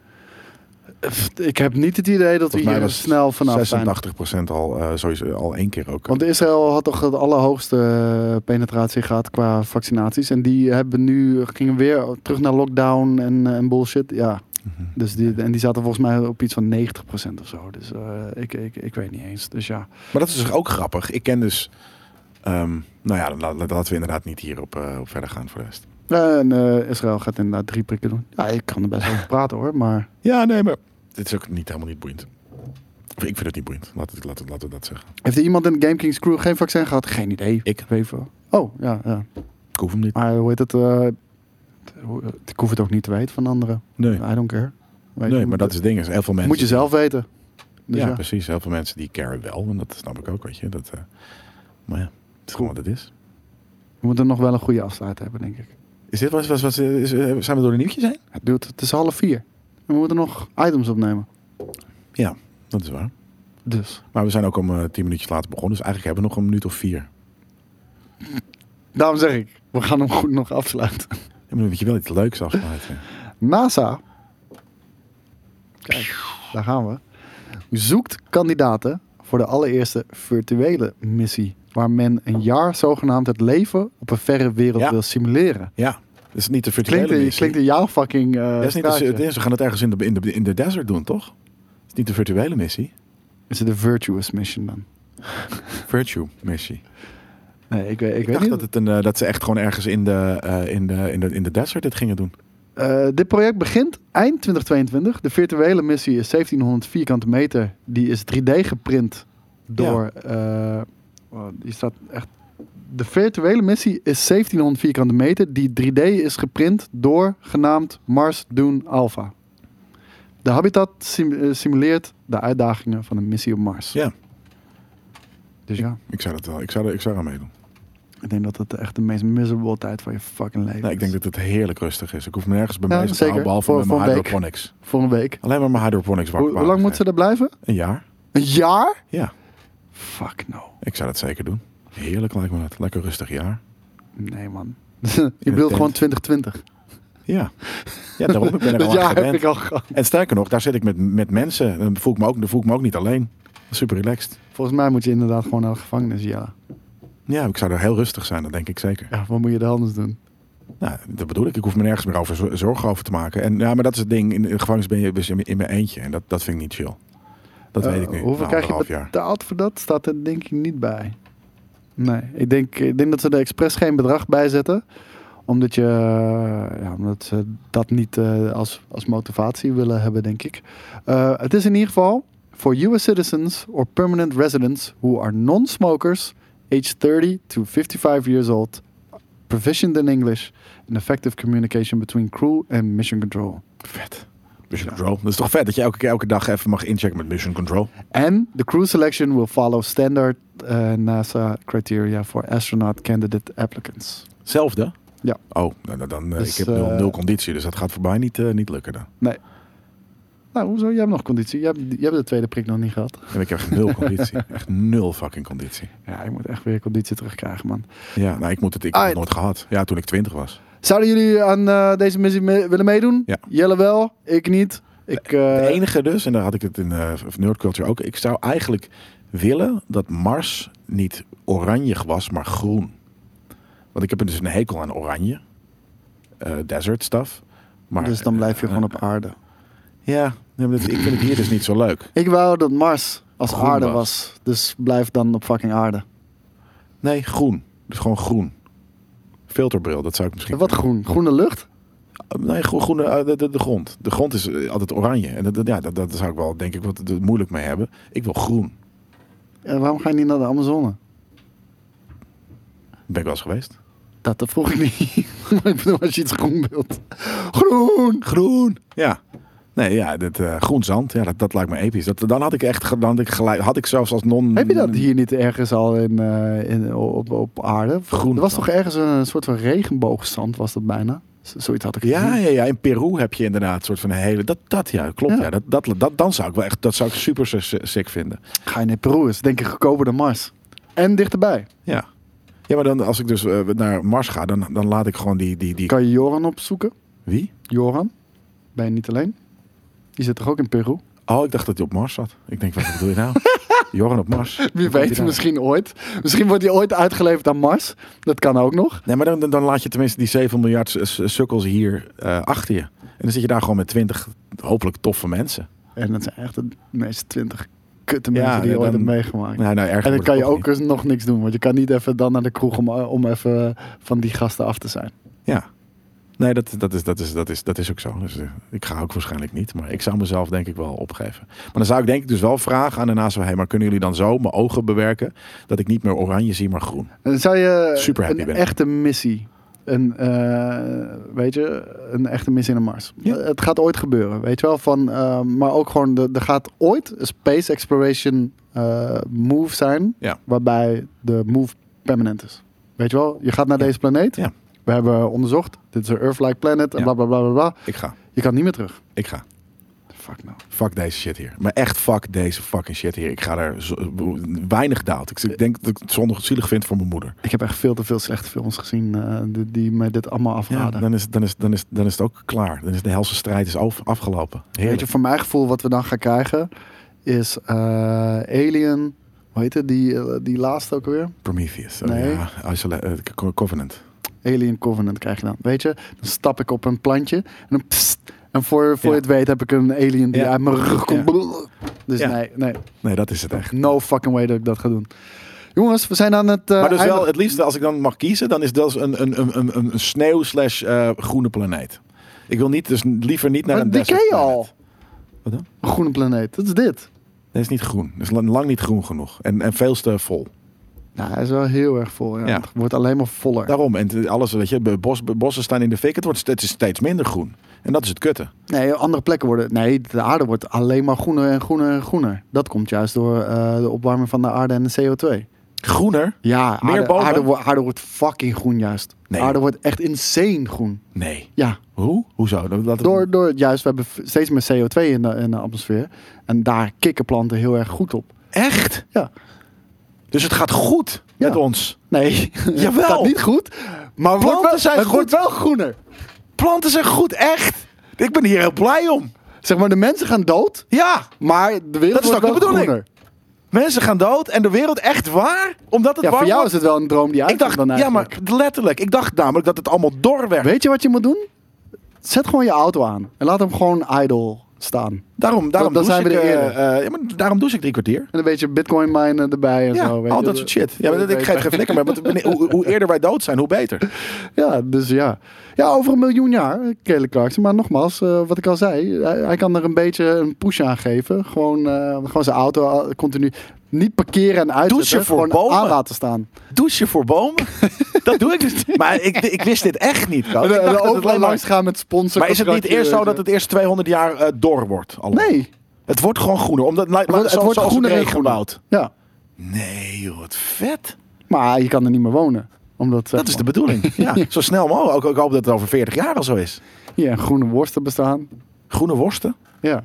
Ik heb niet het idee dat we hier eh, snel vanaf zijn.
86% al, eh, sowieso al één keer ook.
Want Israël had toch de allerhoogste eh, penetratie gehad qua vaccinaties. En die hebben nu, gingen weer terug naar lockdown en, eh, en bullshit. Ja.
Mhm.
Dus die, en die zaten volgens mij op iets van 90% of zo. Dus eh, ik, ik, ik weet niet eens. Dus ja.
Maar dat is dus ook grappig. Ik ken dus, ehm, nou ja, la- la- laten we inderdaad niet hierop eh, op verder gaan voor de rest.
En eh, Israël gaat inderdaad drie prikken doen. Ja, ik kan er best over praten hoor. Maar
Ja, nee, maar dit is ook niet helemaal niet boeiend. Of Ik vind het niet boeiend. Laten we, laten we, laten we dat zeggen.
heeft er iemand in de Game Kings crew geen vaccin gehad? Geen idee.
Ik.
Weet wel. Oh, ja, ja.
Ik hoef hem niet.
Maar hoe heet het? eh, hoe- ik hoef het ook niet te weten van anderen.
Nee,
I don't care. Weet
nee
je,
maar dat is het ding. Is heel veel mensen
Moet je zelf weten. Dus
ja,
ja.
precies. Heel veel mensen die caren wel. En dat snap ik ook, weet je. Dat, eh, maar ja, het is gewoon wat het is.
We moeten nog wel een goede afsluit hebben, denk ik.
Is dit wat, wat, wat is, eh, zijn we door de nieuwtjes heen?
Het duurt, het is half vier. En we moeten nog items opnemen.
Ja, dat is waar.
Dus.
Maar we zijn ook om eh, tien minuutjes later begonnen. Dus eigenlijk hebben we nog een minuut of vier.
Daarom zeg ik, we gaan hem goed nog afsluiten.
Ik bedoel, dat je wel iets leuks afsluiten.
NASA. Kijk, daar gaan we. Zoekt kandidaten voor de allereerste virtuele missie. Waar men een jaar zogenaamd het leven op een verre wereld
Ja.
wil simuleren.
ja, dat is niet de virtuele
Klinkt, in-
missie.
klinkt in jouw fucking. eh,
dat is niet
straatje.
de, we gaan het ergens in de, in, de, in de desert doen, toch? Dat is niet de virtuele missie.
Is het een virtuous mission dan?
Virtue missie.
Nee, ik weet, ik weet
Ik, dacht
niet.
dat, het een, eh, dat ze echt gewoon ergens in de, eh, in, de, in, de, in de desert het gingen doen.
Eh, dit project begint eind 2022. De virtuele missie is 1700 vierkante meter. Die is 3D geprint door. eh, oh, die staat echt. De virtuele missie is 1700 vierkante meter. Die 3D is geprint door genaamd Mars Dune Alpha. De habitat sim- eh, simuleert de uitdagingen van een missie op Mars.
Ja.
Dus ja,
Ik zou, dat wel, ik zou, er- ik zou er aan meedoen.
ik denk dat het echt de meest miserable tijd van je fucking leven
Nou, ik
is.
denk dat het heerlijk rustig is. Ik hoef me nergens bij
Ja,
mij te houden,
zeker.
behalve
Voor-
met
voor
mijn
een week.
hydroponics.
Voor een week.
Alleen maar mijn hydroponics.
Hoe, hoe lang moet ze er blijven?
Een jaar.
Een jaar?
Ja,
Fuck no.
ik zou dat zeker doen. Heerlijk lijkt me dat. Lekker rustig jaar.
Nee, man. je
tent.
bedoelt gewoon 2020.
Ja, ja daarom ik ben ik er
Dat
al aan
jaar heb
gewend.
ik al gehad.
En sterker nog, daar zit ik met, met mensen. Dan voel, ik me ook, dan voel ik me ook niet alleen. Super relaxed.
Volgens mij moet je inderdaad gewoon naar de gevangenis, ja.
Ja, ik zou er heel rustig zijn, dat denk ik zeker.
Ja, wat moet je er anders doen?
Nou, dat bedoel ik. Ik hoef me nergens meer over zo- zorgen over te maken. En, ja, maar dat is het ding. In de gevangenis ben je ben je in mijn eentje. En dat, dat vind ik niet chill. Dat weet ik
Eh,
nu.
Hoeveel
Na
krijg je
anderhalf jaar.
betaald voor dat? Staat er denk ik niet bij. Nee, ik denk, ik denk dat ze er expres geen bedrag bij zetten. Omdat, je, eh, ja, omdat ze dat niet eh, als, als motivatie willen hebben, denk ik. Eh, het is in ieder geval voor US citizens or permanent residents who are non-smokers, age 30 to 55 years old, proficient in English and effective communication between crew and mission control.
Vet. Mission Control. Dat is toch vet dat je elke, elke dag even mag inchecken met Mission Control.
En the crew selection will follow standard eh, NASA criteria for astronaut candidate applicants.
Zelfde?
Ja.
Oh, nou, nou, dan, eh,
Dus,
ik heb nul,
eh,
nul conditie, dus dat gaat voor mij niet, eh, niet lukken dan.
Nee. Nou, hoezo? Jij hebt nog conditie. Jij hebt, jij hebt de tweede prik nog niet gehad.
En ik heb echt nul conditie. Echt nul fucking conditie.
Ja, ik moet echt weer conditie terugkrijgen, man.
Ja, nou, ik moet het, ik heb het
Ah,
nooit gehad. Ja, toen ik twintig was.
Zouden jullie aan eh, deze missie me- willen meedoen?
Ja.
Jelle wel, ik niet. Ik, eh,
Het enige dus, en daar had ik het in eh Nerd Culture ook. Ik zou eigenlijk willen dat Mars niet oranje was, maar groen. Want ik heb dus een hekel aan oranje. Eh, desert stuff. Maar,
dus dan blijf je gewoon op aarde.
Ja, nee, maar dat- ik vind het hier dus niet zo leuk.
Ik wou dat Mars als
Groen
aarde
was.
was. Dus blijf dan op fucking aarde.
Nee, groen. Dus gewoon groen. Filterbril, dat zou ik misschien...
Wat groen? Groene lucht?
Nee, groen, groene, eh, de, de, de grond. De grond is eh, altijd oranje. En dat, dat- ja, dat, dat zou ik wel, denk ik, wat wat moeilijk mee hebben. Ik wil groen.
Eh, waarom ga je niet naar de Amazone?
Ben ik wel eens geweest.
Dat dat vroeg ik niet. maar ik bedoel, als je iets groen wilt. Groen!
Groen! Ja. Nee, ja, dat, eh, groen zand. Ja, dat, dat lijkt me episch. Dat, dan had ik echt, ge- dan had ik gelijk, had ik zelfs als non...
Heb je dat hier niet ergens al in, eh, in, op, op aarde?
Groen.
Er was toch ergens een soort van regenboogstand, was dat bijna? Z- zoiets had ik
Ja,
gezien.
ja, ja, in Peru heb je inderdaad een soort van een hele... Dat, dat ja, klopt. Ja.
Ja.
dat, dat, dat, dan zou ik wel echt, dat zou ik super s- sick vinden.
Ga je naar Peru, is denk ik goedkoper dan Mars. En dichterbij.
Ja. Ja, maar dan als ik dus eh, naar Mars ga, dan, dan laat ik gewoon die... die, die...
Kan je Joran opzoeken?
Wie?
Joran? Ben je niet alleen? Die zit toch ook in Peru?
Oh, ik dacht dat hij op Mars zat. Ik denk, wat bedoel je nou? Joran op Mars. Wat
Wie
komt hij
weet,
nou?
misschien ooit. Misschien wordt hij ooit uitgeleverd aan Mars. Dat kan ook nog.
Nee, maar dan, dan, dan laat je tenminste die 7 miljard s- s- sukkels hier eh, achter je. En dan zit je daar gewoon met 20 hopelijk toffe mensen.
En dat zijn echt de meest twintig kutte mensen die je
dan-
ooit hebt meegemaakt.
Nou, nou, erg
en dan
wordt
kan
het
je
toch
ook
niet.
eens nog niks doen. Want je kan niet even dan naar de kroeg om, eh, om even van die gasten af te zijn.
Ja. Nee, dat, dat, is, dat, is, dat, is, dat is ook zo. Dus, eh, ik ga ook waarschijnlijk niet. Maar ik zou mezelf denk ik wel opgeven. Maar dan zou ik denk ik dus wel vragen aan de NASA... Hey, maar kunnen jullie dan zo mijn ogen bewerken... dat ik niet meer oranje zie, maar groen?
En dan zou je
Super happy
een
ben ik.
echte missie. Een, eh, weet je, een echte missie naar Mars. Eh, Het gaat ooit gebeuren, weet je wel. Van, eh, maar ook gewoon, de- er gaat ooit een space exploration eh, move zijn...
Ja.
waarbij de move permanent is. Weet je wel, je gaat naar deze planeet.
Ja.
We hebben onderzocht, dit is een Earth-like planet en
Ja.
bla bla bla bla bla.
Ik ga.
Je kan niet meer terug.
Ik ga.
Fuck nou.
Fuck deze shit hier. Maar echt fuck deze fucking shit hier. Ik ga er zo- weinig daalt. Ik- Ik denk dat ik het zondag zielig vind voor mijn moeder.
Ik heb echt veel te veel slechte films gezien eh, die, die mij dit allemaal
Ja,
afraden.
dan is, dan, is, dan, is, dan is het ook klaar. Dan is de helse strijd is af- afgelopen.
Weet
Heerlijk.
je, voor mijn gevoel wat we dan gaan krijgen is eh, Alien. Hoe heet het? Die, eh, die laatste ook weer?
Prometheus. Oh,
Nee.
ja. Isola- eh, Co- Covenant.
Alien Covenant krijg je dan. Weet je, dan stap ik op een plantje en dan pssst. en voor, voor je het weet heb ik een alien die
Ja.
uit mijn rug komt. Dus
Ja.
nee, nee,
Nee, dat is het echt.
no fucking way dat ik dat ga doen. Jongens, we zijn aan het. eh,
Maar dus wel
eindigen.
het liefste, als ik dan mag kiezen, dan is dat een, een, een, een, een sneeuw slash eh, groene planeet. Ik wil niet, dus liever niet naar
Maar
een
die
desert
ken je
planet.
al.
Wat dan?
Een groene planeet. Dat is dit.
Dat is niet groen. Dat is lang lang niet groen genoeg. En, en veel te vol.
Nou, hij is wel heel erg vol. Ja.
Ja.
Het wordt alleen maar voller.
Daarom, en t- alles, weet je, b- bos, b- bossen staan in de fik, het wordt steeds, steeds minder groen. En dat is het kutte.
Nee, andere plekken worden. Nee, de aarde wordt alleen maar groener en groener en groener. Dat komt juist door eh, de opwarming van de aarde en de CO2.
Groener?
Ja,
Meer
aarde,
bomen?
aarde, wo- aarde wordt fucking groen juist.
Nee,
aarde
joh.
wordt echt insane groen.
Nee.
Ja,
Hoe? Hoezo? Dat, dat-
door, door juist, we hebben v- steeds meer CO2 in de, in de atmosfeer. En daar kikken planten heel erg goed op.
Echt?
Ja.
Dus het gaat goed
Ja.
met ons.
Nee,
Jawel.
het gaat niet goed. Maar het wordt
Planten
wel,
zijn
het
goed.
wordt wel groener.
Planten zijn goed, echt. Ik ben hier heel blij om.
Zeg maar, de mensen gaan dood,
Ja,
maar de wereld
Dat is
wordt
toch
wel
de bedoeling?
groener.
mensen gaan dood en de wereld echt waar? Omdat het
Ja,
warm
voor jou is
wordt?
het wel een droom die uit
Ik dacht,
dan
ja,
eigenlijk.
maar letterlijk. Ik dacht namelijk dat het allemaal door werd.
Weet je wat je moet doen? Zet gewoon je auto aan en laat hem gewoon idle staan.
Daarom, daarom,
dan zijn we
ik,
er
eh,
eerder.
eh, ja, maar daarom douche ik drie kwartier.
En een beetje bitcoin minen erbij en
Ja,
zo. weet
al
je,
dat soort shit. Ja, maar dat, ik
weet
geef
je.
geen flikker, maar want wanneer- hoe, hoe eerder wij dood zijn, hoe beter.
Ja, dus ja. Ja, over een miljoen jaar, eh, Kelly Clarkson. Maar nogmaals, eh, wat ik al zei, hij, hij kan er een beetje een push aan geven. Gewoon, eh, gewoon zijn auto al- continu niet parkeren en uitzetten.
Douchen voor
Gewoon
bomen. Oh,
aan laten staan.
Douchen voor bomen? dat doe ik dus niet. Maar ik, ik wist dit echt niet. Kat.
En,
Ik dacht
eh,
dat het
overal
alleen maar-
langs gaan met sponsors.
Maar is het niet eerst zo dat het eerst 200 jaar eh, dor wordt? allemaal?
eh, Nee.
Het wordt gewoon groener. Omdat, het
wordt- het wordt groener en groener.
regenwoud.
Ja,
Nee, joh, wat vet.
maar je kan er niet meer wonen. Omdat,
Dat is de bedoeling. Ja, zo snel mogelijk. Ook- Ik hoop dat het over 40 jaar al zo is.
Ja, groene worsten bestaan.
Groene worsten?
Ja.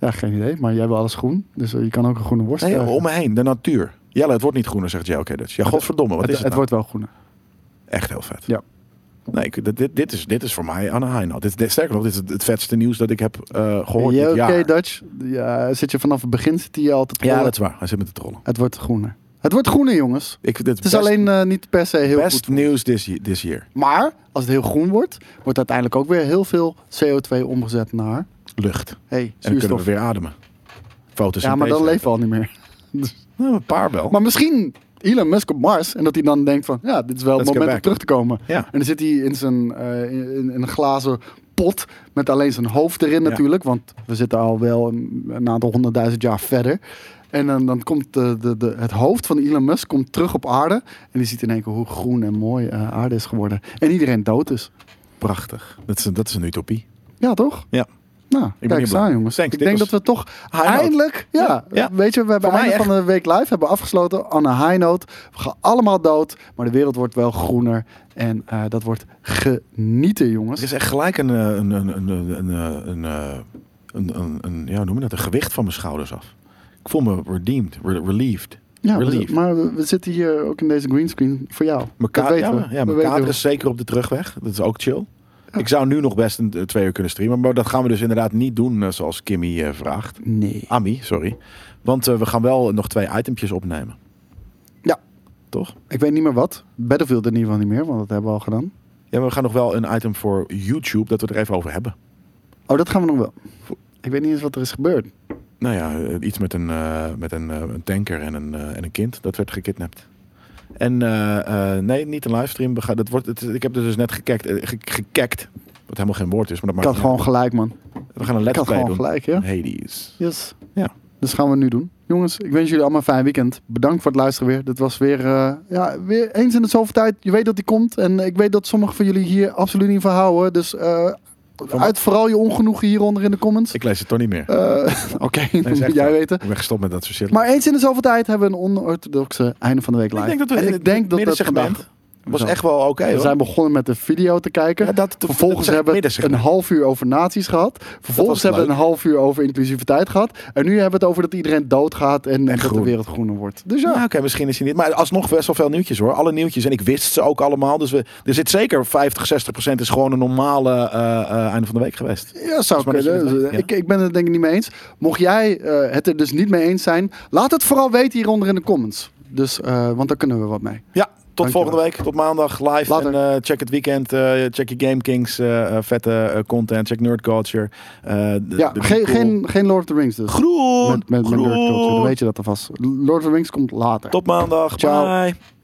Ja, geen idee. Maar jij wil alles groen. Dus eh, je kan ook een groene worst
Nee, joh,
krijgen.
om me heen. De natuur. Jelle, het wordt niet groener, zegt JLK Dutch. Ja, godverdomme, wat
het,
is
het
het nou?
wordt wel groener.
Echt heel vet.
Ja.
Nee, ik- dit, dit, dit is, dit is voor mij aan een high note. Dit, dit- sterker nog, dit is het, het vetste nieuws dat ik heb eh, gehoord
Ja,
dit
oké,
jaar.
Dutch. Ja, zit je vanaf het begin zit hij al te
ja,
trollen.
dat is waar. Hij zit met de trollen.
Het wordt groener. Het wordt groener, jongens.
Ik, dit
Het is alleen eh, niet per se heel
best
goed.
nieuws this, ye- this year.
Maar als het heel groen wordt, wordt uiteindelijk ook weer heel veel CO2 omgezet naar
Lucht.
hey,
En dan kunnen we
zuurstof.
weer ademen. Foto's
Ja, maar dan leven we al niet meer. Dus-
Nou, een paar wel.
Maar misschien Elon Musk op Mars. En dat hij dan denkt van, ja, dit is wel het
Let's go
moment om
back.
terug te komen.
Ja.
En dan zit hij in, zijn, eh, in, in een glazen pot met alleen zijn hoofd erin natuurlijk. Want we zitten al wel een, een aantal honderdduizend jaar verder. En dan, dan komt de, de, de, het hoofd van Elon Musk komt terug op aarde. En die ziet in één keer hoe groen en mooi eh, aarde is geworden. En iedereen dood is.
Prachtig. Dat is, een- dat is een utopie.
Ja, toch?
Ja.
Nou,
ben
kijk
heel
eens
blij.
aan, jongens.
Thanks,
ik
dit
denk dat
was
we toch
note.
eindelijk, ja,
Ja, ja.
weet je, we hebben
Voor mij
einde van de week live, hebben we afgesloten aan een high note. We gaan allemaal dood, maar de wereld wordt wel groener en eh, dat wordt genieten, jongens.
Er is echt gelijk een, eh, een, een, een, een, een, een, eh, een, een, een- ja, hoe noem je dat? Een gewicht van mijn schouders af. Ik voel me redeemed, re- relieved.
ja, we-
relieved.
maar we, we zitten hier ook in deze greenscreen voor jou.
Mijn
dat
ka-
weten
ja,
we.
maar- ja,
we
mijn
weten
kader
we.
is zeker op de terugweg. Dat is ook chill. Ik zou nu nog best een, eh, twee uur kunnen streamen, maar dat gaan we dus inderdaad niet doen eh, zoals Kimmy eh, vraagt.
Nee.
Ami, sorry. Want eh, we gaan wel nog twee itempjes opnemen,
Ja,
toch?
ik weet niet meer wat. Battlefield in ieder geval niet meer, want dat hebben we al gedaan.
Ja, maar we gaan nog wel een item voor YouTube dat we er even over hebben.
Oh, dat gaan we nog wel. Ik weet niet eens wat er is gebeurd.
Nou ja, eh, iets met een, eh, met een, eh, een tanker en een, eh, en een kind. Dat werd gekidnapt. En eh, eh, nee, niet een livestream. We gaan, dat wordt, het- ik heb dus net gekekt. eh, ge- gekekt. Wat helemaal geen woord is, maar dat
Ik
maakt
had
niet uit.
gewoon gelijk, man.
We gaan een
Ik
let's
had
play
gewoon
doen.
gelijk, ja.
Hades.
Yes.
Ja.
Dus gaan we nu doen. Jongens, ik wens jullie allemaal een fijn weekend. Bedankt voor het luisteren weer. Dit was weer, eh, ja, weer eens in de zoveel tijd. Je weet dat die komt. En ik weet dat sommigen van jullie hier absoluut niet van houden. Dus eh, uit vooral je ongenoegen hieronder in de comments.
Ik lees het toch niet meer.
Eh, Oké,
Nee,
dat
is
moet
echt
jij
waar.
weten.
Ik ben gestopt met dat soort shit.
Maar eens in de zoveel tijd hebben we een onorthodoxe einde van de week live.
ik denk dat we
en
in
ik
het
denk dat dat
middensegment
vandaag...
was
Zo.
echt wel oké.
We
hoor.
zijn begonnen met de video te kijken.
Ja, dat- dat- dat
Vervolgens
zeg ik
hebben we
midden,
het
zeg
een
maar.
half uur over nazi's gehad. Vervolgens
was
hebben we een
leuk.
half uur over inclusiviteit gehad. En nu hebben we het over dat iedereen doodgaat en, en dat de
groen.
wereld groener wordt. Dus
Ja,
ja,
oké, misschien is hij niet. Maar alsnog best wel veel nieuwtjes hoor. Alle nieuwtjes. En ik wist ze ook allemaal. Dus we, er zit zeker 50, 60 procent is gewoon een normale eh, eh, einde van de week geweest.
ja zou
maar dat je
kunnen.
het weet, ja.
ik, ik ben het denk ik niet mee eens. Mocht jij eh, het er dus niet mee eens zijn, laat het vooral weten hieronder in de comments. Dus, eh, want daar kunnen we wat mee.
Ja, tot
Dankjewel.
volgende week. Tot maandag live.
Later.
En eh, check het weekend. eh, check je Game Kings. eh, eh, vette eh, content. Check Nerd Culture. eh, de-
Ja,
de-
geen,
cool.
geen, geen Lord of the Rings dus.
Groen!
Met, met, met
Groen!
nerd culture, dan weet je dat alvast. Lord of the Rings komt later.
Tot maandag.
Ciao.
Bye.